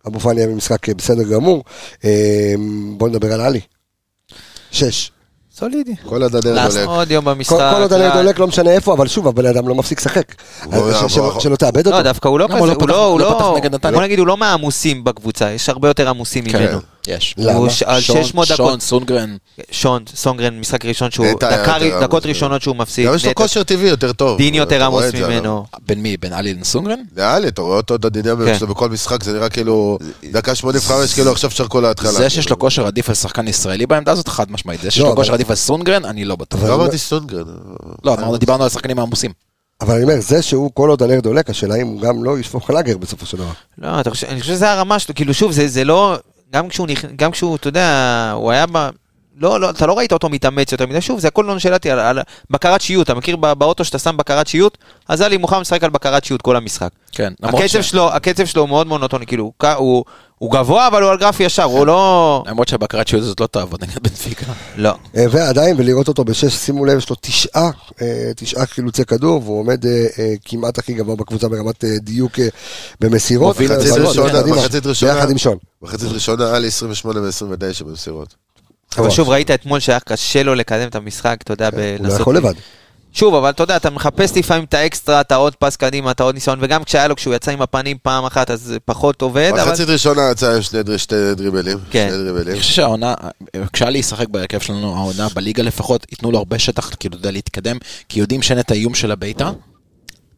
[SPEAKER 1] אבו פאני היה במשחק אה, בסדר גמור. אה, בוא נדבר על עלי. שש.
[SPEAKER 6] סולידי.
[SPEAKER 4] כל עוד הדרך
[SPEAKER 6] לעשות
[SPEAKER 4] עולה.
[SPEAKER 6] עוד יום
[SPEAKER 1] כל
[SPEAKER 6] במשחק.
[SPEAKER 1] כל עוד הלב
[SPEAKER 6] לא-
[SPEAKER 1] דולק, לא משנה איפה, אבל שוב, הבן אדם לא מפסיק לשחק.
[SPEAKER 4] הוא
[SPEAKER 1] אז ש-
[SPEAKER 4] לא
[SPEAKER 1] שלא-
[SPEAKER 4] יעבור.
[SPEAKER 1] שלא תאבד אותו.
[SPEAKER 6] לא, דווקא הוא לא
[SPEAKER 5] למה הוא
[SPEAKER 6] כזה,
[SPEAKER 5] לא
[SPEAKER 6] הוא
[SPEAKER 5] פתח-
[SPEAKER 6] לא, הוא
[SPEAKER 5] לא
[SPEAKER 6] לא,
[SPEAKER 5] פתח נגד נתניה?
[SPEAKER 6] בוא נגיד, הוא לא מהעמוסים בקבוצה, יש הרבה יותר עמוסים
[SPEAKER 4] כן.
[SPEAKER 6] ממנו.
[SPEAKER 5] יש.
[SPEAKER 1] למה?
[SPEAKER 6] הוא ש- על
[SPEAKER 5] שון-
[SPEAKER 6] 600
[SPEAKER 5] שון
[SPEAKER 6] דקות,
[SPEAKER 5] סונגרן.
[SPEAKER 6] שון, סונגרן, משחק ראשון שהוא,
[SPEAKER 4] נטע היה
[SPEAKER 6] דקה-
[SPEAKER 4] יותר
[SPEAKER 6] דקות
[SPEAKER 4] עמוס.
[SPEAKER 6] ראשונות שהוא מפסיד,
[SPEAKER 4] גם יש לו
[SPEAKER 6] נטע-
[SPEAKER 4] כושר טבעי יותר טוב.
[SPEAKER 6] דין יותר
[SPEAKER 4] אתה רואה
[SPEAKER 6] עמוס
[SPEAKER 4] את זה עליו.
[SPEAKER 6] ממנו.
[SPEAKER 5] בין מי? בין עלי לסונגרן?
[SPEAKER 4] לאלי, אתה רואה אותו, אתה יודע,
[SPEAKER 6] כן.
[SPEAKER 4] שלו בכל משחק, זה נראה כאילו, דקה 85, כאילו עכשיו שרקו להתחלה.
[SPEAKER 5] זה שיש לו כושר עדיף על שחקן ישראלי בעמדה הזאת, חד משמעית. זה שיש
[SPEAKER 1] לא,
[SPEAKER 5] לו
[SPEAKER 1] אבל-
[SPEAKER 5] כושר עדיף על סונגרן, אני לא בטוח.
[SPEAKER 4] לא אמרתי סונגרן.
[SPEAKER 5] לא, אמרנו, דיברנו על השחקנים העמוסים.
[SPEAKER 1] אבל אני אומר, זה שהוא כל עוד הנר דולק, השאלה אם הוא גם לא ישפוך לאגר בסופו של דבר.
[SPEAKER 6] לא, אתה חושב- אני חושב שזה הרמה שלו, כאילו שוב, זה זה לא, גם כשהוא, נכ- גם כשהוא, אתה יודע, הוא היה ב... לא, לא, אתה לא ראית אותו מתאמץ יותר מדי, שוב, זה הכל נונשלטי, על, על בקרת שיוט, אתה מכיר ב- באוטו שאתה שם בקרת שיוט? אז עלי מוחמד משחק על בקרת שיוט כל המשחק.
[SPEAKER 5] כן, למרות
[SPEAKER 6] הקצב,
[SPEAKER 5] ש-
[SPEAKER 6] שלו, הקצב שלו הוא מאוד מונוטוני, כאילו, הוא, ק- הוא, הוא גבוה, אבל הוא על גרף ישר, הוא לא...
[SPEAKER 5] למרות שהבקרת שיעור הזאת לא תעבוד נגד בנפיקה.
[SPEAKER 6] לא.
[SPEAKER 1] אה, ועדיין, ולראות אותו בשש, שימו לב, יש לו תשעה, אה, תשעה חילוצי כדור, והוא עומד אה, אה, כמעט הכי גבוה בקבוצה ברמת אה, דיוק אה, במסירות.
[SPEAKER 5] מוביל
[SPEAKER 1] אבל-
[SPEAKER 5] את זה
[SPEAKER 1] אבל-
[SPEAKER 5] ראשון,
[SPEAKER 1] קדימה,
[SPEAKER 4] מחצית ראשונה.
[SPEAKER 1] ביחד עם שון.
[SPEAKER 4] מחצית ראשונה, עלי 28 ו-29 במסירות.
[SPEAKER 6] אבל
[SPEAKER 1] טוב.
[SPEAKER 6] שוב, ראית אתמול שהיה קשה לו לקדם את המשחק, אתה יודע,
[SPEAKER 1] נכון. הוא לא
[SPEAKER 6] בלנסות...
[SPEAKER 1] יכול לבד.
[SPEAKER 6] שוב, אבל אתה יודע, אתה מחפש לפעמים את האקסטרה, את העוד פס קדימה, את העוד ניסיון, וגם כשהיה לו, כשהוא יצא עם הפנים פעם אחת, אז זה פחות עובד, אבל...
[SPEAKER 4] מחצית ראשונה יצא עם שני דרי- שתי דריבלים.
[SPEAKER 6] כן.
[SPEAKER 4] שני
[SPEAKER 5] אני
[SPEAKER 4] דריבלים.
[SPEAKER 5] חושב שהעונה, כשאלי ישחק בהרכב שלנו, העונה בליגה לפחות, ייתנו לו הרבה שטח, כאילו, אתה יודע, להתקדם, כי יודעים שאין את האיום של הביתה,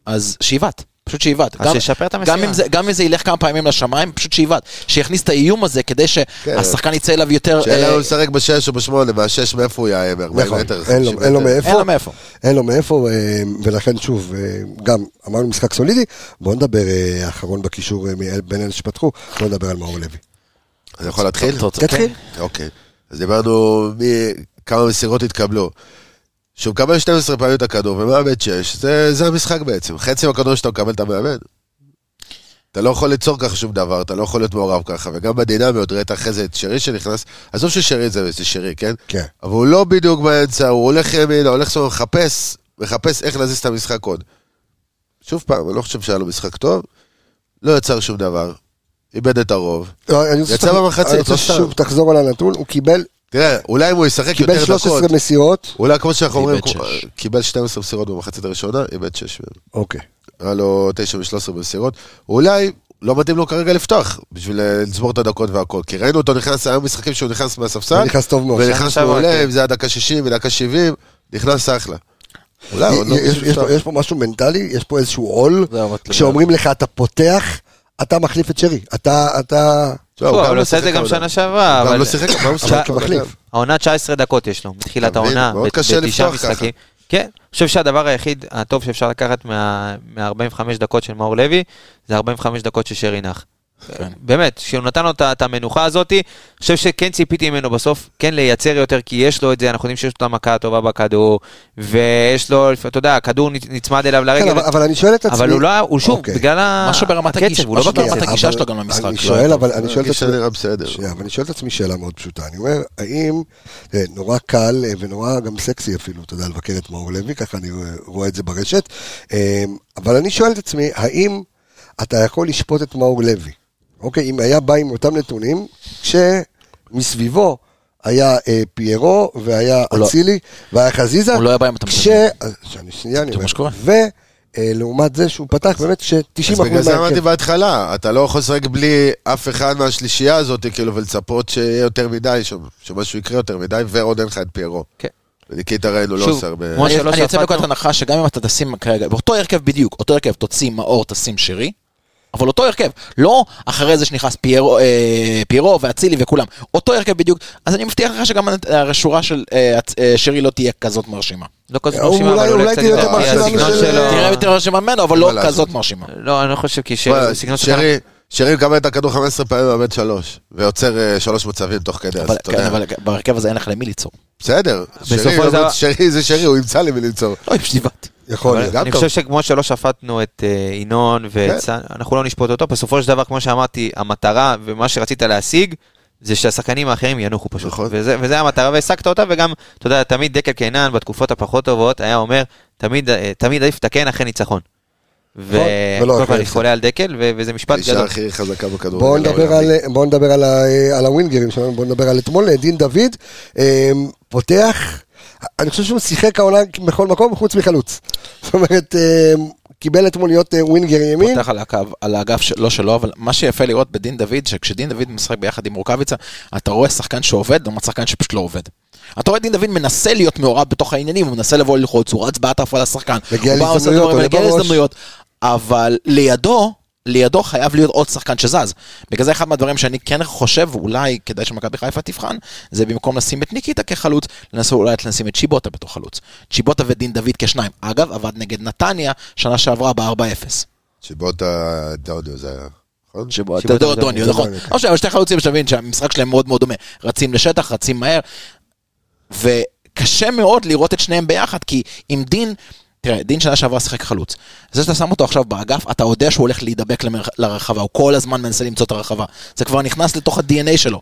[SPEAKER 5] אז שיבעט. פשוט שיבעט.
[SPEAKER 6] אז
[SPEAKER 5] גם-
[SPEAKER 6] שישפר את
[SPEAKER 5] גם
[SPEAKER 6] המסירה.
[SPEAKER 5] אם זה- גם אם זה ילך כמה פעמים לשמיים, פשוט שיבעט. שיכניס את האיום הזה כדי
[SPEAKER 1] כן.
[SPEAKER 5] שהשחקן יצא אליו יותר...
[SPEAKER 4] שאלה
[SPEAKER 5] אה,
[SPEAKER 4] הוא משחק בשש או בשמונה, מהשש מאיפה הוא יאיים? 40
[SPEAKER 1] נכון,
[SPEAKER 4] מטר,
[SPEAKER 1] אין לו-
[SPEAKER 4] 50
[SPEAKER 1] אין לו
[SPEAKER 4] מטר.
[SPEAKER 1] מאיפה.
[SPEAKER 5] אין לו מאיפה.
[SPEAKER 1] אין לו מאיפה, אה, ולכן שוב, אה, גם אמרנו משחק סולידי, בואו נדבר אה, אחרון בקישור אה, מאל- בין אלה שפתחו, בואו נדבר על מאור לוי.
[SPEAKER 4] אני יכול להתחיל?
[SPEAKER 5] אתה רוצה- כן.
[SPEAKER 1] תתחיל.
[SPEAKER 4] אוקיי. אז דיברנו מי- כמה מסירות התקבלו. שהוא מקבל 12 פעמים את הכדור ומאבד 6, זה, זה המשחק בעצם. חצי מהכדור שאתה מקבל אתה מאבד. אתה לא יכול ליצור ככה שום דבר, אתה לא יכול להיות מעורב ככה, וגם בדינמיות, ראית אחרי זה את שרי שנכנס, עזוב ששרי זה, זה שרי, כן?
[SPEAKER 1] כן.
[SPEAKER 4] אבל הוא לא בדיוק באמצע, הוא הולך ימינה, הולך שמאלה, מחפש, מחפש איך להזיז את המשחק עוד. שוב פעם, אני לא חושב שהיה לו משחק טוב, לא יצר שום דבר, איבד את הרוב.
[SPEAKER 1] לא, אני רוצה
[SPEAKER 4] יצא
[SPEAKER 1] שתח-
[SPEAKER 4] במחצית,
[SPEAKER 1] אני רוצה
[SPEAKER 4] לא סתם.
[SPEAKER 1] שוב תחזור על הנתון, הוא קיבל
[SPEAKER 4] תראה, אולי אם הוא ישחק
[SPEAKER 1] קיבל
[SPEAKER 4] יותר
[SPEAKER 1] 13
[SPEAKER 4] דקות,
[SPEAKER 1] מסירות.
[SPEAKER 4] אולי כמו שאנחנו
[SPEAKER 5] איבד
[SPEAKER 4] אומרים,
[SPEAKER 5] שש.
[SPEAKER 4] כמו- קיבל 12 מסירות במחצית הראשונה, איבד 6 מהם.
[SPEAKER 1] אוקיי.
[SPEAKER 4] היה לו 9 מ-13 במסירות. אולי לא מתאים לו כרגע לפתוח, בשביל אה, לצבור את הדקות והכל. כי ראינו אותו נכנס, היו משחקים שהוא נכנס מהספסל,
[SPEAKER 1] הוא נכנס טוב מאוד.
[SPEAKER 4] ונכנס
[SPEAKER 6] עכשיו
[SPEAKER 4] מעולה,
[SPEAKER 6] רק-
[SPEAKER 4] אם זה היה דקה 60 ודקה 70, נכנס אחלה.
[SPEAKER 1] אה,
[SPEAKER 4] אולי, עוד לא
[SPEAKER 1] יש-
[SPEAKER 4] בשביל
[SPEAKER 1] יש פה-
[SPEAKER 4] לפתוח.
[SPEAKER 1] יש פה משהו מנטלי, יש פה איזשהו עול,
[SPEAKER 5] זה אבל-
[SPEAKER 1] כשאומרים לך אתה פותח, אתה מחליף את שרי, אתה, אתה,
[SPEAKER 4] תשמע, הוא
[SPEAKER 6] שוב,
[SPEAKER 4] גם
[SPEAKER 6] אבל
[SPEAKER 4] לא
[SPEAKER 6] הוא עושה את זה
[SPEAKER 4] שיחק
[SPEAKER 6] גם
[SPEAKER 4] העונה.
[SPEAKER 6] שנה שעברה,
[SPEAKER 4] הוא גם
[SPEAKER 6] אבל
[SPEAKER 4] לא שיחק, אבל הוא
[SPEAKER 1] אבל
[SPEAKER 4] שיחק
[SPEAKER 1] כמחליף.
[SPEAKER 4] העונה.
[SPEAKER 6] העונה 19 דקות יש לו, מתחילת
[SPEAKER 4] אתה מבין?
[SPEAKER 6] העונה,
[SPEAKER 4] מאוד
[SPEAKER 6] ב-
[SPEAKER 4] קשה
[SPEAKER 6] בתשעה
[SPEAKER 4] לפתוח ככה.
[SPEAKER 6] משחקים. כן, אני חושב שהדבר היחיד הטוב שאפשר לקחת מה-45 דקות של מאור לוי, זה 45 דקות ששרי נח.
[SPEAKER 5] כן.
[SPEAKER 6] באמת, שהוא נתן לו את ה- את המנוחה הזאתי, אני חושב שכן ציפיתי ממנו בסוף, כן לייצר יותר, כי יש לו את זה, אנחנו יודעים שיש לו את המכה הטובה בכדור, ויש לו, אתה יודע, הכדור נצ- נצמד אליו
[SPEAKER 1] כן,
[SPEAKER 6] לרגל,
[SPEAKER 1] אבל, אבל אני שואל את עצמי,
[SPEAKER 6] אבל הוא לא, הוא שוב,
[SPEAKER 1] אוקיי.
[SPEAKER 6] בגלל ה-
[SPEAKER 5] משהו ברמת
[SPEAKER 6] הקצב,
[SPEAKER 5] הגישה,
[SPEAKER 6] הוא לא
[SPEAKER 5] משהו
[SPEAKER 6] בקצב.
[SPEAKER 5] ברמת
[SPEAKER 1] אבל-
[SPEAKER 5] הגישה שלו גם למשחק,
[SPEAKER 1] אני
[SPEAKER 5] לא
[SPEAKER 1] שואל,
[SPEAKER 5] היה
[SPEAKER 1] אבל אני שואל את
[SPEAKER 4] הגישה
[SPEAKER 1] עצמי,
[SPEAKER 4] נראה בסדר.
[SPEAKER 1] שנייה, אבל אני שואל את עצמי שאלה מאוד פשוטה, אני אומר, האם, תראה, נורא קל אה, ונורא גם סקסי אפילו, אתה יודע, לבקר את מאור לוי, ככה אני רואה- רואה את זה ברשת, אה, אבל אני שואל את עצמי, האם אתה יכול לשפוט את מאור לוי, אוקיי, אם היה בא עם אותם נתונים, כשמסביבו היה אה, פיירו, והיה
[SPEAKER 5] הוא לא-
[SPEAKER 1] אצילי, והיה חזיזה,
[SPEAKER 5] הוא לא היה בא עם אותם
[SPEAKER 1] כש...
[SPEAKER 5] נתונים.
[SPEAKER 1] אז שאני שנייה, אני
[SPEAKER 5] זה מה שקורה.
[SPEAKER 1] ולעומת זה שהוא פתח באמת ש-90%
[SPEAKER 4] אז בגלל זה אמרתי בהתחלה, אתה לא יכול לשחק בלי אף אחד מהשלישייה הזאת, כאילו, ולצפות שיהיה יותר מדי, ש- שמשהו יקרה יותר מדי, ועוד אין לך את פיירו.
[SPEAKER 6] כן.
[SPEAKER 4] וניקיטה ראינו לא
[SPEAKER 6] שוב,
[SPEAKER 4] עושה הרבה...
[SPEAKER 6] כמו
[SPEAKER 5] אני-
[SPEAKER 6] שלא
[SPEAKER 5] אני יוצא
[SPEAKER 6] ספגנו.
[SPEAKER 5] מנקודת הנחה שגם אם אתה תשים כרגע, באותו הרכב בדיוק, אותו הרכב תוציא מאור, תשים שרי, אבל אותו הרכב, לא אחרי זה שנכנס פיירו, אה, פיירו ואצילי וכולם, אותו הרכב בדיוק, אז אני מבטיח לך שגם הנת- השורה של אה, הצ- אה, שרי לא תהיה כזאת מרשימה.
[SPEAKER 6] לא
[SPEAKER 4] אה,
[SPEAKER 6] כזאת
[SPEAKER 1] אולי-
[SPEAKER 6] מרשימה, אבל
[SPEAKER 1] אולי
[SPEAKER 6] אולי קצת
[SPEAKER 1] תהיה יותר
[SPEAKER 6] יותר, כי
[SPEAKER 1] מרשימה
[SPEAKER 6] הסגנון
[SPEAKER 1] משל-
[SPEAKER 6] שלו...
[SPEAKER 5] תראה יותר מרשימה ממנו, אבל לא
[SPEAKER 4] לא- מה לעשות?
[SPEAKER 5] כזאת מרשימה.
[SPEAKER 6] לא, אני לא חושב כי שרי,
[SPEAKER 4] שמע,
[SPEAKER 6] הוא סגנון שלך.
[SPEAKER 4] שרי, שרי מקבל את הכדור 15 פעמים, מאבד שלוש, ויוצר אה, שלוש מצבים תוך כדי, אז
[SPEAKER 5] אבל
[SPEAKER 4] אתה יודע.
[SPEAKER 5] אבל בהרכב הזה אין לך למי ליצור.
[SPEAKER 4] בסדר,
[SPEAKER 6] כן, בסופו
[SPEAKER 4] שרי, לא
[SPEAKER 6] של דבר-
[SPEAKER 4] שרי זה שרי, הוא ימצא למי למצוא.
[SPEAKER 5] לא, היא פשוט הבנתי.
[SPEAKER 1] יכול
[SPEAKER 4] אבל-
[SPEAKER 1] להיות.
[SPEAKER 4] גם
[SPEAKER 6] אני
[SPEAKER 4] טוב.
[SPEAKER 6] חושב שכמו שלא שפטנו את אה, ינון ואת
[SPEAKER 4] כן.
[SPEAKER 6] סאן, אנחנו לא נשפוט אותו, בסופו של דבר, כמו שאמרתי, המטרה ומה שרצית להשיג, זה שהשחקנים האחרים ינוחו פשוט.
[SPEAKER 4] נכון.
[SPEAKER 6] וזה, וזה המטרה, והעסקת אותה, וגם, אתה יודע, תמיד דקל קינן, בתקופות הפחות טובות, היה אומר, תמיד, אה, תמיד עדיף לתקן אחרי ניצחון. ו-
[SPEAKER 1] נכון, ולא
[SPEAKER 6] קודם כל
[SPEAKER 1] אחרי
[SPEAKER 6] אני
[SPEAKER 1] הפסד.
[SPEAKER 6] חולה על דקל, ו- וזה משפט
[SPEAKER 4] האישה
[SPEAKER 6] גדול.
[SPEAKER 4] הכי חזקה בכדורגל.
[SPEAKER 1] בואו נדבר, על,
[SPEAKER 4] העולמי.
[SPEAKER 1] בוא נדבר על, ה- על הווינגרים שלנו, בואו נדבר על אתמול, דין דוד, אה, פותח, אני חושב שהוא שיחק העונה בכל מקום חוץ מחלוץ. זאת אומרת, אה, קיבל אתמול להיות אה, ווינגר ימין,
[SPEAKER 5] פותח על הקו, על האגף שלא שלו, אבל מה שיפה לראות בדין דוד, שכשדין דוד משחק ביחד עם רוקאביצה, אתה רואה שחקן שעובד לעומת שחקן שפשוט לא עובד. אתה רואה דין דוד מנסה להיות מעורב בתוך העניינים, הוא מנסה לבוא ללחוץ, הוא רץ באטרף על השחקן.
[SPEAKER 1] מגיע
[SPEAKER 5] הוא בא, עושה
[SPEAKER 1] להזדמנויות,
[SPEAKER 5] דברים,
[SPEAKER 1] עולה
[SPEAKER 5] מגיע
[SPEAKER 1] בראש.
[SPEAKER 5] להזדמנויות, אבל לידו... לידו חייב להיות עוד שחקן שזז. בגלל זה אחד מהדברים שאני כן חושב, אולי כדאי שמכבי חיפה תבחן, זה במקום לשים את ניקיטה כחלוץ, לנסות אולי לשים את צ'יבוטה בתור חלוץ. צ'יבוטה ודין דוד כשניים. אגב, עבד נגד נתניה שנה שעברה ב-4-0.
[SPEAKER 4] צ'יבוטה דאודו זה היה, נכון?
[SPEAKER 5] שבו אתה
[SPEAKER 6] שבו
[SPEAKER 5] יודע,
[SPEAKER 6] אתה יודע,
[SPEAKER 5] דוניו, נכון.
[SPEAKER 1] דוניו.
[SPEAKER 5] לא משנה, אבל שתי חלוצים שתבין שהמשחק שלהם מאוד מאוד דומה. רצים לשטח, רצים מהר, וקשה מאוד לראות את שניהם ביחד, כי אם דין, תראה, דין שנה שעברה שיחק חלוץ. זה שאתה שם אותו עכשיו באגף, אתה יודע שהוא הולך להידבק למר- לרחבה, הוא כל הזמן מנסה למצוא את הרחבה. זה כבר נכנס לתוך ה-DNA שלו.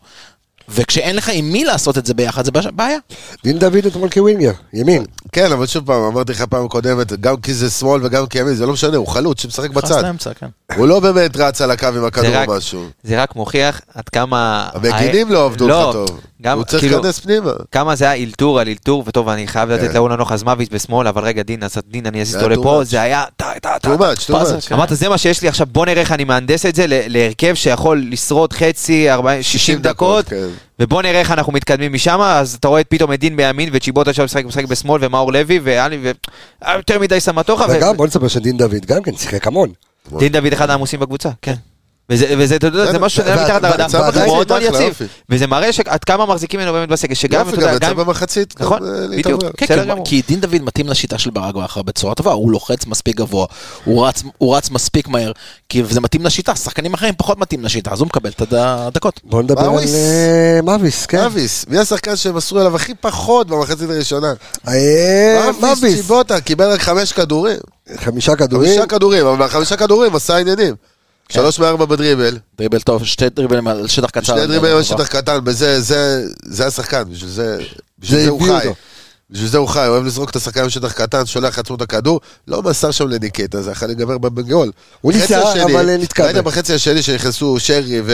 [SPEAKER 5] וכשאין לך עם מי לעשות את זה ביחד, זה בעיה.
[SPEAKER 1] דין דוד אתמול כווינגר, ימין.
[SPEAKER 4] כן, אבל שוב פעם, אמרתי לך פעם קודמת, גם כי זה שמאל וגם כי ימין, זה לא משנה, הוא חלוץ שמשחק
[SPEAKER 5] נכנס
[SPEAKER 4] בצד.
[SPEAKER 5] לאמצע, כן.
[SPEAKER 4] הוא לא באמת רץ על הקו עם הכדור
[SPEAKER 6] רק-
[SPEAKER 4] או משהו.
[SPEAKER 6] זה רק מוכיח עד כמה...
[SPEAKER 4] המגינים לא עבדו
[SPEAKER 6] לא,
[SPEAKER 4] לך טוב.
[SPEAKER 6] גם,
[SPEAKER 4] הוא צריך
[SPEAKER 6] כאילו,
[SPEAKER 4] להיכנס פנימה.
[SPEAKER 6] כמה זה היה אילתור על אילתור, וטוב, אני חייב לתת
[SPEAKER 4] כן.
[SPEAKER 6] לאולן נוחזמביץ' בשמאל, אבל רגע, דין, אז דין, אני אזיז
[SPEAKER 4] זה היה
[SPEAKER 6] אותו
[SPEAKER 4] too
[SPEAKER 6] לפה,
[SPEAKER 4] much.
[SPEAKER 6] זה היה... טה, טה, טה,
[SPEAKER 4] too much, too
[SPEAKER 6] פס.
[SPEAKER 4] much.
[SPEAKER 6] אמרת, זה מה שיש לי עכשיו, בוא נראה איך אני מהנדס את זה ל- להרכב שיכול לשרוד חצי, 40, 60 דקות,
[SPEAKER 4] כן.
[SPEAKER 6] ובוא נראה איך אנחנו מתקדמים משם, אז אתה רואה את פתאום את דין בימין, וצ'יבוטה שם משחק משחק בשמאל, ומאור לוי, ואלי, ו... אה, יותר מדי סמטוחה, ו-
[SPEAKER 1] וגם, בוא נספר שדין דוד גם כן שיחק המון.
[SPEAKER 6] דין דוד אחד העמוסים בקבוצה, כן. וזה, וזה, אתה יודע, זה
[SPEAKER 4] בסדר,
[SPEAKER 6] משהו שנראה
[SPEAKER 1] וה-
[SPEAKER 6] מתחת לרדאר,
[SPEAKER 1] והצבא
[SPEAKER 6] הוא
[SPEAKER 1] עדיין
[SPEAKER 6] מאוד מאוד
[SPEAKER 4] אחלה,
[SPEAKER 6] יציב,
[SPEAKER 4] יופי.
[SPEAKER 6] וזה מראה שעד כמה מחזיקים ממנו באמת בסגל, שגם,
[SPEAKER 4] יופי,
[SPEAKER 6] אתה
[SPEAKER 4] גם
[SPEAKER 6] יודע,
[SPEAKER 4] יצא
[SPEAKER 6] גם,
[SPEAKER 4] במחצית. גם,
[SPEAKER 6] נכון,
[SPEAKER 4] אה,
[SPEAKER 6] בדיוק.
[SPEAKER 4] להתעורר.
[SPEAKER 5] כן,
[SPEAKER 6] בסדר
[SPEAKER 5] כי-
[SPEAKER 6] גמור.
[SPEAKER 5] כי דין דוד מתאים לשיטה של ברק בכר בצורה טובה, הוא לוחץ מספיק גבוה, הוא רץ, הוא רץ מספיק מהר, כי זה מתאים לשיטה, שחקנים אחרים פחות מתאים לשיטה, אז הוא מקבל את הדקות.
[SPEAKER 1] בוא נדבר על
[SPEAKER 4] מאביס.
[SPEAKER 1] אה, מאביס, כן.
[SPEAKER 4] מאביס, מי השחקן שמסרו אליו הכי פחות במחצית הראשונה?
[SPEAKER 1] אה,
[SPEAKER 4] מאביס
[SPEAKER 1] מאביס,
[SPEAKER 4] צ'יבוטה קיבל רק חמש כדורים.
[SPEAKER 6] אה,
[SPEAKER 1] חמישה כדורים.
[SPEAKER 4] חמישה כדורים, אבל מהחמישה כדורים עשה עניינים.
[SPEAKER 6] כן.
[SPEAKER 4] שלוש מארבע בדריבל,
[SPEAKER 5] דריבל טוב, שתי דריבלים על שטח קצר. אה,
[SPEAKER 4] שני דריבלים על שטח קטן, בזה, זה, זה השחקן, בשביל זה, בשביל
[SPEAKER 1] זה
[SPEAKER 4] זה הוא
[SPEAKER 1] הביא
[SPEAKER 4] חי.
[SPEAKER 1] אותו.
[SPEAKER 4] בשביל זה הוא חי, הוא אוהב לזרוק את השחקן בשטח קטן, שולח לעצמו את הכדור, לא מסר שם לניקטה, זה יכול להיגמר בגול.
[SPEAKER 1] הוא
[SPEAKER 4] חצי
[SPEAKER 1] ניסה,
[SPEAKER 4] השני,
[SPEAKER 1] אבל, אה, נתקע
[SPEAKER 4] ראית
[SPEAKER 1] בו.
[SPEAKER 4] בחצי השני שנכנסו שרי ו...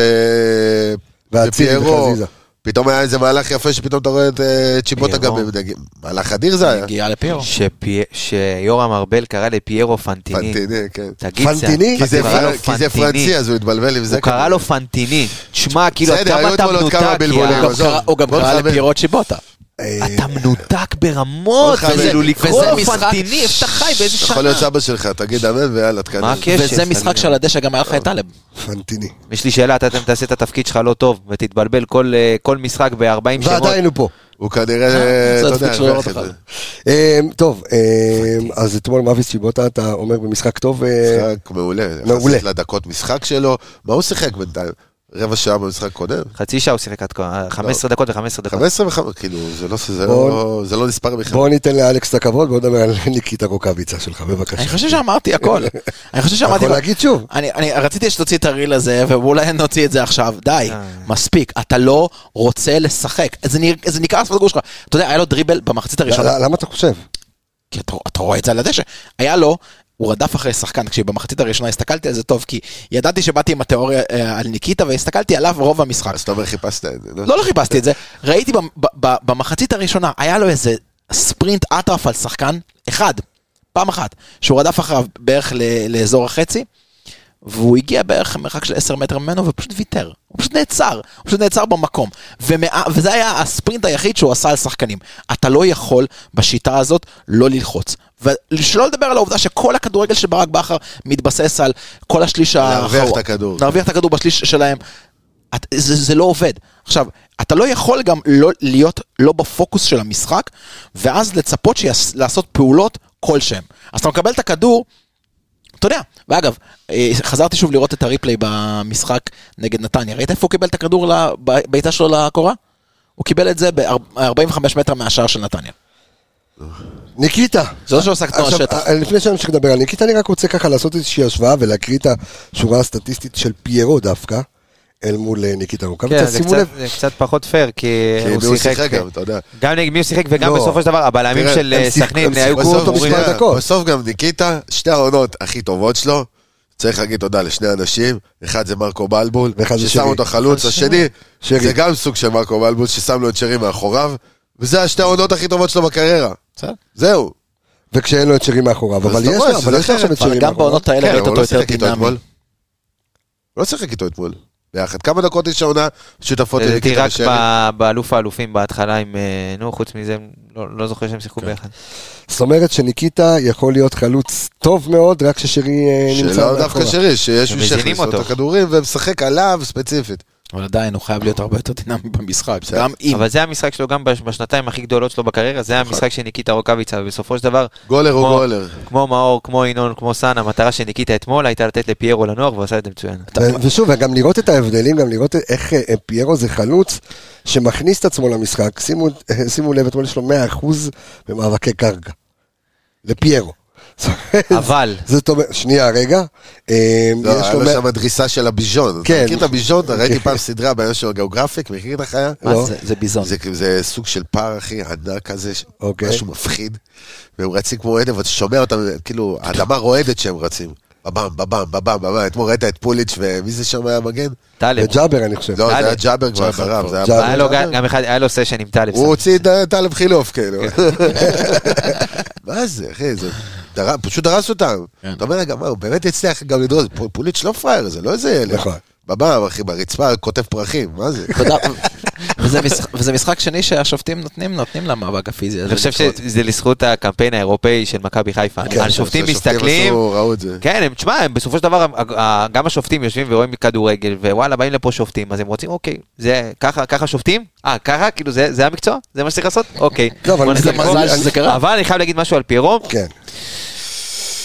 [SPEAKER 1] ואצילי
[SPEAKER 4] ופיירו.
[SPEAKER 1] וחזיזה.
[SPEAKER 4] פתאום היה איזה מהלך יפה שפתאום אתה רואה את אה, צ'יבוטה גם,
[SPEAKER 6] פיירו.
[SPEAKER 4] במדגים. מהלך אדיר זה היה.
[SPEAKER 5] הגיעה לפיירו.
[SPEAKER 6] שפי... שיורם ארבל קרא לפיירו פנטיני.
[SPEAKER 4] פנטיני, כן.
[SPEAKER 6] תגיד זה-
[SPEAKER 1] פנטיני?
[SPEAKER 4] כי זה
[SPEAKER 6] הוא קרא לו
[SPEAKER 4] פר- כי זה
[SPEAKER 6] לא פנטיני.
[SPEAKER 4] פרנצי, אז הוא התבלבל עם זה.
[SPEAKER 6] הוא קרא לו פנטיני. תשמע, כאילו, עד
[SPEAKER 4] בסדר, היו
[SPEAKER 6] כמה אתה
[SPEAKER 4] אתמול עוד
[SPEAKER 6] מנותק,
[SPEAKER 4] כמה בלבולים,
[SPEAKER 5] הוא גם
[SPEAKER 4] עזוב.
[SPEAKER 5] קרא- הוא גם
[SPEAKER 4] בוא
[SPEAKER 5] קרא
[SPEAKER 4] נחבר.
[SPEAKER 5] לפירו צ'יבוטה.
[SPEAKER 1] אה,
[SPEAKER 6] אתה מנותק ברמות,
[SPEAKER 4] בוא נחבר.
[SPEAKER 6] כאילו
[SPEAKER 4] וזה-
[SPEAKER 6] לקרוא
[SPEAKER 5] וזה
[SPEAKER 6] לו
[SPEAKER 5] משחק-
[SPEAKER 6] פנטיני, איך אתה חי, באיזה
[SPEAKER 4] יכול להיות אה,
[SPEAKER 6] שנה?
[SPEAKER 4] סבא שלך, תגיד אמן ויאללה, תקדם.
[SPEAKER 6] מה הקשר?
[SPEAKER 5] וזה
[SPEAKER 6] חלילה.
[SPEAKER 5] משחק שעל הדשא גם היה לך את טלב.
[SPEAKER 1] פנטיני.
[SPEAKER 6] יש לי שאלה, אתה תעשה את התפקיד שלך לא טוב, ותתבלבל כל, אה, כל משחק ב-40 שמות.
[SPEAKER 1] ועדיין הוא פה.
[SPEAKER 4] הוא כנראה,
[SPEAKER 5] אה, זה
[SPEAKER 4] אתה
[SPEAKER 5] התפקיד
[SPEAKER 4] יודע,
[SPEAKER 5] שלו, לא
[SPEAKER 4] איך את
[SPEAKER 5] בכלל.
[SPEAKER 4] זה.
[SPEAKER 1] אמ, טוב, אמ, אז אתמול מאביס צ'יבוטה, אתה אומר במשחק טוב, אה,
[SPEAKER 4] משחק מעולה.
[SPEAKER 1] מעולה.
[SPEAKER 4] מעולה. יחסית לדקות משחק שלו, מה הוא שיחק בינתיים? רבע שעה במשחק קודם?
[SPEAKER 6] חצי שעה הוא שיחק עד כה, 15 דקות ו-15 דקות.
[SPEAKER 4] 15 וחמש, כאילו, זה לא- זה
[SPEAKER 1] בוא-
[SPEAKER 4] לא- זה לא נספר בכלל.
[SPEAKER 1] בואו ניתן לאלכס את הכבוד, בואו נדבר על ניקיטה רוקאביצה שלך,
[SPEAKER 5] אני
[SPEAKER 1] בבקשה.
[SPEAKER 5] חושב שאמרתי הכל. אני
[SPEAKER 1] אתה
[SPEAKER 5] חושב שאמרתי...
[SPEAKER 1] יכול להגיד שוב.
[SPEAKER 5] אני, אני רציתי שתוציא את הריל הזה, ואולי נוציא את זה עכשיו. די,
[SPEAKER 6] אה.
[SPEAKER 5] מספיק. אתה לא רוצה לשחק. זה, נרא, זה נקרא שפת גור שלך. אתה יודע, היה לו דריבל במחצית הראשונה.
[SPEAKER 1] ל- למה אתה חושב?
[SPEAKER 5] כי אתה, אתה רואה את זה על הדשא. היה לו, הוא רדף אחרי שחקן, כשבמחצית הראשונה הסתכלתי על זה טוב, כי ידעתי שבאתי עם התיאוריה אה, על ניקיטה, והסתכלתי עליו רוב המשחק.
[SPEAKER 4] אז אתה אומר אה, חיפשת את זה. לא?
[SPEAKER 5] לא, לא חיפשתי את זה. ראיתי במ- ב- ב- במחצית הראשונה, היה לו איזה ספרינט אטרף על שחקן, אחד, פעם אחת, שהוא רדף אחריו בערך ל- לאזור החצי, והוא הגיע בערך מרחק של 10 מטר ממנו ופשוט ויתר. הוא פשוט נעצר, הוא פשוט נעצר במקום. ומא... וזה היה הספרינט היחיד שהוא עשה על שחקנים. אתה לא יכול בשיטה הזאת לא ללחוץ. ושלא לדבר על העובדה שכל הכדורגל של ברק בכר מתבסס על כל השליש האחרון.
[SPEAKER 4] להרוויח את הכדור.
[SPEAKER 5] להרוויח את הכדור בשליש שלהם. את, זה, זה לא עובד. עכשיו, אתה לא יכול גם לא, להיות לא בפוקוס של המשחק, ואז לצפות שיעש, לעשות פעולות כלשהם. אז אתה מקבל את הכדור, אתה יודע, ואגב, אה, חזרתי שוב לראות את הריפליי במשחק נגד נתניה, ראית איפה הוא קיבל את הכדור לבעיטה שלו לקורה? הוא קיבל את זה ב-45 מטר מהשער של נתניה.
[SPEAKER 1] ניקיטה.
[SPEAKER 5] זה לא שהוא עשה כתנועת
[SPEAKER 1] עכשיו,
[SPEAKER 5] שטח.
[SPEAKER 1] אה, לפני שאני אמשיך לדבר על ניקיטה, אני רק רוצה ככה לעשות איזושהי השוואה ולהקריא את השורה הסטטיסטית של פיירו דווקא, אל מול אה, ניקיטה
[SPEAKER 6] כן,
[SPEAKER 1] רוקאביצה.
[SPEAKER 6] זה
[SPEAKER 1] שימו
[SPEAKER 6] קצת-
[SPEAKER 1] לב,
[SPEAKER 6] זה קצת פחות פייר, כי
[SPEAKER 4] כי הוא שיחק גם, אתה יודע.
[SPEAKER 6] גם נגד מי הוא שיחק וגם
[SPEAKER 1] לא.
[SPEAKER 6] בסופו של דבר הבלמים
[SPEAKER 4] תראה,
[SPEAKER 6] של
[SPEAKER 1] הם
[SPEAKER 6] אה,
[SPEAKER 1] שיחקו-
[SPEAKER 6] סכנין
[SPEAKER 1] הם
[SPEAKER 6] היו אה,
[SPEAKER 1] שיחקו אותו
[SPEAKER 6] גרועים.
[SPEAKER 1] בשמונה
[SPEAKER 4] שנייה,
[SPEAKER 1] דקות.
[SPEAKER 4] בסוף גם ניקיטה, שתי העונות הכי טובות שלו, צריך להגיד תודה לשני אנשים, אחד זה מרקו בלבול,
[SPEAKER 1] ואחד זה
[SPEAKER 4] ששם
[SPEAKER 1] שרי.
[SPEAKER 4] אותו חלוץ, השני,
[SPEAKER 1] שרי.
[SPEAKER 4] זה גם סוג של מרקו בלבול, ששם לו את שרי מאחוריו, וזה השתי העונות הכי טובות שלו בקריירה.
[SPEAKER 5] בסדר.
[SPEAKER 4] זהו.
[SPEAKER 1] וכשאין לו את שרי מאחוריו, אבל
[SPEAKER 4] אתה
[SPEAKER 1] יש
[SPEAKER 4] רואה
[SPEAKER 1] לו,
[SPEAKER 4] שזה
[SPEAKER 1] אבל יש לו
[SPEAKER 4] אחרת,
[SPEAKER 1] עכשיו את
[SPEAKER 5] אבל
[SPEAKER 1] שרי
[SPEAKER 5] גם
[SPEAKER 1] מאחוריו.
[SPEAKER 5] בעונות האלה
[SPEAKER 4] כן,
[SPEAKER 5] ראית
[SPEAKER 4] אבל הוא
[SPEAKER 5] אותו
[SPEAKER 4] לא
[SPEAKER 5] יותר
[SPEAKER 4] שיחק איתו
[SPEAKER 5] דינמי.
[SPEAKER 4] אתמול. הוא לא שיחק איתו אתמול, ביחד. כמה דקות יש העונה שותפות
[SPEAKER 6] לדעתי
[SPEAKER 4] לניקיטה
[SPEAKER 6] אה, רק
[SPEAKER 4] ושרי?
[SPEAKER 6] ב- באלוף האלופים בהתחלה עם, אה, נו, חוץ מזה, הם לא לא זוכר שהם שיחקו ביחד.
[SPEAKER 1] זאת אומרת שניקיטה יכול להיות חלוץ טוב מאוד, רק כששרי אה, נמצא
[SPEAKER 4] שלא דווקא
[SPEAKER 1] מאחוריו.
[SPEAKER 4] שרי, שיש
[SPEAKER 6] הם
[SPEAKER 4] מי שיכניס
[SPEAKER 6] מזינים
[SPEAKER 4] לו את
[SPEAKER 6] אותו.
[SPEAKER 4] הכדורים ומשחק עליו ספציפית.
[SPEAKER 5] אבל עדיין, הוא חייב להיות הרבה יותר דינמי במשחק.
[SPEAKER 4] בסדר.
[SPEAKER 5] גם אם.
[SPEAKER 6] אבל זה המשחק שלו גם בש- בשנתיים הכי גדולות שלו בקריירה, זה המשחק של ניקיטה רוקאביצה, ובסופו של דבר,
[SPEAKER 4] גולר הוא
[SPEAKER 6] כמו-
[SPEAKER 4] גולר.
[SPEAKER 6] כמו מאור, כמו ינון, כמו סאן, המטרה של ניקיטה אתמול הייתה לתת לפיירו לנוח, והוא עשה את זה מצוין.
[SPEAKER 1] ו- ושוב, גם לראות את ההבדלים, גם לראות איך אה, אה, פיירו זה חלוץ שמכניס את עצמו למשחק. שימו, אה, שימו לב, אתמול יש לו 100% במאבקי קרקע. לפיירו.
[SPEAKER 6] אבל,
[SPEAKER 1] זאת אומרת, שנייה, רגע. אה,
[SPEAKER 4] לא,
[SPEAKER 1] יש
[SPEAKER 4] היה
[SPEAKER 1] לו
[SPEAKER 4] לו
[SPEAKER 1] מאה-
[SPEAKER 4] שם דריסה של הביז'ון.
[SPEAKER 1] כן.
[SPEAKER 4] אתה מכיר את הביז'ון? אתה ראיתי פעם סדרה בעיה של הגיאוגרפיק, מכיר את החיה?
[SPEAKER 5] מה
[SPEAKER 1] לא.
[SPEAKER 5] זה? זה ביזון.
[SPEAKER 4] זה- זה סוג של פער, אחי, ענק כזה, ש-
[SPEAKER 1] אוקיי.
[SPEAKER 4] משהו מפחיד. והם רצים כמו עדב, ואתה שומע אותם, כאילו, האדמה רועדת שהם רצים. בבם, בבם, בבם, בבם. אתמול ראית את פוליץ' ומי זה שם היה מגן?
[SPEAKER 6] טלב,
[SPEAKER 1] וג'אבר, אני חושב.
[SPEAKER 4] לא, זה
[SPEAKER 6] טלב.
[SPEAKER 4] היה ג'אבר כבר אחריו. זה היה
[SPEAKER 1] ג'אבר.
[SPEAKER 6] היה לו
[SPEAKER 4] ג'אבר.
[SPEAKER 6] גם- גם אחד, היה לו סשן עם טלב.
[SPEAKER 4] הוא הוציא את אה, טלב חילוף, כאילו.
[SPEAKER 6] כן.
[SPEAKER 4] מה זה, אחי? זה... דר... פשוט דרס אותם.
[SPEAKER 5] כן.
[SPEAKER 4] אתה אומר, רגע, מה, הוא באמת הצליח גם לדרוס, פ- פוליץ' לא פראייר, זה לא איזה ילד.
[SPEAKER 1] נכון.
[SPEAKER 4] בבם, אחי, ברצפה, כותב פרחים, מה זה?
[SPEAKER 5] תודה. וזה משחק- וזה משחק שני שהשופטים נותנים, נותנים למאבק הפיזי הזה.
[SPEAKER 6] אני חושב
[SPEAKER 5] לקרות.
[SPEAKER 6] שזה לזכות הקמפיין האירופאי של מכבי חיפה.
[SPEAKER 4] כן,
[SPEAKER 6] השופטים
[SPEAKER 4] שהשופטים
[SPEAKER 6] מסתכלים,
[SPEAKER 4] עשו- ראו את זה.
[SPEAKER 6] כן, הם, תשמע, הם בסופו של דבר, ה- ה- גם השופטים יושבים ורואים כדורגל, ווואלה, באים לפה שופטים, אז הם רוצים, אוקיי, זה ככה, ככה שופטים? אה, ככה? כאילו, זה זה המקצוע? זה מה שצריך לעשות? אוקיי.
[SPEAKER 1] לא, אבל
[SPEAKER 6] בוא נעשה
[SPEAKER 1] זה
[SPEAKER 6] פה.
[SPEAKER 5] מזל שזה קרה.
[SPEAKER 6] אבל אני חייב להגיד משהו על פיירו,
[SPEAKER 1] כן.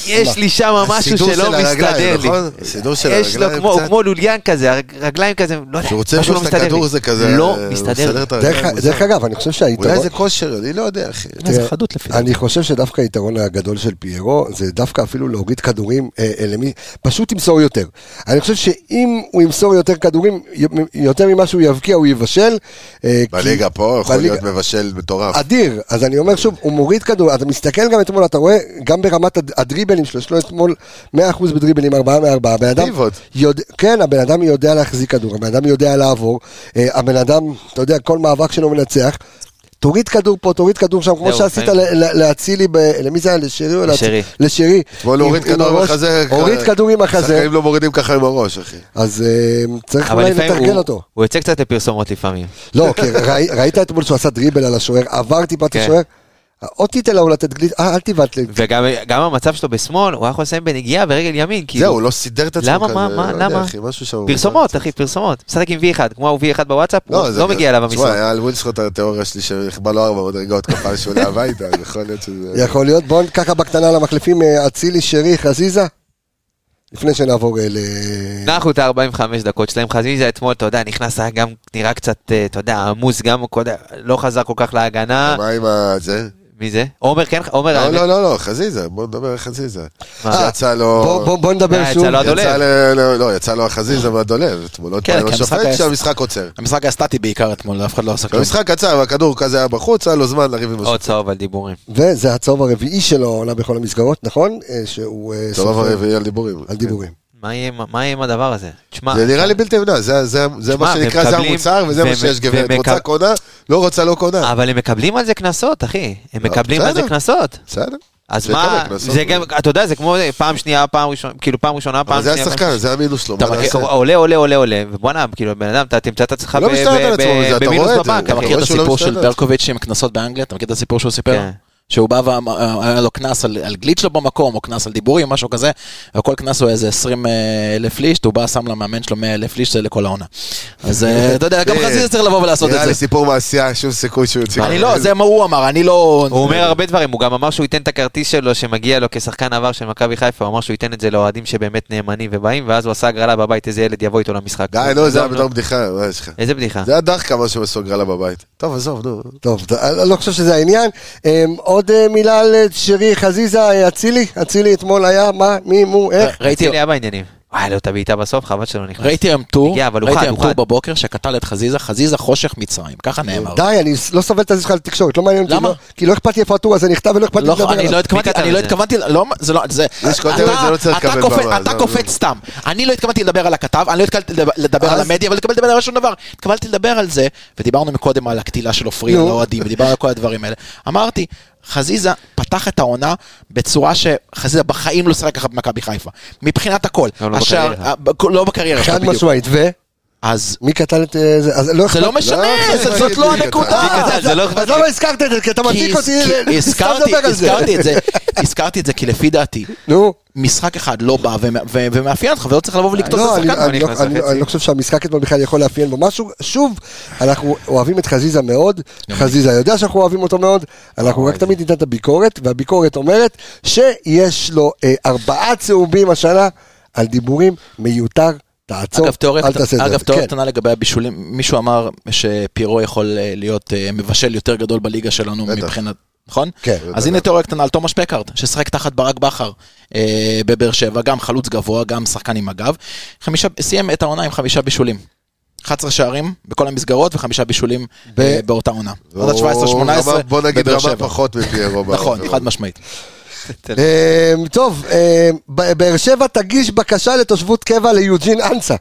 [SPEAKER 6] יש לי שם משהו
[SPEAKER 4] לא. הסידור
[SPEAKER 6] שלא
[SPEAKER 4] של הרגליים,
[SPEAKER 6] מסתדר לי.
[SPEAKER 4] נכון? הסידור של
[SPEAKER 6] יש לו
[SPEAKER 4] הרגליים
[SPEAKER 6] כמו-
[SPEAKER 4] קצת.
[SPEAKER 6] הוא כמו לוליאן כזה, הרג- רגליים כזה, לא יודע,
[SPEAKER 4] כשהוא רוצה
[SPEAKER 6] משהו לא
[SPEAKER 4] לפגוש את
[SPEAKER 6] מסתדר
[SPEAKER 4] הכדור
[SPEAKER 6] לי.
[SPEAKER 4] זה כזה,
[SPEAKER 6] לא
[SPEAKER 4] אה, הוא
[SPEAKER 6] מסתדר לי.
[SPEAKER 4] מסדר את
[SPEAKER 1] דרך-
[SPEAKER 4] הרגליים,
[SPEAKER 1] דרך
[SPEAKER 4] מוזר.
[SPEAKER 1] אגב, אני חושב שהיתרון...
[SPEAKER 4] לא, אולי זה כושר, אני לא יודע, אחי.
[SPEAKER 5] זה
[SPEAKER 1] תראה,
[SPEAKER 5] חדות לפי דעתי.
[SPEAKER 1] אני חושב שדווקא היתרון הגדול של פיירו זה דווקא אפילו להוריד כדורים אה, אה, למי, פשוט ימסור יותר. אני חושב שאם הוא ימסור יותר כדורים, י- יותר ממה שהוא יבקיע הוא יבשל. אה, כי- אה,
[SPEAKER 4] בליגה פה יכול
[SPEAKER 1] בליגה-
[SPEAKER 4] להיות מבשל מטורף.
[SPEAKER 1] אדיר, אז אני אומר שוב, הוא מוריד כדור, אתה מסתכל גם אתמול, אתה רואה, גם ברמת הד- הדריבלים שלו, יש לו אתמול 100% בדריבלים, 4 מ-4, הבן אדם,
[SPEAKER 4] פיבוט.
[SPEAKER 1] יודע, כן, הבן אדם יודע להחזיק כדור, הבן אדם יודע לעבור, אה, הבן אדם, אתה יודע, כל מאבק שלו מנצח, תוריד כדור פה, תוריד כדור שם, כמו
[SPEAKER 6] זהו,
[SPEAKER 1] שעשית
[SPEAKER 6] אני-
[SPEAKER 1] ל- ל- להצילי, ב- למי זה היה? לשרי או להצילי?
[SPEAKER 6] לשרי.
[SPEAKER 1] לשרי.
[SPEAKER 4] אתמול
[SPEAKER 1] עם-
[SPEAKER 4] הוריד
[SPEAKER 1] עם
[SPEAKER 4] כדור עם
[SPEAKER 1] הראש,
[SPEAKER 4] החזה.
[SPEAKER 1] הוריד כדור עם החזה,
[SPEAKER 4] שחקנים לא מורידים ככה עם הראש, אחי.
[SPEAKER 1] אז אה, צריך
[SPEAKER 6] אבל
[SPEAKER 1] אולי
[SPEAKER 6] לפעמים
[SPEAKER 1] לתרגל
[SPEAKER 6] הוא-
[SPEAKER 1] אותו.
[SPEAKER 6] הוא יוצא קצת לפרסומות לפעמים.
[SPEAKER 1] לא, כי ראי- ראית אתמול שהוא עשה דריבל על השוער, עבר טיפה את
[SPEAKER 6] כן.
[SPEAKER 1] השוער, עוד תיתן לו לתת גליץ', אה, אל תבעט לי.
[SPEAKER 6] וגם גם המצב שלו בשמאל, הוא היה יכול לסיים בנגיעה ברגל ימין, כאילו.
[SPEAKER 4] זהו, הוא לא סידר את עצמו
[SPEAKER 6] למה?
[SPEAKER 4] כזה,
[SPEAKER 6] מה?
[SPEAKER 4] לא
[SPEAKER 6] מה?
[SPEAKER 4] יודע,
[SPEAKER 6] למה?
[SPEAKER 4] אחי, משהו שם.
[SPEAKER 6] פרסומות, אחי, פרסומות. משחק עם V1, כמו ה-V1 בוואטסאפ, הוא
[SPEAKER 4] זה-
[SPEAKER 6] לא מגיע אליו
[SPEAKER 4] תשמע,
[SPEAKER 6] המשחק.
[SPEAKER 4] היה על ווילסקוט התיאוריה שלי שבא לו ארבע מדרגות כל פעם שהוא עולה הביתה, אז יכול להיות שזה...
[SPEAKER 1] יכול להיות, בואו ככה בקטנה למחליפים, אה, אצילי, שרי, חזיזה. לפני שנעבור אה, ל...
[SPEAKER 6] נחו את ה-45 דקות שלהם, חזיזה אתמול, אתה יודע, נכנס, היה גם נראה קצת, אה, אתה יודע, עמוס, גם כל- לא חזר כל כך להגנה.
[SPEAKER 4] לא, מה עם ה... זה?
[SPEAKER 6] מי זה? עומר, כן? עומר,
[SPEAKER 4] לא,
[SPEAKER 6] האמת-
[SPEAKER 4] לא, אה, לא, לא, חזיזה, בוא נדבר על חזיזה.
[SPEAKER 6] מה?
[SPEAKER 4] שיצא לו...
[SPEAKER 1] בואו נדבר
[SPEAKER 6] אה,
[SPEAKER 1] שוב.
[SPEAKER 6] אצל הדולב.
[SPEAKER 4] יצא ל- לא, לא, יצא לו החזיזה מהדולב. אתמול עוד
[SPEAKER 5] כן,
[SPEAKER 4] פעם עם
[SPEAKER 5] כי המשחק
[SPEAKER 4] השופט
[SPEAKER 5] היה-
[SPEAKER 4] לא שהמשחק עוצר.
[SPEAKER 5] המשחק היה סטטי בעיקר אתמול, אף אחד לא עשה כלום.
[SPEAKER 4] המשחק קצר, והכדור כזה היה בחוץ, היה לו זמן לריב עם
[SPEAKER 6] כן. עוד
[SPEAKER 4] השופט.
[SPEAKER 6] צהוב על דיבורים.
[SPEAKER 1] וזה הצהוב הרביעי שלו עונה בכל המסגרות, נכון? אה, שהוא... אה,
[SPEAKER 4] טוב,
[SPEAKER 1] סופר
[SPEAKER 4] הרביעי על דיבורים.
[SPEAKER 6] אה,
[SPEAKER 1] על דיבורים.
[SPEAKER 6] מה יהיה עם- מה יהיה עם הדבר הזה? תשמע,
[SPEAKER 4] זה נראה לי בלתי נמנע, זה- זה- זה
[SPEAKER 6] תשמע,
[SPEAKER 4] מה שנקרא, זה
[SPEAKER 6] ומקבלים-
[SPEAKER 4] המוצר, וזה מה
[SPEAKER 6] ומ-
[SPEAKER 4] שיש גברת.
[SPEAKER 6] ומקב-
[SPEAKER 4] רוצה קונה, לא רוצה לא קונה.
[SPEAKER 6] אבל הם מקבלים על זה קנסות, אחי. הם מקבלים על זה
[SPEAKER 4] לא, בסדר.
[SPEAKER 6] קנסות.
[SPEAKER 4] בסדר.
[SPEAKER 6] אז
[SPEAKER 4] זה
[SPEAKER 6] מה,
[SPEAKER 4] כמה קנסות.
[SPEAKER 6] זה גם, אתה יודע, זה כמו פעם שנייה, פעם ראשונה, כאילו פעם ראשונה, פעם
[SPEAKER 4] אבל זה
[SPEAKER 6] שנייה. פעם
[SPEAKER 4] השחקן, זה המינוס שלו.
[SPEAKER 5] אתה
[SPEAKER 4] מה
[SPEAKER 5] מכיר-
[SPEAKER 4] נעשה?
[SPEAKER 6] הוא עולה, עולה, עולה, עולה, ובואנה, כאילו, בן אדם, אתה תמצא את עצמך
[SPEAKER 4] לא
[SPEAKER 6] ב-
[SPEAKER 4] מסתלבט
[SPEAKER 6] ב-
[SPEAKER 4] על עצמו
[SPEAKER 6] ב-
[SPEAKER 4] מזה, אתה
[SPEAKER 6] במינוס
[SPEAKER 4] רואה את זה,
[SPEAKER 6] בבנק,
[SPEAKER 4] אתה
[SPEAKER 5] אתה
[SPEAKER 6] אחי.
[SPEAKER 4] רואה
[SPEAKER 5] מכיר את
[SPEAKER 4] שהוא לא
[SPEAKER 5] הסיפור של
[SPEAKER 4] משתלט?
[SPEAKER 5] ברקוביץ' עם קנסות באנגליה? אתה מכיר את הסיפור שהוא סיפר?
[SPEAKER 6] כן.
[SPEAKER 5] שהוא בא והיה לו קנס על, על גליץ' לא במקום, או קנס על דיבורים, משהו כזה, וכל קנס הוא איזה 20 אה, אלף לישט, הוא בא, שם למאמן שלו 100 אלף לישט, זה לכל העונה. אז אה, אתה יודע, גם
[SPEAKER 4] זה-
[SPEAKER 5] חזיז צריך לבוא ולעשות
[SPEAKER 4] נראה לי
[SPEAKER 5] את זה.
[SPEAKER 4] סיפור מעשייה, שום סיכוי שהוא יוציא.
[SPEAKER 5] אני לא, זה מה הוא אמר, אני לא...
[SPEAKER 6] הוא אומר הרבה דברים, הוא גם אמר שהוא ייתן את הכרטיס שלו שמגיע לו כשחקן עבר של מכבי חיפה, הוא אמר שהוא ייתן את זה לאוהדים שבאמת נאמנים ובאים, ואז הוא עשה הגרלה בבית, איזה ילד יבוא איתו למשחק.
[SPEAKER 4] די, נו,
[SPEAKER 5] לא,
[SPEAKER 4] זה היה
[SPEAKER 6] עזוב,
[SPEAKER 4] בתור בדיחה, מה יש לך?
[SPEAKER 5] אה.
[SPEAKER 6] איזה בדיחה.
[SPEAKER 4] זה היה דחקה מה שהם עשו גרלה בבית. טוב, עזוב, נו.
[SPEAKER 1] טוב, ת- אני לא חושב שזה העניין. אמ, עוד אה, מילה על אה, שרי חזיזה, אה, אצילי, אצילי אתמול היה, מה, מי, מו, איך?
[SPEAKER 5] אה, ראיתי,
[SPEAKER 6] אצילי היה בעניינים. וואי, לא, את הבעיטה בסוף, חבל שלא נכנס.
[SPEAKER 5] ראיתי היום טור,
[SPEAKER 6] הגיע, אבל הוא
[SPEAKER 5] ראיתי
[SPEAKER 6] חד,
[SPEAKER 5] היום
[SPEAKER 6] הוא
[SPEAKER 5] טור
[SPEAKER 6] חד.
[SPEAKER 5] בבוקר שקטל את חזיזה, חזיזה חושך מצרים, ככה נאמר.
[SPEAKER 1] די, אני לא סובל את הזה שלך לתקשורת, לא מעניין אותי.
[SPEAKER 5] למה?
[SPEAKER 1] לא- כי לא אכפת לי איפה הטור הזה נכתב ולא אכפת לי
[SPEAKER 5] לא,
[SPEAKER 1] לדבר
[SPEAKER 5] אני
[SPEAKER 1] עליו.
[SPEAKER 5] לא התכוונתי,
[SPEAKER 6] מי כתב
[SPEAKER 5] אני
[SPEAKER 6] את
[SPEAKER 5] לא
[SPEAKER 6] זה?
[SPEAKER 5] התכוונתי, לא, זה לא, זה,
[SPEAKER 4] יש כותרת,
[SPEAKER 5] אתה-
[SPEAKER 4] זה לא צריך
[SPEAKER 5] אתה
[SPEAKER 4] לקבל
[SPEAKER 5] קופץ-
[SPEAKER 4] במה,
[SPEAKER 5] אתה
[SPEAKER 4] זה-
[SPEAKER 5] קופץ סתם. אני לא התכוונתי לדבר על הכתב, אני לא התכוונתי לדבר- לדבר על
[SPEAKER 1] אז-
[SPEAKER 5] המדיה, אבל התכוונתי לדבר על שום דבר. התכוונתי לדבר על זה, ודיברנו מקודם על הקטילה של עופרי, על
[SPEAKER 1] נו.
[SPEAKER 5] האוהדים, ודיברנו על כל הדברים האלה. אמרתי, חזיזה פתח את העונה בצורה שחזיזה בחיים לא שיחק ככה במכבי חיפה. מבחינת הכל.
[SPEAKER 6] גם לא
[SPEAKER 5] השער-
[SPEAKER 6] בקריירה.
[SPEAKER 5] ה- לא בקריירה שלו
[SPEAKER 1] חד
[SPEAKER 5] בדיוק.
[SPEAKER 1] משמעית, ומי
[SPEAKER 5] אז
[SPEAKER 1] קטל את אה, זה? אז לא
[SPEAKER 5] זה
[SPEAKER 1] אכפת
[SPEAKER 5] לא משנה,
[SPEAKER 4] לא,
[SPEAKER 5] זה-
[SPEAKER 4] זה
[SPEAKER 5] זאת
[SPEAKER 4] לא
[SPEAKER 5] לא
[SPEAKER 4] הגיוני,
[SPEAKER 5] הנקודה. לא-
[SPEAKER 1] אה, אז- אז למה הזכרת את זה? כי אתה
[SPEAKER 5] כי
[SPEAKER 1] מצדיק אותי,
[SPEAKER 5] הזכ-
[SPEAKER 1] אה, סתם
[SPEAKER 5] הזכרתי,
[SPEAKER 1] לדבר על זה.
[SPEAKER 5] הזכרתי את זה, הזכרתי את זה, כי לפי דעתי,
[SPEAKER 1] נו.
[SPEAKER 5] משחק אחד לא בא ומ- ו- ומאפיין אותך, ולא צריך לבוא ולקטוט
[SPEAKER 1] לא,
[SPEAKER 5] את
[SPEAKER 1] אני-
[SPEAKER 5] השחקן.
[SPEAKER 1] אני לא-
[SPEAKER 6] נכנס
[SPEAKER 1] אני
[SPEAKER 6] לחצי.
[SPEAKER 1] אני לא חושב שהמשחק אתמול בכלל יכול לאפיין בו משהו. שוב, אנחנו אוהבים את חזיזה מאוד, חזיזה יודע שאנחנו אוהבים אותו מאוד, אנחנו רק תמיד ניתן את הביקורת, והביקורת אומרת שיש לו אה, ארבעה צהובים השנה על דיבורים מיותר, תעצור,
[SPEAKER 5] אגב, תיאוריה
[SPEAKER 1] אל תעשה
[SPEAKER 5] קטנה-
[SPEAKER 1] את זה.
[SPEAKER 5] אגב, תיאוריה
[SPEAKER 1] כן.
[SPEAKER 5] קטנה לגבי הבישולים, מישהו אמר שפירו יכול אה, להיות אה, מבשל יותר גדול בליגה שלנו
[SPEAKER 4] בטח.
[SPEAKER 5] מבחינת... נכון?
[SPEAKER 1] כן.
[SPEAKER 5] אז הנה תיאוריה קטנה על תומש פקארד, ששיחק תחת ברק בכר אה, בבאר שבע, גם חלוץ גבוה, גם שחקן עם הגב. חמישה- סיים את העונה עם חמישה בישולים. 11 שערים בכל המסגרות וחמישה בישולים
[SPEAKER 1] ב-
[SPEAKER 5] אה, באותה עונה. עד
[SPEAKER 4] הוא רמה-
[SPEAKER 5] 17-18
[SPEAKER 4] בוא נגיד
[SPEAKER 5] בבאר
[SPEAKER 4] רמה
[SPEAKER 5] שבע.
[SPEAKER 4] פחות מפיירו.
[SPEAKER 5] נכון,
[SPEAKER 4] בעבירות.
[SPEAKER 5] חד משמעית.
[SPEAKER 1] אמ, טוב, אמ, ב- באר שבע תגיש בקשה לתושבות קבע ליוג'ין אנסה.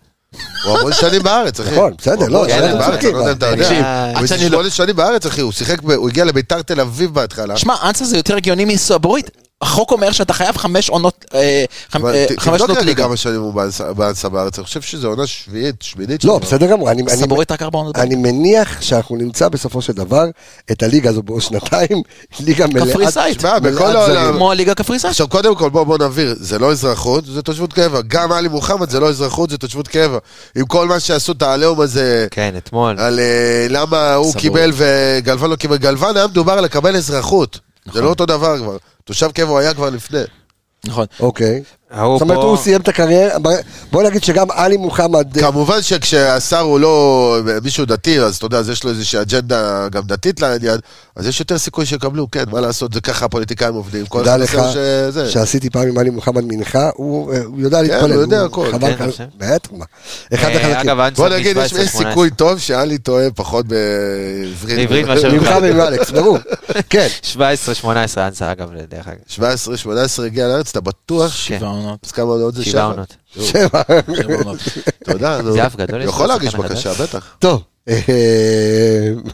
[SPEAKER 4] הוא המון שנים בארץ, אחי.
[SPEAKER 1] נכון, בסדר, לא,
[SPEAKER 4] הוא המון
[SPEAKER 1] זה
[SPEAKER 4] שנים
[SPEAKER 1] אתם
[SPEAKER 4] בארץ,
[SPEAKER 1] צודקים,
[SPEAKER 4] אני לא יודע אם אתה
[SPEAKER 1] אבל-
[SPEAKER 4] יודע.
[SPEAKER 5] תקשיב,
[SPEAKER 4] הוא
[SPEAKER 5] עד
[SPEAKER 4] איזה
[SPEAKER 5] שאני לא-
[SPEAKER 4] שמונה שנים בארץ, אחי, הוא שיחק, ב- הוא הגיע לביתר תל אביב בהתחלה.
[SPEAKER 5] שמע, אנסה זה יותר הגיוני מסואבורית. החוק אומר שאתה חייב חמש עונות, אה, חמ-
[SPEAKER 4] אבל
[SPEAKER 5] אה,
[SPEAKER 4] ת-
[SPEAKER 5] חמש
[SPEAKER 4] תבדוק
[SPEAKER 5] שנות
[SPEAKER 4] רגע
[SPEAKER 5] ליגה.
[SPEAKER 4] כמה שנים הוא באנסה- באנסה בארץ, אני חושב שזו עונה שביעית, שמינית.
[SPEAKER 1] לא,
[SPEAKER 4] שלו.
[SPEAKER 1] בסדר גמור, אני- אני-
[SPEAKER 5] סבורית רק ארבע עונות.
[SPEAKER 1] אני מניח שאנחנו נמצא בסופו של דבר את הליגה הזו בעוד שנתיים, ליגה מלאה.
[SPEAKER 5] קפריסאית.
[SPEAKER 4] תשמע, בכל
[SPEAKER 1] מלאת
[SPEAKER 4] העולם-
[SPEAKER 1] זרים.
[SPEAKER 5] כמו הליגה הקפריסאית.
[SPEAKER 4] עכשיו, קודם כל, בואו בוא נבהיר, זה לא אזרחות, זה תושבות קבע. גם עלי מוחמד זה לא אזרחות, זה תושבות קבע. עם כל מה שעשו את העליהום הזה,
[SPEAKER 6] כן, אתמול.
[SPEAKER 4] על אה, למה הוא
[SPEAKER 5] סבור.
[SPEAKER 4] קיבל וגלוון לא קיבל, גלוון היה מדובר על לקבל אזרחות.
[SPEAKER 6] נכון.
[SPEAKER 4] זה לא אותו דבר כבר. תושב קבע הוא היה כבר לפני.
[SPEAKER 5] נכון.
[SPEAKER 1] אוקיי.
[SPEAKER 6] ההוא
[SPEAKER 1] זאת אומרת,
[SPEAKER 6] פה-
[SPEAKER 1] הוא סיים את הקריירה, ב- בוא נגיד שגם עלי מוחמד... אה,
[SPEAKER 4] כמובן שכשהשר הוא לא מישהו דתי, אז אתה יודע, אז יש לו איזושהי אג'נדה גם דתית לעניין, אז יש יותר סיכוי שיקבלו, כן, מה לעשות, זה ככה הפוליטיקאים עובדים. כל
[SPEAKER 1] תדע
[SPEAKER 4] אחד
[SPEAKER 1] לך
[SPEAKER 4] עושה שזה.
[SPEAKER 1] שעשיתי פעם עם עלי מוחמד מנחה, הוא אה, הוא יודע להתפלל.
[SPEAKER 4] כן, הוא יודע הכל.
[SPEAKER 1] חבל
[SPEAKER 6] כן,
[SPEAKER 1] כאן-
[SPEAKER 6] אני חושב.
[SPEAKER 1] בטח, מה. אחד
[SPEAKER 6] אה,
[SPEAKER 1] החלקים.
[SPEAKER 6] אגב, אנסה
[SPEAKER 4] כן. בוא נגיד, יש
[SPEAKER 6] מ-
[SPEAKER 4] יש
[SPEAKER 6] 17-18.
[SPEAKER 4] סיכוי טוב שאלי טועה פחות בעברית.
[SPEAKER 6] בעברית מאשר
[SPEAKER 1] ממך ועם כן. אלכס, ברור. כן.
[SPEAKER 6] 17-18 אנסה, אגב, דרך אגב. כן.
[SPEAKER 4] 17, 18 הגיע לארץ, אתה בטוח?
[SPEAKER 5] שבע עונות.
[SPEAKER 4] אז כמה עונות זה
[SPEAKER 6] שבעה
[SPEAKER 4] שחר?
[SPEAKER 6] עונות.
[SPEAKER 1] שבע.
[SPEAKER 5] שבע עונות.
[SPEAKER 4] תודה, נו.
[SPEAKER 6] זה אף גדול, יש
[SPEAKER 4] יכול
[SPEAKER 6] לו
[SPEAKER 4] להגיש
[SPEAKER 6] שחקן
[SPEAKER 4] בקשה, בטח.
[SPEAKER 1] טוב. אה,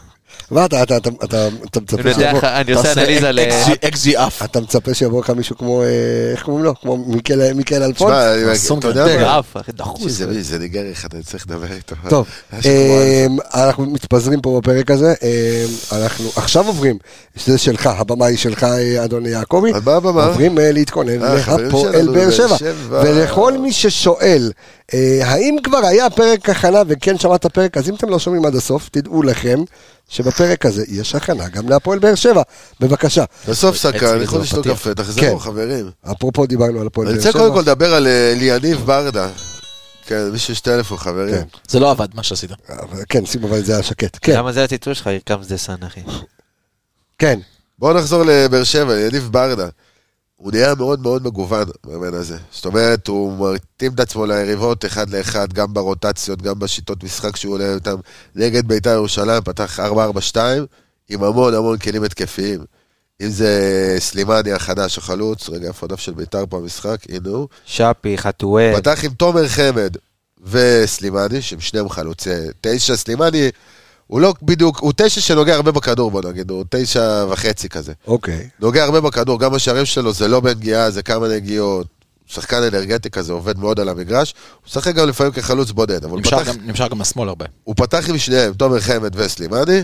[SPEAKER 1] מה אתה, אתה, אתה, אתה, אתה מצפה
[SPEAKER 6] אני יודע,
[SPEAKER 1] שיבוא-
[SPEAKER 6] אני עושה
[SPEAKER 5] תעשה
[SPEAKER 6] אנליזה ל...
[SPEAKER 5] אקזי- אקזי אף.
[SPEAKER 1] אתה מצפה שיבוא לך מישהו כמו, אה, איך קוראים לו? כמו מיקל, מיקל אלפונס?
[SPEAKER 4] תשמע, אני- אתה יודע
[SPEAKER 5] סונגרן.
[SPEAKER 4] מה?
[SPEAKER 6] אף, אחי, דחוס.
[SPEAKER 4] זה- זה ניגר אחד, אני צריך לדבר איתו.
[SPEAKER 1] טוב,
[SPEAKER 4] היה שבוע על זה.
[SPEAKER 1] אמ, אנחנו מתפזרים פה בפרק הזה, אמ, אנחנו עכשיו עוברים, שזה שלך, הבמה היא שלך, אה, אדון יעקבי,
[SPEAKER 4] על מה הבמה?
[SPEAKER 1] עוברים אה, להתכונן
[SPEAKER 4] אה, חברים
[SPEAKER 1] להפועל
[SPEAKER 4] שלנו
[SPEAKER 1] באר
[SPEAKER 4] בבאר
[SPEAKER 1] שבע,
[SPEAKER 4] שבע.
[SPEAKER 1] ולכל מי ששואל, אה, האם כבר היה פרק הכנה וכן שמעת פרק, אז אם אתם לא שומעים עד הסוף, תדעו לכם שבפרק הזה יש הכנה גם להפועל באר שבע, בבקשה.
[SPEAKER 4] בסוף
[SPEAKER 5] אצלי
[SPEAKER 4] סקה, אני
[SPEAKER 5] זה
[SPEAKER 4] יכול
[SPEAKER 6] לא
[SPEAKER 4] לשתות
[SPEAKER 5] בפתיח.
[SPEAKER 4] קפה,
[SPEAKER 1] כן.
[SPEAKER 4] תחזרו, חברים.
[SPEAKER 1] אפרופו דיברנו על הפועל
[SPEAKER 4] אני
[SPEAKER 1] באר
[SPEAKER 4] רוצה
[SPEAKER 1] שבע,
[SPEAKER 4] קודם כל לדבר על אה, ליניב ברדה. כן, מישהו יש טלפון, חברים.
[SPEAKER 1] כן.
[SPEAKER 5] זה לא עבד, מה שעשית.
[SPEAKER 1] אבל- כן, שים אבל זה היה שקט, כן,
[SPEAKER 6] למה זה הציטוט שלך, ירקם זדסן, אחי?
[SPEAKER 1] כן,
[SPEAKER 4] בואו נחזור לבאר שבע, ליניב ברדה. הוא נהיה מאוד מאוד מגוון, המאמן הזה. זאת אומרת, הוא מרתים את עצמו ליריבות אחד לאחד, גם ברוטציות, גם בשיטות משחק שהוא עולה איתם. נגד בית"ר ירושלים פתח 4-4-2, עם המון המון כלים התקפיים. אם זה סלימני החדש, החלוץ, רגע, איפה הדף של בית"ר פה במשחק? הנה הוא.
[SPEAKER 6] שפי, חתואל.
[SPEAKER 4] פתח עם תומר חמד וסלימני, שהם שניהם חלוצי תשע. סלימני, הוא לא בדיוק, הוא תשע שנוגע הרבה בכדור, בוא נגיד, הוא תשע וחצי כזה.
[SPEAKER 1] אוקיי.
[SPEAKER 4] נוגע הרבה בכדור, גם השערים שלו זה לא בנגיעה, זה כמה נגיעות. שחקן אנרגטי כזה, עובד מאוד על המגרש. הוא משחק גם לפעמים כחלוץ בודד, אבל הוא
[SPEAKER 5] נמשך
[SPEAKER 4] פתח,
[SPEAKER 5] גם- נמשך גם
[SPEAKER 6] אה,
[SPEAKER 5] לשמאל הרבה.
[SPEAKER 4] הוא פתח עם שניהם, תומר חמד וסלימני,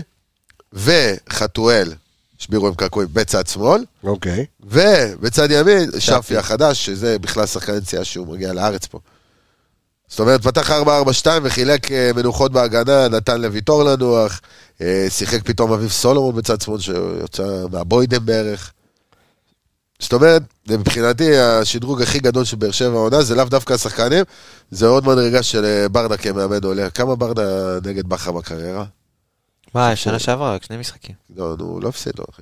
[SPEAKER 4] וחתואל, שבירו עם קעקועים בצד שמאל,
[SPEAKER 1] אוקיי.
[SPEAKER 4] ובצד ימין, שפי החדש, שזה בכלל שחקן יציאה שהוא מגיע לארץ פה. זאת אומרת, פתח 4-4-2 וחילק אה, מנוחות בהגנה, נתן לוויטור לנוח, אה, שיחק פתאום אביב סולומון בצד שמאל, שיוצא מהבוידם בערך. זאת אומרת, זה מבחינתי השדרוג הכי גדול של באר שבע העונה, זה לאו דווקא השחקנים, זה עוד מדרגה של אה, ברדה כמאמן עולה. כמה ברדה נגד בכר בקריירה?
[SPEAKER 6] מה, שנה שעברה, רק שני משחקים.
[SPEAKER 4] לא, נו, לא הפסיד לו, אחי.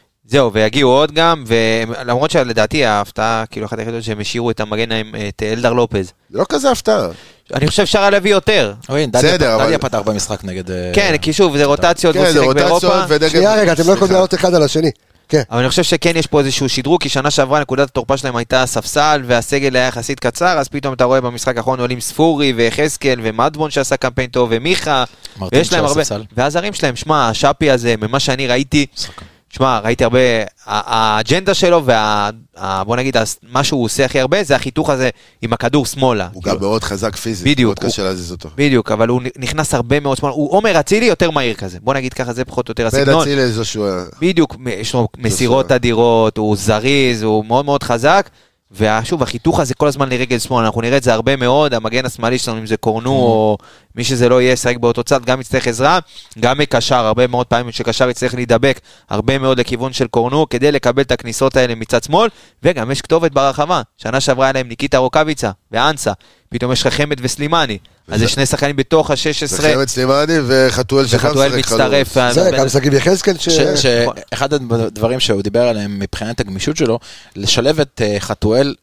[SPEAKER 6] זהו, ויגיעו עוד גם, ולמרות שלדעתי ההפתעה, כאילו אחת היחידות שהם השאירו את המגן עם אה, את אלדר לופז.
[SPEAKER 4] זה לא כזה הפתעה.
[SPEAKER 6] אני חושב שאפשר היה להביא יותר.
[SPEAKER 5] אבל הנה,
[SPEAKER 4] בסדר,
[SPEAKER 5] דדיה- דדיה
[SPEAKER 4] אבל-
[SPEAKER 5] פתח במשחק נגד... אה,
[SPEAKER 6] כן, כי שוב, זה רוטציות,
[SPEAKER 4] כן,
[SPEAKER 6] והוא
[SPEAKER 4] זה
[SPEAKER 6] שיחק
[SPEAKER 4] רוטציות
[SPEAKER 6] באירופה.
[SPEAKER 4] ונגד...
[SPEAKER 1] שנייה רגע, אתם לא יכולים
[SPEAKER 4] סליחה.
[SPEAKER 1] לעלות אחד על השני. כן.
[SPEAKER 6] אבל אני חושב שכן יש פה איזשהו שדרוג, כי שנה שעברה נקודת התורפה שלהם הייתה הספסל, והסגל היה יחסית קצר, אז פתאום אתה רואה במשחק האחרון עולים ספורי, ויחזקאל, ומדמון שעשה קמפיין טוב, ומיכה,
[SPEAKER 5] מרטין
[SPEAKER 6] ויש להם
[SPEAKER 5] שהיה
[SPEAKER 6] הרבה...
[SPEAKER 5] ספסל.
[SPEAKER 6] והזרים שלהם, שמע, השאפי הזה, ממה שאני ראיתי,
[SPEAKER 5] משחק.
[SPEAKER 6] שמע, ראיתי הרבה, ה- האג'נדה שלו, וה... ה- בוא נגיד, הס- מה שהוא עושה הכי הרבה, זה החיתוך הזה עם הכדור שמאלה.
[SPEAKER 4] הוא
[SPEAKER 6] כאילו.
[SPEAKER 4] גם מאוד חזק פיזית.
[SPEAKER 6] בדיוק,
[SPEAKER 4] מאוד קשה
[SPEAKER 6] הוא-
[SPEAKER 4] להזיז אותו.
[SPEAKER 6] בדיוק, אבל הוא נ- נכנס הרבה מאוד שמאלה, הוא עומר אצילי יותר מהיר כזה, בוא נגיד ככה, זה פחות או יותר
[SPEAKER 4] בן
[SPEAKER 6] הסגנון.
[SPEAKER 4] אצילי אה, זה שהוא... היה-
[SPEAKER 6] בדיוק, מ- יש לו מסירות
[SPEAKER 4] בסדר.
[SPEAKER 6] אדירות, הוא זריז, הוא מאוד מאוד חזק. ושוב, החיתוך הזה כל הזמן לרגל שמאל, אנחנו נראה את זה הרבה מאוד, המגן השמאלי שלנו, אם זה קורנו או מי שזה לא יהיה, ישחק באותו צד, גם יצטרך עזרה, גם מקשר, הרבה מאוד פעמים שקשר יצטרך להידבק, הרבה מאוד לכיוון של קורנו, כדי לקבל את הכניסות האלה מצד שמאל, וגם יש כתובת ברחבה, שנה שעברה היה להם ניקיטה רוקאביצה ואנסה, פתאום יש לך חמד וסלימני, אז
[SPEAKER 4] וזה-
[SPEAKER 6] זה שני שחקנים בתוך ה-16,
[SPEAKER 4] וחמד סלימני וחתואל שגם
[SPEAKER 6] וחתואל
[SPEAKER 4] שיחק
[SPEAKER 6] מצטרף. אה,
[SPEAKER 4] חלוץ.
[SPEAKER 6] אז-
[SPEAKER 1] זה גם שגיב יחזקאל ש...
[SPEAKER 5] ש-
[SPEAKER 4] נכון.
[SPEAKER 5] שאחד הדברים שהוא דיבר עליהם מבחינת הגמישות שלו, לשלב את אה, חתואל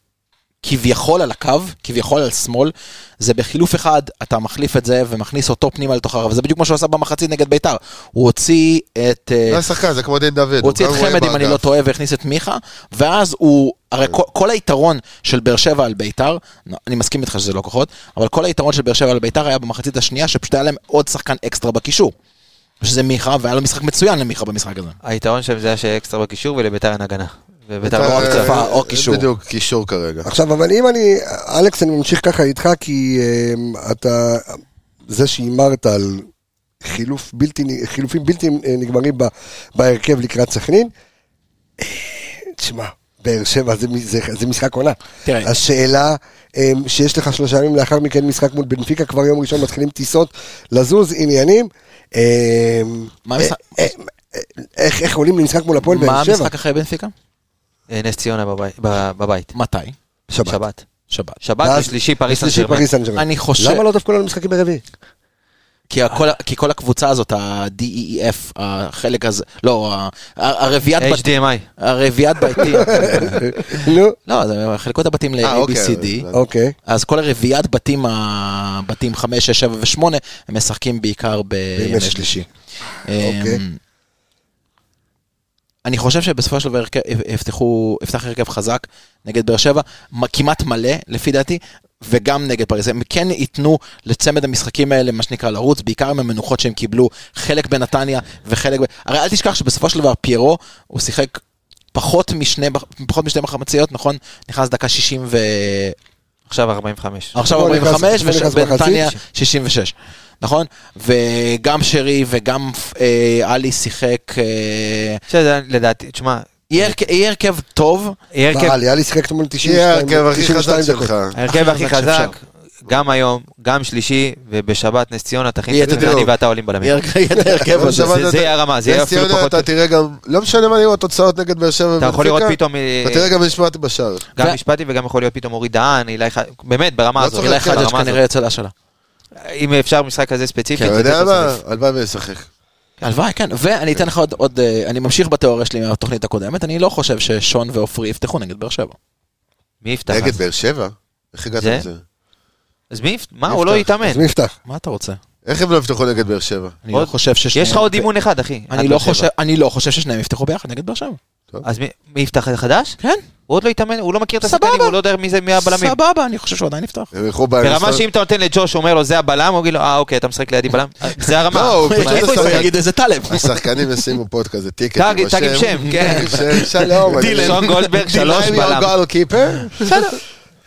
[SPEAKER 5] כביכול על הקו, כביכול על שמאל, זה בחילוף אחד, אתה מחליף את זה ומכניס אותו פנימה לתוך הרב, זה בדיוק מה שהוא עשה במחצית נגד ביתר. הוא הוציא את... אה,
[SPEAKER 4] לא זה השחקן, זה כמו דין דוד.
[SPEAKER 5] הוא הוציא את
[SPEAKER 4] גם רואה
[SPEAKER 5] חמד, אם אני
[SPEAKER 4] באגף. אה.
[SPEAKER 5] לא טועה, והכניס את מיכה, ואז הוא, הרי כל- כל היתרון של באר שבע על ביתר, נו, אני מסכים איתך שזה לא כוחות, אבל כל היתרון של באר שבע על ביתר היה במחצית השנייה, שפשוט היה להם עוד שחקן אקסטרה בקישור. שזה מיכה, והיה לו משחק מצוין למיכה במשחק הזה.
[SPEAKER 6] היתרון שלהם זה היה שאקסטרה בקישור ולביתר אין הגנה. וביתר
[SPEAKER 4] אה,
[SPEAKER 5] או
[SPEAKER 6] לא רק
[SPEAKER 5] התקפה
[SPEAKER 4] אה,
[SPEAKER 5] או קישור.
[SPEAKER 4] בדיוק, קישור
[SPEAKER 6] אה,
[SPEAKER 4] כרגע.
[SPEAKER 1] עכשיו, אבל אם אני... אלכס, אני ממשיך ככה איתך, כי אמ, אתה... זה שהימרת על חילוף בלתי, נ- חילופים בלתי אה, נגמרים ב- בהרכב לקראת סכנין, אה, תשמע, באר שבע זה, מ- זה, זה משחק עונה.
[SPEAKER 5] תראה.
[SPEAKER 1] השאלה אמ, שיש לך שלושה ימים לאחר מכן משחק מול בנפיקה, כבר יום ראשון מתחילים טיסות לזוז, עניינים. אמ,
[SPEAKER 5] מה המשחק-
[SPEAKER 1] אה, אה, איך, איך עולים למשחק מול הפועל
[SPEAKER 5] מה
[SPEAKER 1] באר שבע?
[SPEAKER 5] המשחק אחרי בנפיקה?
[SPEAKER 6] אה, נס ציונה בבית- ב- בבית.
[SPEAKER 5] מתי?
[SPEAKER 1] שבת.
[SPEAKER 6] שבת.
[SPEAKER 5] שבת.
[SPEAKER 6] שבת
[SPEAKER 1] ואז-
[SPEAKER 6] ושלישי פריס סן
[SPEAKER 1] שלישי
[SPEAKER 6] ג'רמן.
[SPEAKER 1] פריס סן ג'רמן.
[SPEAKER 5] אני חושב-
[SPEAKER 1] למה לא דווקא לנו משחקים ברביעי?
[SPEAKER 5] כי הכל- כי כל הקבוצה הזאת, ה-DEF, החלק הזה, לא, ה- הרביעיית בתים,
[SPEAKER 6] HDMI.
[SPEAKER 5] הרביעיית בתים,
[SPEAKER 1] נו,
[SPEAKER 5] לא, זה חלקות הבתים
[SPEAKER 4] אה, אוקיי,
[SPEAKER 5] ל-ABCD,
[SPEAKER 4] הבנתי.
[SPEAKER 1] אוקיי.
[SPEAKER 5] אז כל הרביעיית בתים, הבתים 5, 6, 7 ו-8, הם משחקים בעיקר בימי
[SPEAKER 1] שלישי.
[SPEAKER 5] אה, שלישי.
[SPEAKER 1] אוקיי.
[SPEAKER 5] אמ, אני חושב שבסופו של דבר הרכב- יפתחו, יפתח הרכב חזק נגד באר שבע, מ- כמעט מלא לפי דעתי, וגם נגד פריז. הם כן ייתנו לצמד המשחקים האלה, מה שנקרא, לרוץ, בעיקר עם המנוחות שהם קיבלו, חלק בנתניה וחלק ב... הרי אל תשכח שבסופו של דבר פיירו, הוא שיחק פחות משני, בח- פחות משתי מחמציות, נכון? נכנס דקה 60 ו...
[SPEAKER 6] עכשיו 45.
[SPEAKER 5] עכשיו
[SPEAKER 1] אתמול נכנס-
[SPEAKER 5] 45
[SPEAKER 1] אתמול נכנס
[SPEAKER 5] ובנתניה
[SPEAKER 1] מחצית.
[SPEAKER 5] 66, נכון? וגם שרי וגם אה, עלי שיחק, אה,
[SPEAKER 6] שזה לדעתי, תשמע,
[SPEAKER 5] יהיה הרכב- יהיה הרכב טוב,
[SPEAKER 6] יהיה
[SPEAKER 4] כן,
[SPEAKER 6] הרכב-
[SPEAKER 1] מה, ליאלי שיחק אתמול
[SPEAKER 4] שיהיה
[SPEAKER 1] 92
[SPEAKER 4] הרכב הכי חזק
[SPEAKER 1] 92
[SPEAKER 4] שלך.
[SPEAKER 1] דקות.
[SPEAKER 6] ההרכב הכי
[SPEAKER 5] הכי חזק
[SPEAKER 6] חזק, גם היום, גם שלישי, ובשבת נס ציונה תכין
[SPEAKER 5] יהיה
[SPEAKER 6] את נתניה
[SPEAKER 4] בדיוק.
[SPEAKER 6] ואתה עולים בלמים.
[SPEAKER 5] יהיה את ההרכב
[SPEAKER 4] לא
[SPEAKER 5] הזה.
[SPEAKER 6] זה- זה יהיה הרמה, זה יהיה אפילו
[SPEAKER 4] נס ציונה,
[SPEAKER 6] פחות-
[SPEAKER 4] אתה תראה גם, לא משנה מה יהיו התוצאות נגד באר שבע
[SPEAKER 6] אתה יכול
[SPEAKER 4] ובנפיקה,
[SPEAKER 6] לראות פתאום אה,
[SPEAKER 4] אתה תראה גם נשמעתי בשער.
[SPEAKER 6] גם
[SPEAKER 5] ו-
[SPEAKER 6] משפטי וגם יכול להיות פתאום אורי דהן, אילי ח- באמת, ברמה
[SPEAKER 4] לא
[SPEAKER 6] הזאת.
[SPEAKER 4] צוחק,
[SPEAKER 5] אולי
[SPEAKER 4] כן,
[SPEAKER 5] חג'ג'
[SPEAKER 6] ברמה
[SPEAKER 5] כנראה יוצא להשאלה.
[SPEAKER 6] הזאת. אם אפשר משחק כזה ספציפי.
[SPEAKER 4] אתה
[SPEAKER 6] זה
[SPEAKER 4] יודע
[SPEAKER 6] יותר
[SPEAKER 4] מה?
[SPEAKER 6] סביר.
[SPEAKER 4] הלוואי וישחק.
[SPEAKER 5] הלוואי, כן. ואני אתן לך עוד- עוד, אה, אני ממשיך בתיאוריה שלי מהתוכנית הקודמת, אני לא חושב ששון ועופרי יפתחו נגד באר שבע.
[SPEAKER 6] מי יפתח?
[SPEAKER 4] נגד
[SPEAKER 6] אז?
[SPEAKER 4] באר שבע? איך הגעת
[SPEAKER 6] זה?
[SPEAKER 4] לזה?
[SPEAKER 6] אז מי יפתח? מה,
[SPEAKER 4] מי
[SPEAKER 6] הוא לא
[SPEAKER 4] יפתח?
[SPEAKER 6] יתאמן.
[SPEAKER 1] אז מי יפתח?
[SPEAKER 5] מה אתה רוצה?
[SPEAKER 4] איך הם לא יפתחו נגד באר שבע?
[SPEAKER 5] אני לא
[SPEAKER 6] עוד-
[SPEAKER 5] חושב ששניהם...
[SPEAKER 6] יש לך עוד אימון אחד, אחי.
[SPEAKER 5] אני
[SPEAKER 6] עד
[SPEAKER 5] לא
[SPEAKER 6] באר שבע.
[SPEAKER 5] חושב- אני לא חושב ששניהם יפתחו ביחד נגד באר שבע.
[SPEAKER 4] טוב.
[SPEAKER 6] אז מי- מי יפתח חדש?
[SPEAKER 5] כן,
[SPEAKER 6] הוא עוד לא התאמן, הוא לא מכיר את
[SPEAKER 5] סבבה.
[SPEAKER 6] השחקנים, הוא לא יודע מי זה, מי הבלמים.
[SPEAKER 5] סבבה, אני חושב שהוא עדיין יפתח.
[SPEAKER 4] הם ילכו בהם...
[SPEAKER 6] ברמה שאם אתה נותן לג'וש, אומר לו זה הבלם, הוא יגיד לו, אה אוקיי, אתה משחק לידי בלם? זה הרמה.
[SPEAKER 4] לא, הוא
[SPEAKER 6] מה,
[SPEAKER 4] פשוט
[SPEAKER 6] איפה
[SPEAKER 5] איפה
[SPEAKER 4] עשה-
[SPEAKER 5] הוא
[SPEAKER 6] ישחק?
[SPEAKER 5] יגיד איזה טלב?
[SPEAKER 4] השחקנים ישימו פה עוד כזה טיקט.
[SPEAKER 6] טאג-
[SPEAKER 4] עם
[SPEAKER 6] טאג עם
[SPEAKER 4] השם.
[SPEAKER 6] שם, כן.
[SPEAKER 4] שם, שלום. אני- לא-
[SPEAKER 6] דילן. שון גולדברג, שלוש
[SPEAKER 4] דילן
[SPEAKER 6] בלם.
[SPEAKER 4] יוגל קיפר?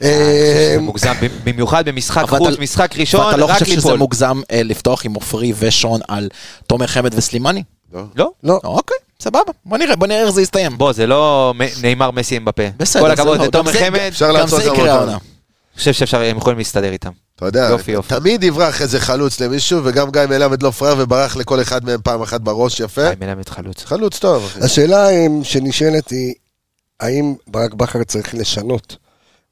[SPEAKER 4] אה,
[SPEAKER 6] זה
[SPEAKER 1] אמ,
[SPEAKER 6] מוגזם, ב- במיוחד במשחק
[SPEAKER 5] אבל
[SPEAKER 6] חוץ,
[SPEAKER 5] אתה-
[SPEAKER 6] משחק
[SPEAKER 5] ואתה
[SPEAKER 6] ראשון,
[SPEAKER 5] לא
[SPEAKER 6] רק
[SPEAKER 5] חושב שזה
[SPEAKER 6] ליפול.
[SPEAKER 5] מוגזם אה, לפתוח עם עופרי ושון על תומר חמד וסלימני?
[SPEAKER 6] לא?
[SPEAKER 1] לא,
[SPEAKER 5] אוקיי, סבבה. בוא נראה, בוא נראה איך זה יסתיים.
[SPEAKER 6] בוא, זה לא מ- נאמר מסי עם בפה.
[SPEAKER 5] בסדר,
[SPEAKER 6] כל
[SPEAKER 5] זה
[SPEAKER 6] הכבוד,
[SPEAKER 5] לא,
[SPEAKER 6] זה תומר
[SPEAKER 5] גם זה-
[SPEAKER 6] חמד,
[SPEAKER 4] אפשר
[SPEAKER 5] גם
[SPEAKER 4] לעשות
[SPEAKER 5] זה
[SPEAKER 4] גם
[SPEAKER 5] יקרה
[SPEAKER 4] אותנו.
[SPEAKER 5] העונה.
[SPEAKER 6] אני חושב שאפשר, הם יכולים להסתדר איתם.
[SPEAKER 4] אתה יודע,
[SPEAKER 6] יופי, יופי.
[SPEAKER 4] תמיד יברח איזה חלוץ למישהו, וגם גיא מלמד לא פראייר וברח לכל אחד מהם פעם אחת בראש
[SPEAKER 5] כן.
[SPEAKER 4] יפה.
[SPEAKER 6] אני אה, מלמד חלוץ.
[SPEAKER 4] חלוץ טוב, אחי.
[SPEAKER 1] השאלה אמ, שנשאלת היא, האם ברק בכר צריך לשנות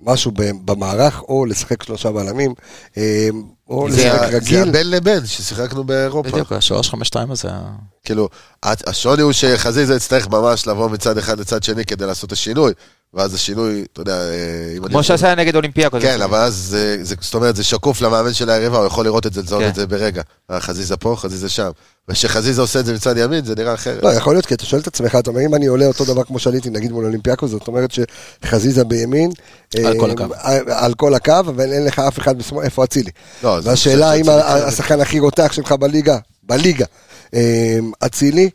[SPEAKER 1] משהו ב- במערך, או לשחק שלושה בלמים, אמ, או
[SPEAKER 4] זה
[SPEAKER 1] לשחק
[SPEAKER 4] ה- זה
[SPEAKER 1] רגיל?
[SPEAKER 4] הבן לבן ששיחקנו באירופה.
[SPEAKER 5] בדיוק, השלוש, חמש, שתיים אה, הזה. ה-
[SPEAKER 4] כאילו, הת- השוני הוא שחזיזה יצטרך ממש לבוא מצד אחד לצד שני כדי לעשות את השינוי, ואז השינוי, אתה יודע, אה, אם אני...
[SPEAKER 6] כמו שעשה נגד אולימפיאקוס.
[SPEAKER 4] כן, אבל אז, זה- זה- זאת אומרת, זה שקוף למאמן של היריבה, הוא יכול לראות את זה, לזהות
[SPEAKER 6] כן.
[SPEAKER 4] את זה ברגע. אה, חזיזה פה, חזיזה שם. וכשחזיזה עושה את זה מצד ימין, זה נראה אחרת.
[SPEAKER 1] לא, יכול להיות, כי אתה שואל את עצמך, אתה אומר, אם אני עולה אותו דבר כמו שעליתי, נגיד מול אולימפיאקוס, זאת אומרת שחזיזה בימין,
[SPEAKER 5] על כל
[SPEAKER 1] אמ,
[SPEAKER 5] הקו.
[SPEAKER 1] על- על כל הקו, אבל אין לך אף אחד בשמאל, איפה אצילי?
[SPEAKER 4] לא, זה-
[SPEAKER 1] והשאלה
[SPEAKER 4] זה-
[SPEAKER 1] אם
[SPEAKER 4] זה-
[SPEAKER 1] ה- ה- השחקן הכי רותח שלך בליגה, בליגה, אמ, אצילי,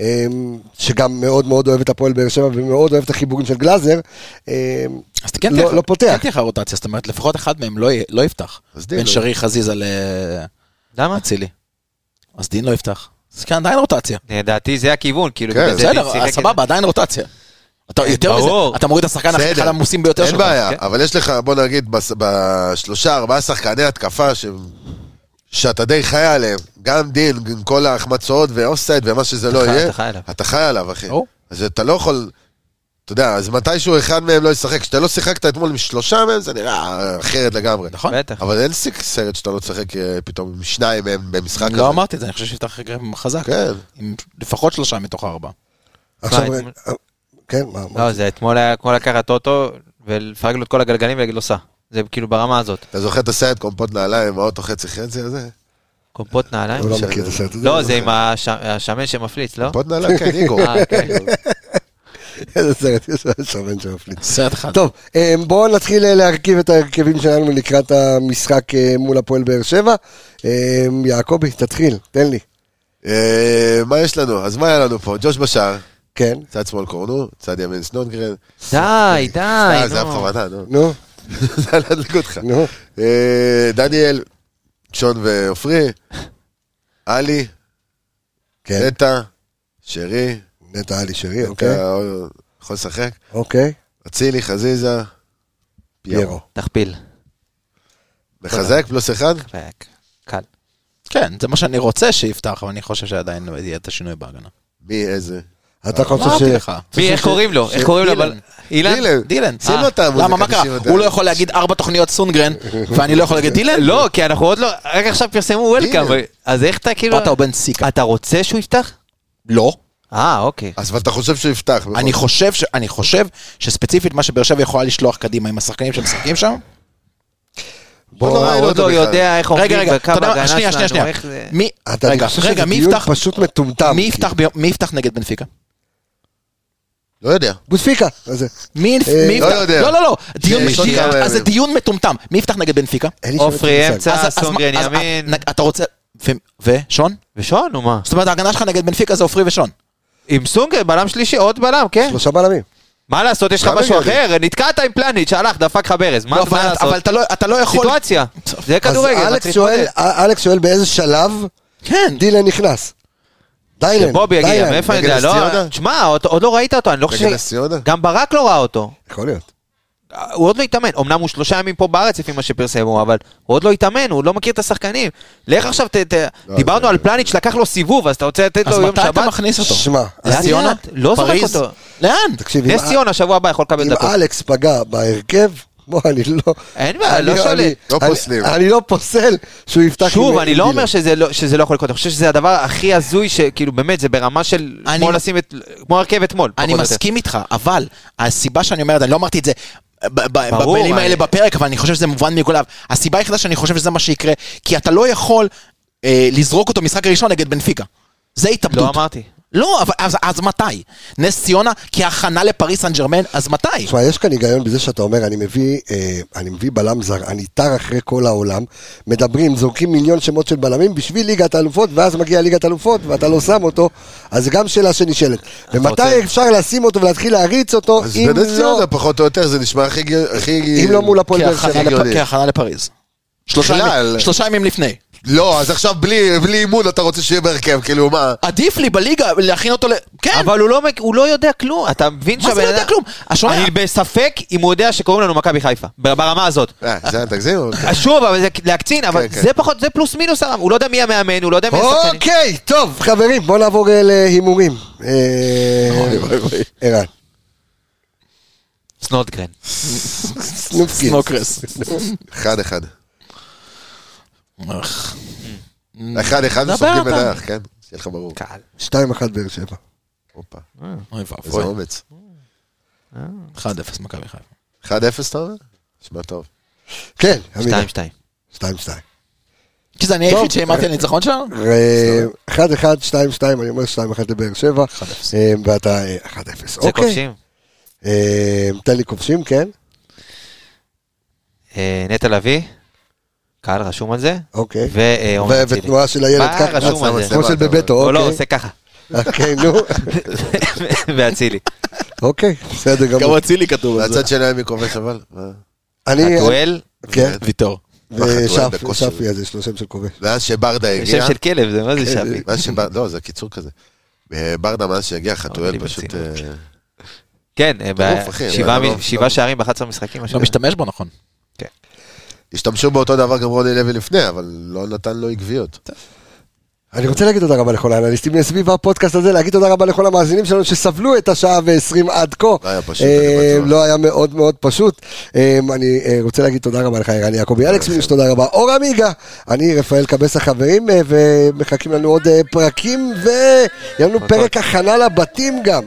[SPEAKER 1] אמ, שגם מאוד מאוד אוהב את הפועל באר שבע ומאוד אוהב את החיבורים של גלאזר, אמ,
[SPEAKER 5] אז כן
[SPEAKER 1] לא-
[SPEAKER 5] תהיה לך-
[SPEAKER 1] לא פותח.
[SPEAKER 5] כן תהיה לך רוטציה, זאת אומרת, לפחות אחד מהם לא יהיה- לא יפתח.
[SPEAKER 4] אז דין
[SPEAKER 5] בין
[SPEAKER 4] לא-
[SPEAKER 5] שרי חזיזה
[SPEAKER 6] למה?
[SPEAKER 5] לאצילי. אה, אז דין לא יפתח. אז כן, עדיין רוטציה.
[SPEAKER 6] לדעתי זה הכיוון, כאילו.
[SPEAKER 4] כן,
[SPEAKER 6] בגלל זה
[SPEAKER 5] בסדר,
[SPEAKER 6] שיחק
[SPEAKER 5] אז
[SPEAKER 6] את-
[SPEAKER 5] סבבה, עדיין רוטציה. אתה יותר מזה,
[SPEAKER 6] ברור.
[SPEAKER 5] אתה מוריד את השחקן הכי-
[SPEAKER 4] בסדר.
[SPEAKER 5] אחד העמוסים ביותר
[SPEAKER 4] אין
[SPEAKER 5] שלך.
[SPEAKER 4] בעיה,
[SPEAKER 6] כן.
[SPEAKER 4] אבל יש לך, בוא נגיד, בס- בשלושה, ארבעה שחקני התקפה ש- שאתה די חי עליהם. גם דין, עם כל ההחמצות ואופסייד ומה שזה לא
[SPEAKER 6] חי-
[SPEAKER 4] יהיה.
[SPEAKER 6] אתה חי עליו.
[SPEAKER 4] אתה חי עליו, אחי.
[SPEAKER 5] ברור.
[SPEAKER 4] אז אתה לא יכול... אתה יודע, אז מתישהו אחד מהם לא ישחק. כשאתה לא שיחקת אתמול עם שלושה מהם, זה נראה אחרת לגמרי.
[SPEAKER 5] נכון.
[SPEAKER 6] בטח.
[SPEAKER 4] אבל אין סיק- סרט שאתה לא תשחק אה, פתאום עם שניים מהם במשחק הזה.
[SPEAKER 5] לא אמרתי את זה, אני חושב שיפתח חזק.
[SPEAKER 4] כן.
[SPEAKER 5] עם לפחות שלושה מתוך ארבע.
[SPEAKER 1] עכשיו,
[SPEAKER 6] מה,
[SPEAKER 1] אה, כן, מה, מה?
[SPEAKER 6] לא, זה אתמול היה כמו לקחת אוטו ולפרק לו את כל הגלגלים ולהגיד לו סע. זה כאילו ברמה הזאת.
[SPEAKER 4] אתה זוכר את הסרט קומפוט נעליים, האוטו חצי חצי הזה?
[SPEAKER 6] קומפוט נעליים?
[SPEAKER 1] הוא לא מכיר את הסרט הזה.
[SPEAKER 6] לא, זה עם הש- השמן שמפליץ, לא?
[SPEAKER 4] קומפוט נעליים, כן, איגו.
[SPEAKER 6] אה, כן.
[SPEAKER 1] איזה סרט, יש לו שמן שמפליץ.
[SPEAKER 5] סרט אחד.
[SPEAKER 1] טוב, אה, בואו נתחיל אה, להרכיב את ההרכבים שלנו לקראת המשחק אה, מול הפועל באר שבע. אה, יעקבי, תתחיל, תן לי.
[SPEAKER 4] אה, מה יש לנו? אז מה היה לנו פה? ג'וש בשער,
[SPEAKER 1] כן,
[SPEAKER 4] צד שמאל קורנו, צד ימין סנונגרן.
[SPEAKER 6] די, די,
[SPEAKER 4] אה, זה היה
[SPEAKER 6] נו.
[SPEAKER 4] בכוונה, נו.
[SPEAKER 1] נו,
[SPEAKER 4] זה היה להדליק אותך.
[SPEAKER 1] נו.
[SPEAKER 4] אה, דניאל, שון ועופרי, עלי,
[SPEAKER 1] כן,
[SPEAKER 4] נטע, שרי,
[SPEAKER 1] נטע עלי שרי, אוקיי.
[SPEAKER 4] נטע, או- יכול לשחק,
[SPEAKER 1] אוקיי,
[SPEAKER 4] אצילי, חזיזה,
[SPEAKER 1] פיירו.
[SPEAKER 6] תכפיל.
[SPEAKER 4] מחזק פלוס אחד?
[SPEAKER 6] רק. קל.
[SPEAKER 5] כן, זה מה שאני רוצה שיפתח, אבל אני חושב שעדיין לא יהיה את השינוי בהגנה.
[SPEAKER 4] מי איזה?
[SPEAKER 1] אתה חושב
[SPEAKER 5] אמרתי
[SPEAKER 1] ש...
[SPEAKER 5] לך.
[SPEAKER 6] מי, איך קוראים לו? איך קוראים לו?
[SPEAKER 5] אילן.
[SPEAKER 6] אבל- אילן?
[SPEAKER 4] דילן.
[SPEAKER 5] דילן.
[SPEAKER 4] שים לו
[SPEAKER 5] אה,
[SPEAKER 4] את המוזיקה,
[SPEAKER 5] למה, מה קרה?
[SPEAKER 4] נשים אותה.
[SPEAKER 5] הוא לא יכול להגיד ארבע תוכניות סונגרן, ואני לא יכול להגיד דילן?
[SPEAKER 6] לא, כי אנחנו עוד לא, רק עכשיו פרסמו
[SPEAKER 4] הנה.
[SPEAKER 6] וולקאם, אז איך אתה כאילו...
[SPEAKER 5] פאטה או בן סיקה.
[SPEAKER 6] אתה רוצה שהוא יפתח?
[SPEAKER 4] נכון.
[SPEAKER 5] לא.
[SPEAKER 6] אה, אוקיי.
[SPEAKER 4] אז אבל אתה חושב נכון? שהוא יפתח. בכל
[SPEAKER 5] אני
[SPEAKER 4] זאת.
[SPEAKER 5] חושב, ש- אני חושב שספציפית מה שבאר שבע יכולה לשלוח קדימה עם השחקנים שמשחקים שם.
[SPEAKER 4] עוד לא
[SPEAKER 6] אה,
[SPEAKER 4] ראינו
[SPEAKER 6] הוא עוד
[SPEAKER 4] אותו
[SPEAKER 6] לא
[SPEAKER 4] בכלל.
[SPEAKER 6] יודע איך
[SPEAKER 5] רגע,
[SPEAKER 6] עומדים
[SPEAKER 5] רגע,
[SPEAKER 6] בקו
[SPEAKER 5] אתה יודע
[SPEAKER 6] ההגנה
[SPEAKER 5] מה? שנייה, שנייה,
[SPEAKER 6] שלנו,
[SPEAKER 5] שנייה.
[SPEAKER 6] איך זה...
[SPEAKER 5] מי-
[SPEAKER 1] אתה- אני
[SPEAKER 5] רגע,
[SPEAKER 1] חושב
[SPEAKER 5] רגע,
[SPEAKER 1] שזה
[SPEAKER 5] מי
[SPEAKER 1] דיון
[SPEAKER 5] יפתח?
[SPEAKER 1] פשוט מטומטם.
[SPEAKER 5] מי יפתח ביום- מי יפתח נגד בנפיקה?
[SPEAKER 4] לא יודע.
[SPEAKER 1] בוספיקה. אז זה-
[SPEAKER 5] מי
[SPEAKER 1] אה,
[SPEAKER 5] מי יפתח?
[SPEAKER 4] לא יודע.
[SPEAKER 5] לא, לא, לא. דיון-
[SPEAKER 4] יש עוד
[SPEAKER 5] דיון-
[SPEAKER 4] כמה
[SPEAKER 5] אז זה
[SPEAKER 4] ימים.
[SPEAKER 5] דיון מטומטם. מי יפתח נגד בנפיקה?
[SPEAKER 1] אין לי
[SPEAKER 6] עופרי
[SPEAKER 1] שמץ של
[SPEAKER 6] אמצע.
[SPEAKER 1] מושג.
[SPEAKER 6] צא,
[SPEAKER 5] אז- אז מה-
[SPEAKER 6] אה, סונגרן,
[SPEAKER 5] אז- אה,
[SPEAKER 6] ימין.
[SPEAKER 5] אתה רוצה... ו- ושון?
[SPEAKER 6] ושון, נו מה?
[SPEAKER 5] זאת אומרת, ההגנה שלך נגד בנפיקה זה עופרי ושון.
[SPEAKER 6] עם סונגר, בלם שלישי, עוד בלם, כן?
[SPEAKER 1] שלושה בלמים.
[SPEAKER 6] מה לעשות, יש לך
[SPEAKER 4] גם
[SPEAKER 6] משהו
[SPEAKER 4] הגיוני.
[SPEAKER 6] אחר? נתקעת עם פלניץ', הלך, דפק לך ברז, מה
[SPEAKER 5] לא,
[SPEAKER 6] מה
[SPEAKER 5] אבל- אבל
[SPEAKER 6] לעשות?
[SPEAKER 5] אתה לא- אתה לא יכול...
[SPEAKER 6] סיטואציה. זה
[SPEAKER 1] אז
[SPEAKER 6] כדורגל. מה
[SPEAKER 1] אלכס
[SPEAKER 6] צריך
[SPEAKER 1] שואל-
[SPEAKER 6] להתמודד?
[SPEAKER 1] אלכס שואל באיזה שלב
[SPEAKER 5] כן.
[SPEAKER 1] דילן נכנס. דיילן.
[SPEAKER 6] בובי יגיע,
[SPEAKER 1] דיילן.
[SPEAKER 6] מאיפה אני
[SPEAKER 4] נגד
[SPEAKER 6] יודע?
[SPEAKER 4] נס
[SPEAKER 6] לא-
[SPEAKER 4] ציונה?
[SPEAKER 6] תשמע, עוד עוד לא ראית אותו, אני לא חושב...
[SPEAKER 4] נגד נס ציונה?
[SPEAKER 6] גם ברק לא ראה אותו.
[SPEAKER 1] יכול להיות.
[SPEAKER 6] הוא עוד לא התאמן, אמנם הוא שלושה ימים פה בארץ לפי מה שפרסמו, אבל הוא עוד לא התאמן, הוא לא מכיר את השחקנים. לך עכשיו, ת, ת, דיברנו על פלניץ', לקח לו סיבוב, אז אתה רוצה לתת
[SPEAKER 5] לא, אז
[SPEAKER 6] לו יום
[SPEAKER 5] מתי
[SPEAKER 6] שבת?
[SPEAKER 5] אתה מכניס אותו?
[SPEAKER 1] שמע,
[SPEAKER 5] נס
[SPEAKER 6] לאט
[SPEAKER 5] ציונה?
[SPEAKER 6] לאט, לא זורק
[SPEAKER 5] פריז?
[SPEAKER 6] אותו.
[SPEAKER 5] לאן?
[SPEAKER 1] תקשיב,
[SPEAKER 6] נס
[SPEAKER 1] אם-
[SPEAKER 6] ציונה, שבוע הבא יכול לקבל
[SPEAKER 1] אם
[SPEAKER 6] דקות.
[SPEAKER 1] אלכס פגע בהרכב, בוא, אני לא...
[SPEAKER 6] אין בעיה,
[SPEAKER 1] אני-
[SPEAKER 6] לא שואל.
[SPEAKER 1] אני-
[SPEAKER 4] לא
[SPEAKER 1] אני-
[SPEAKER 4] פוסלים.
[SPEAKER 1] אני לא פוסל שהוא יפתח...
[SPEAKER 6] שוב,
[SPEAKER 1] עם-
[SPEAKER 6] אני
[SPEAKER 1] עם
[SPEAKER 6] לא
[SPEAKER 1] דילן.
[SPEAKER 6] אומר שזה לא, שזה לא יכול לקרות, אני חושב שזה הדבר הכי הזוי, שכאילו באמת, זה ברמה של
[SPEAKER 5] אני-
[SPEAKER 6] כמו לשים את, כמו הרכב אתמול.
[SPEAKER 5] אני
[SPEAKER 6] פחות או יותר.
[SPEAKER 5] מסכים איתך, אבל הסיבה שאני אומר את זה, אני לא אמרתי את זה ב- ב-
[SPEAKER 6] ברור,
[SPEAKER 5] במילים
[SPEAKER 6] אני-
[SPEAKER 5] האלה בפרק, אבל אני חושב שזה מובן מכולם. הסיבה היחידה שאני חושב שזה מה שיקרה, כי אתה לא יכול אה, לזרוק אותו משחק ראשון נגד בנפיקה. זה התאבדות.
[SPEAKER 6] לא אמרתי.
[SPEAKER 5] לא, אבל אז, אז מתי? נס ציונה כהכנה לפריס סן ג'רמן, אז מתי?
[SPEAKER 1] תשמע, יש כאן היגיון בזה שאתה אומר, אני מביא, אה, אני מביא בלם זר, אני טר אחרי כל העולם, מדברים, זורקים מיליון שמות של בלמים בשביל ליגת האלופות, ואז מגיע ליגת האלופות ואתה לא שם אותו, אז זו גם שאלה שנשאלת. ומתי
[SPEAKER 5] רוצה-
[SPEAKER 1] אפשר לשים אותו ולהתחיל להריץ אותו,
[SPEAKER 4] אז
[SPEAKER 1] אם
[SPEAKER 4] בנס ציונה
[SPEAKER 1] לא...
[SPEAKER 4] פחות או יותר, זה נשמע הכי... גר- הכי-
[SPEAKER 1] אם לא מול הפועל באר
[SPEAKER 5] כהכנה
[SPEAKER 1] שבע.
[SPEAKER 5] לפ-
[SPEAKER 4] הגיוני.
[SPEAKER 5] כהכנה לפריז. שלושה
[SPEAKER 4] בכלל.
[SPEAKER 5] ימים- שלושה ימים לפני.
[SPEAKER 4] לא, אז עכשיו בלי בלי אימון אתה רוצה שיהיה בהרכב, כאילו מה?
[SPEAKER 5] עדיף לי בליגה להכין אותו ל... כן,
[SPEAKER 6] אבל הוא לא, מק- הוא לא יודע כלום, אתה מבין
[SPEAKER 5] מה זה לא
[SPEAKER 6] שהבן
[SPEAKER 5] יודע
[SPEAKER 6] אדם-
[SPEAKER 5] כלום? אז שומע,
[SPEAKER 6] אני בספק אם הוא יודע שקוראים לנו מכבי חיפה, ב- ברמה הזאת.
[SPEAKER 4] אה, זה תגזימו.
[SPEAKER 6] שוב, אבל זה להקצין, אבל
[SPEAKER 4] כן.
[SPEAKER 6] זה פחות, זה פלוס מינוס הרם, הוא לא יודע מי המאמן, הוא לא יודע מי השחקנים.
[SPEAKER 1] אוקיי, טוב, חברים, בואו נעבור אה, להימורים. אה, ערן,
[SPEAKER 6] סנודגרן.
[SPEAKER 5] כן.
[SPEAKER 1] סנופקין.
[SPEAKER 5] סנוקרס.
[SPEAKER 4] אחד אחד.
[SPEAKER 5] אך,
[SPEAKER 4] אחד אחד
[SPEAKER 5] דבר
[SPEAKER 4] וסופגים
[SPEAKER 5] אתה.
[SPEAKER 4] בדרך, כן? שיהיה לך ברור.
[SPEAKER 6] קל.
[SPEAKER 1] 2-1 באר שבע.
[SPEAKER 4] הופה,
[SPEAKER 5] אוי
[SPEAKER 4] איזה
[SPEAKER 5] ואבוי.
[SPEAKER 4] אומץ.
[SPEAKER 5] 1-0 מכבי חיפה.
[SPEAKER 4] 1-0 אתה אומר? נשמע טוב.
[SPEAKER 1] כן, עמיגה.
[SPEAKER 6] 2-2.
[SPEAKER 1] 2-2.
[SPEAKER 5] כי זה אני
[SPEAKER 1] טוב.
[SPEAKER 5] היחיד שהימרתי על ניצחון שלנו?
[SPEAKER 1] אה, 1-1, 2-2, אני אומר 2-1 לבאר שבע, אה, ואתה אה, 1-0.
[SPEAKER 6] זה
[SPEAKER 1] אוקיי.
[SPEAKER 6] כובשים.
[SPEAKER 1] אה, תן לי כובשים, כן?
[SPEAKER 6] אה, נטע לביא, קהל רשום על זה.
[SPEAKER 1] אוקיי.
[SPEAKER 6] ועומר
[SPEAKER 1] ו-
[SPEAKER 6] אצילי.
[SPEAKER 1] ותנועה של הילד
[SPEAKER 6] מה
[SPEAKER 1] ככה,
[SPEAKER 6] אה,
[SPEAKER 1] אה,
[SPEAKER 6] רשום על זה?
[SPEAKER 1] כמו של בביתו,
[SPEAKER 6] לא, לא,
[SPEAKER 1] אוקיי.
[SPEAKER 6] עושה ככה.
[SPEAKER 1] אוקיי, נו.
[SPEAKER 6] ואצילי.
[SPEAKER 1] אוקיי, בסדר
[SPEAKER 5] גם
[SPEAKER 1] גמור.
[SPEAKER 5] אצילי כתוב על זה.
[SPEAKER 4] והצד שלהם מי כובש אבל? מה?
[SPEAKER 1] אני,
[SPEAKER 6] הטואל,
[SPEAKER 1] כן,
[SPEAKER 5] ויטור.
[SPEAKER 4] והטואל
[SPEAKER 1] ושפי,
[SPEAKER 4] בכושר.
[SPEAKER 1] שפי הזה, יש לו שם של כובש.
[SPEAKER 4] ואז שברדה
[SPEAKER 6] זה
[SPEAKER 4] הגיע,
[SPEAKER 6] שם של כלב, זה מה זה שבי.
[SPEAKER 4] מאז שבר- לא, כן, זה קיצור כזה. אה, ברדה מאז שהגיע
[SPEAKER 6] אבל
[SPEAKER 4] חתואל
[SPEAKER 6] אני
[SPEAKER 4] פשוט...
[SPEAKER 6] ברצינות.
[SPEAKER 4] אה,
[SPEAKER 6] כן, אה,
[SPEAKER 4] טירוף, אחי,
[SPEAKER 6] שבעה
[SPEAKER 4] לא,
[SPEAKER 6] מ-
[SPEAKER 4] לא.
[SPEAKER 6] שבעה שערים ב-11 משחקים. משהו
[SPEAKER 5] לא
[SPEAKER 6] כזה.
[SPEAKER 5] משתמש בו נכון.
[SPEAKER 4] השתמשו באותו דבר גם רוני לוי לפני, אבל לא נתן לו עקביות.
[SPEAKER 1] אני רוצה להגיד תודה רבה לכל האנליסטים סביב הפודקאסט הזה, להגיד תודה רבה לכל המאזינים שלנו שסבלו את השעה ועשרים עד כה.
[SPEAKER 4] לא היה פשוט,
[SPEAKER 1] אה,
[SPEAKER 4] אני בטוח.
[SPEAKER 1] לא היה מאוד מאוד פשוט. אה, אני אה, רוצה להגיד תודה רבה לך, ערן יעקבי אלכס מינוס, תודה רבה. אור עמיגה, אני רפאל קבס החברים, אה, ומחכים לנו עוד אה, פרקים, ויהיה לנו פרק הכנה לבתים גם.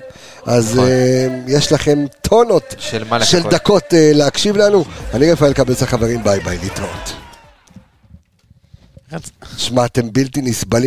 [SPEAKER 1] אז אה, יש לכם טונות
[SPEAKER 6] של מה
[SPEAKER 1] של
[SPEAKER 6] לחכות.
[SPEAKER 1] דקות אה, להקשיב לנו. אני רפאל קבס החברים, ביי ביי, להתראות. שמע, אתם בלתי נסבלים.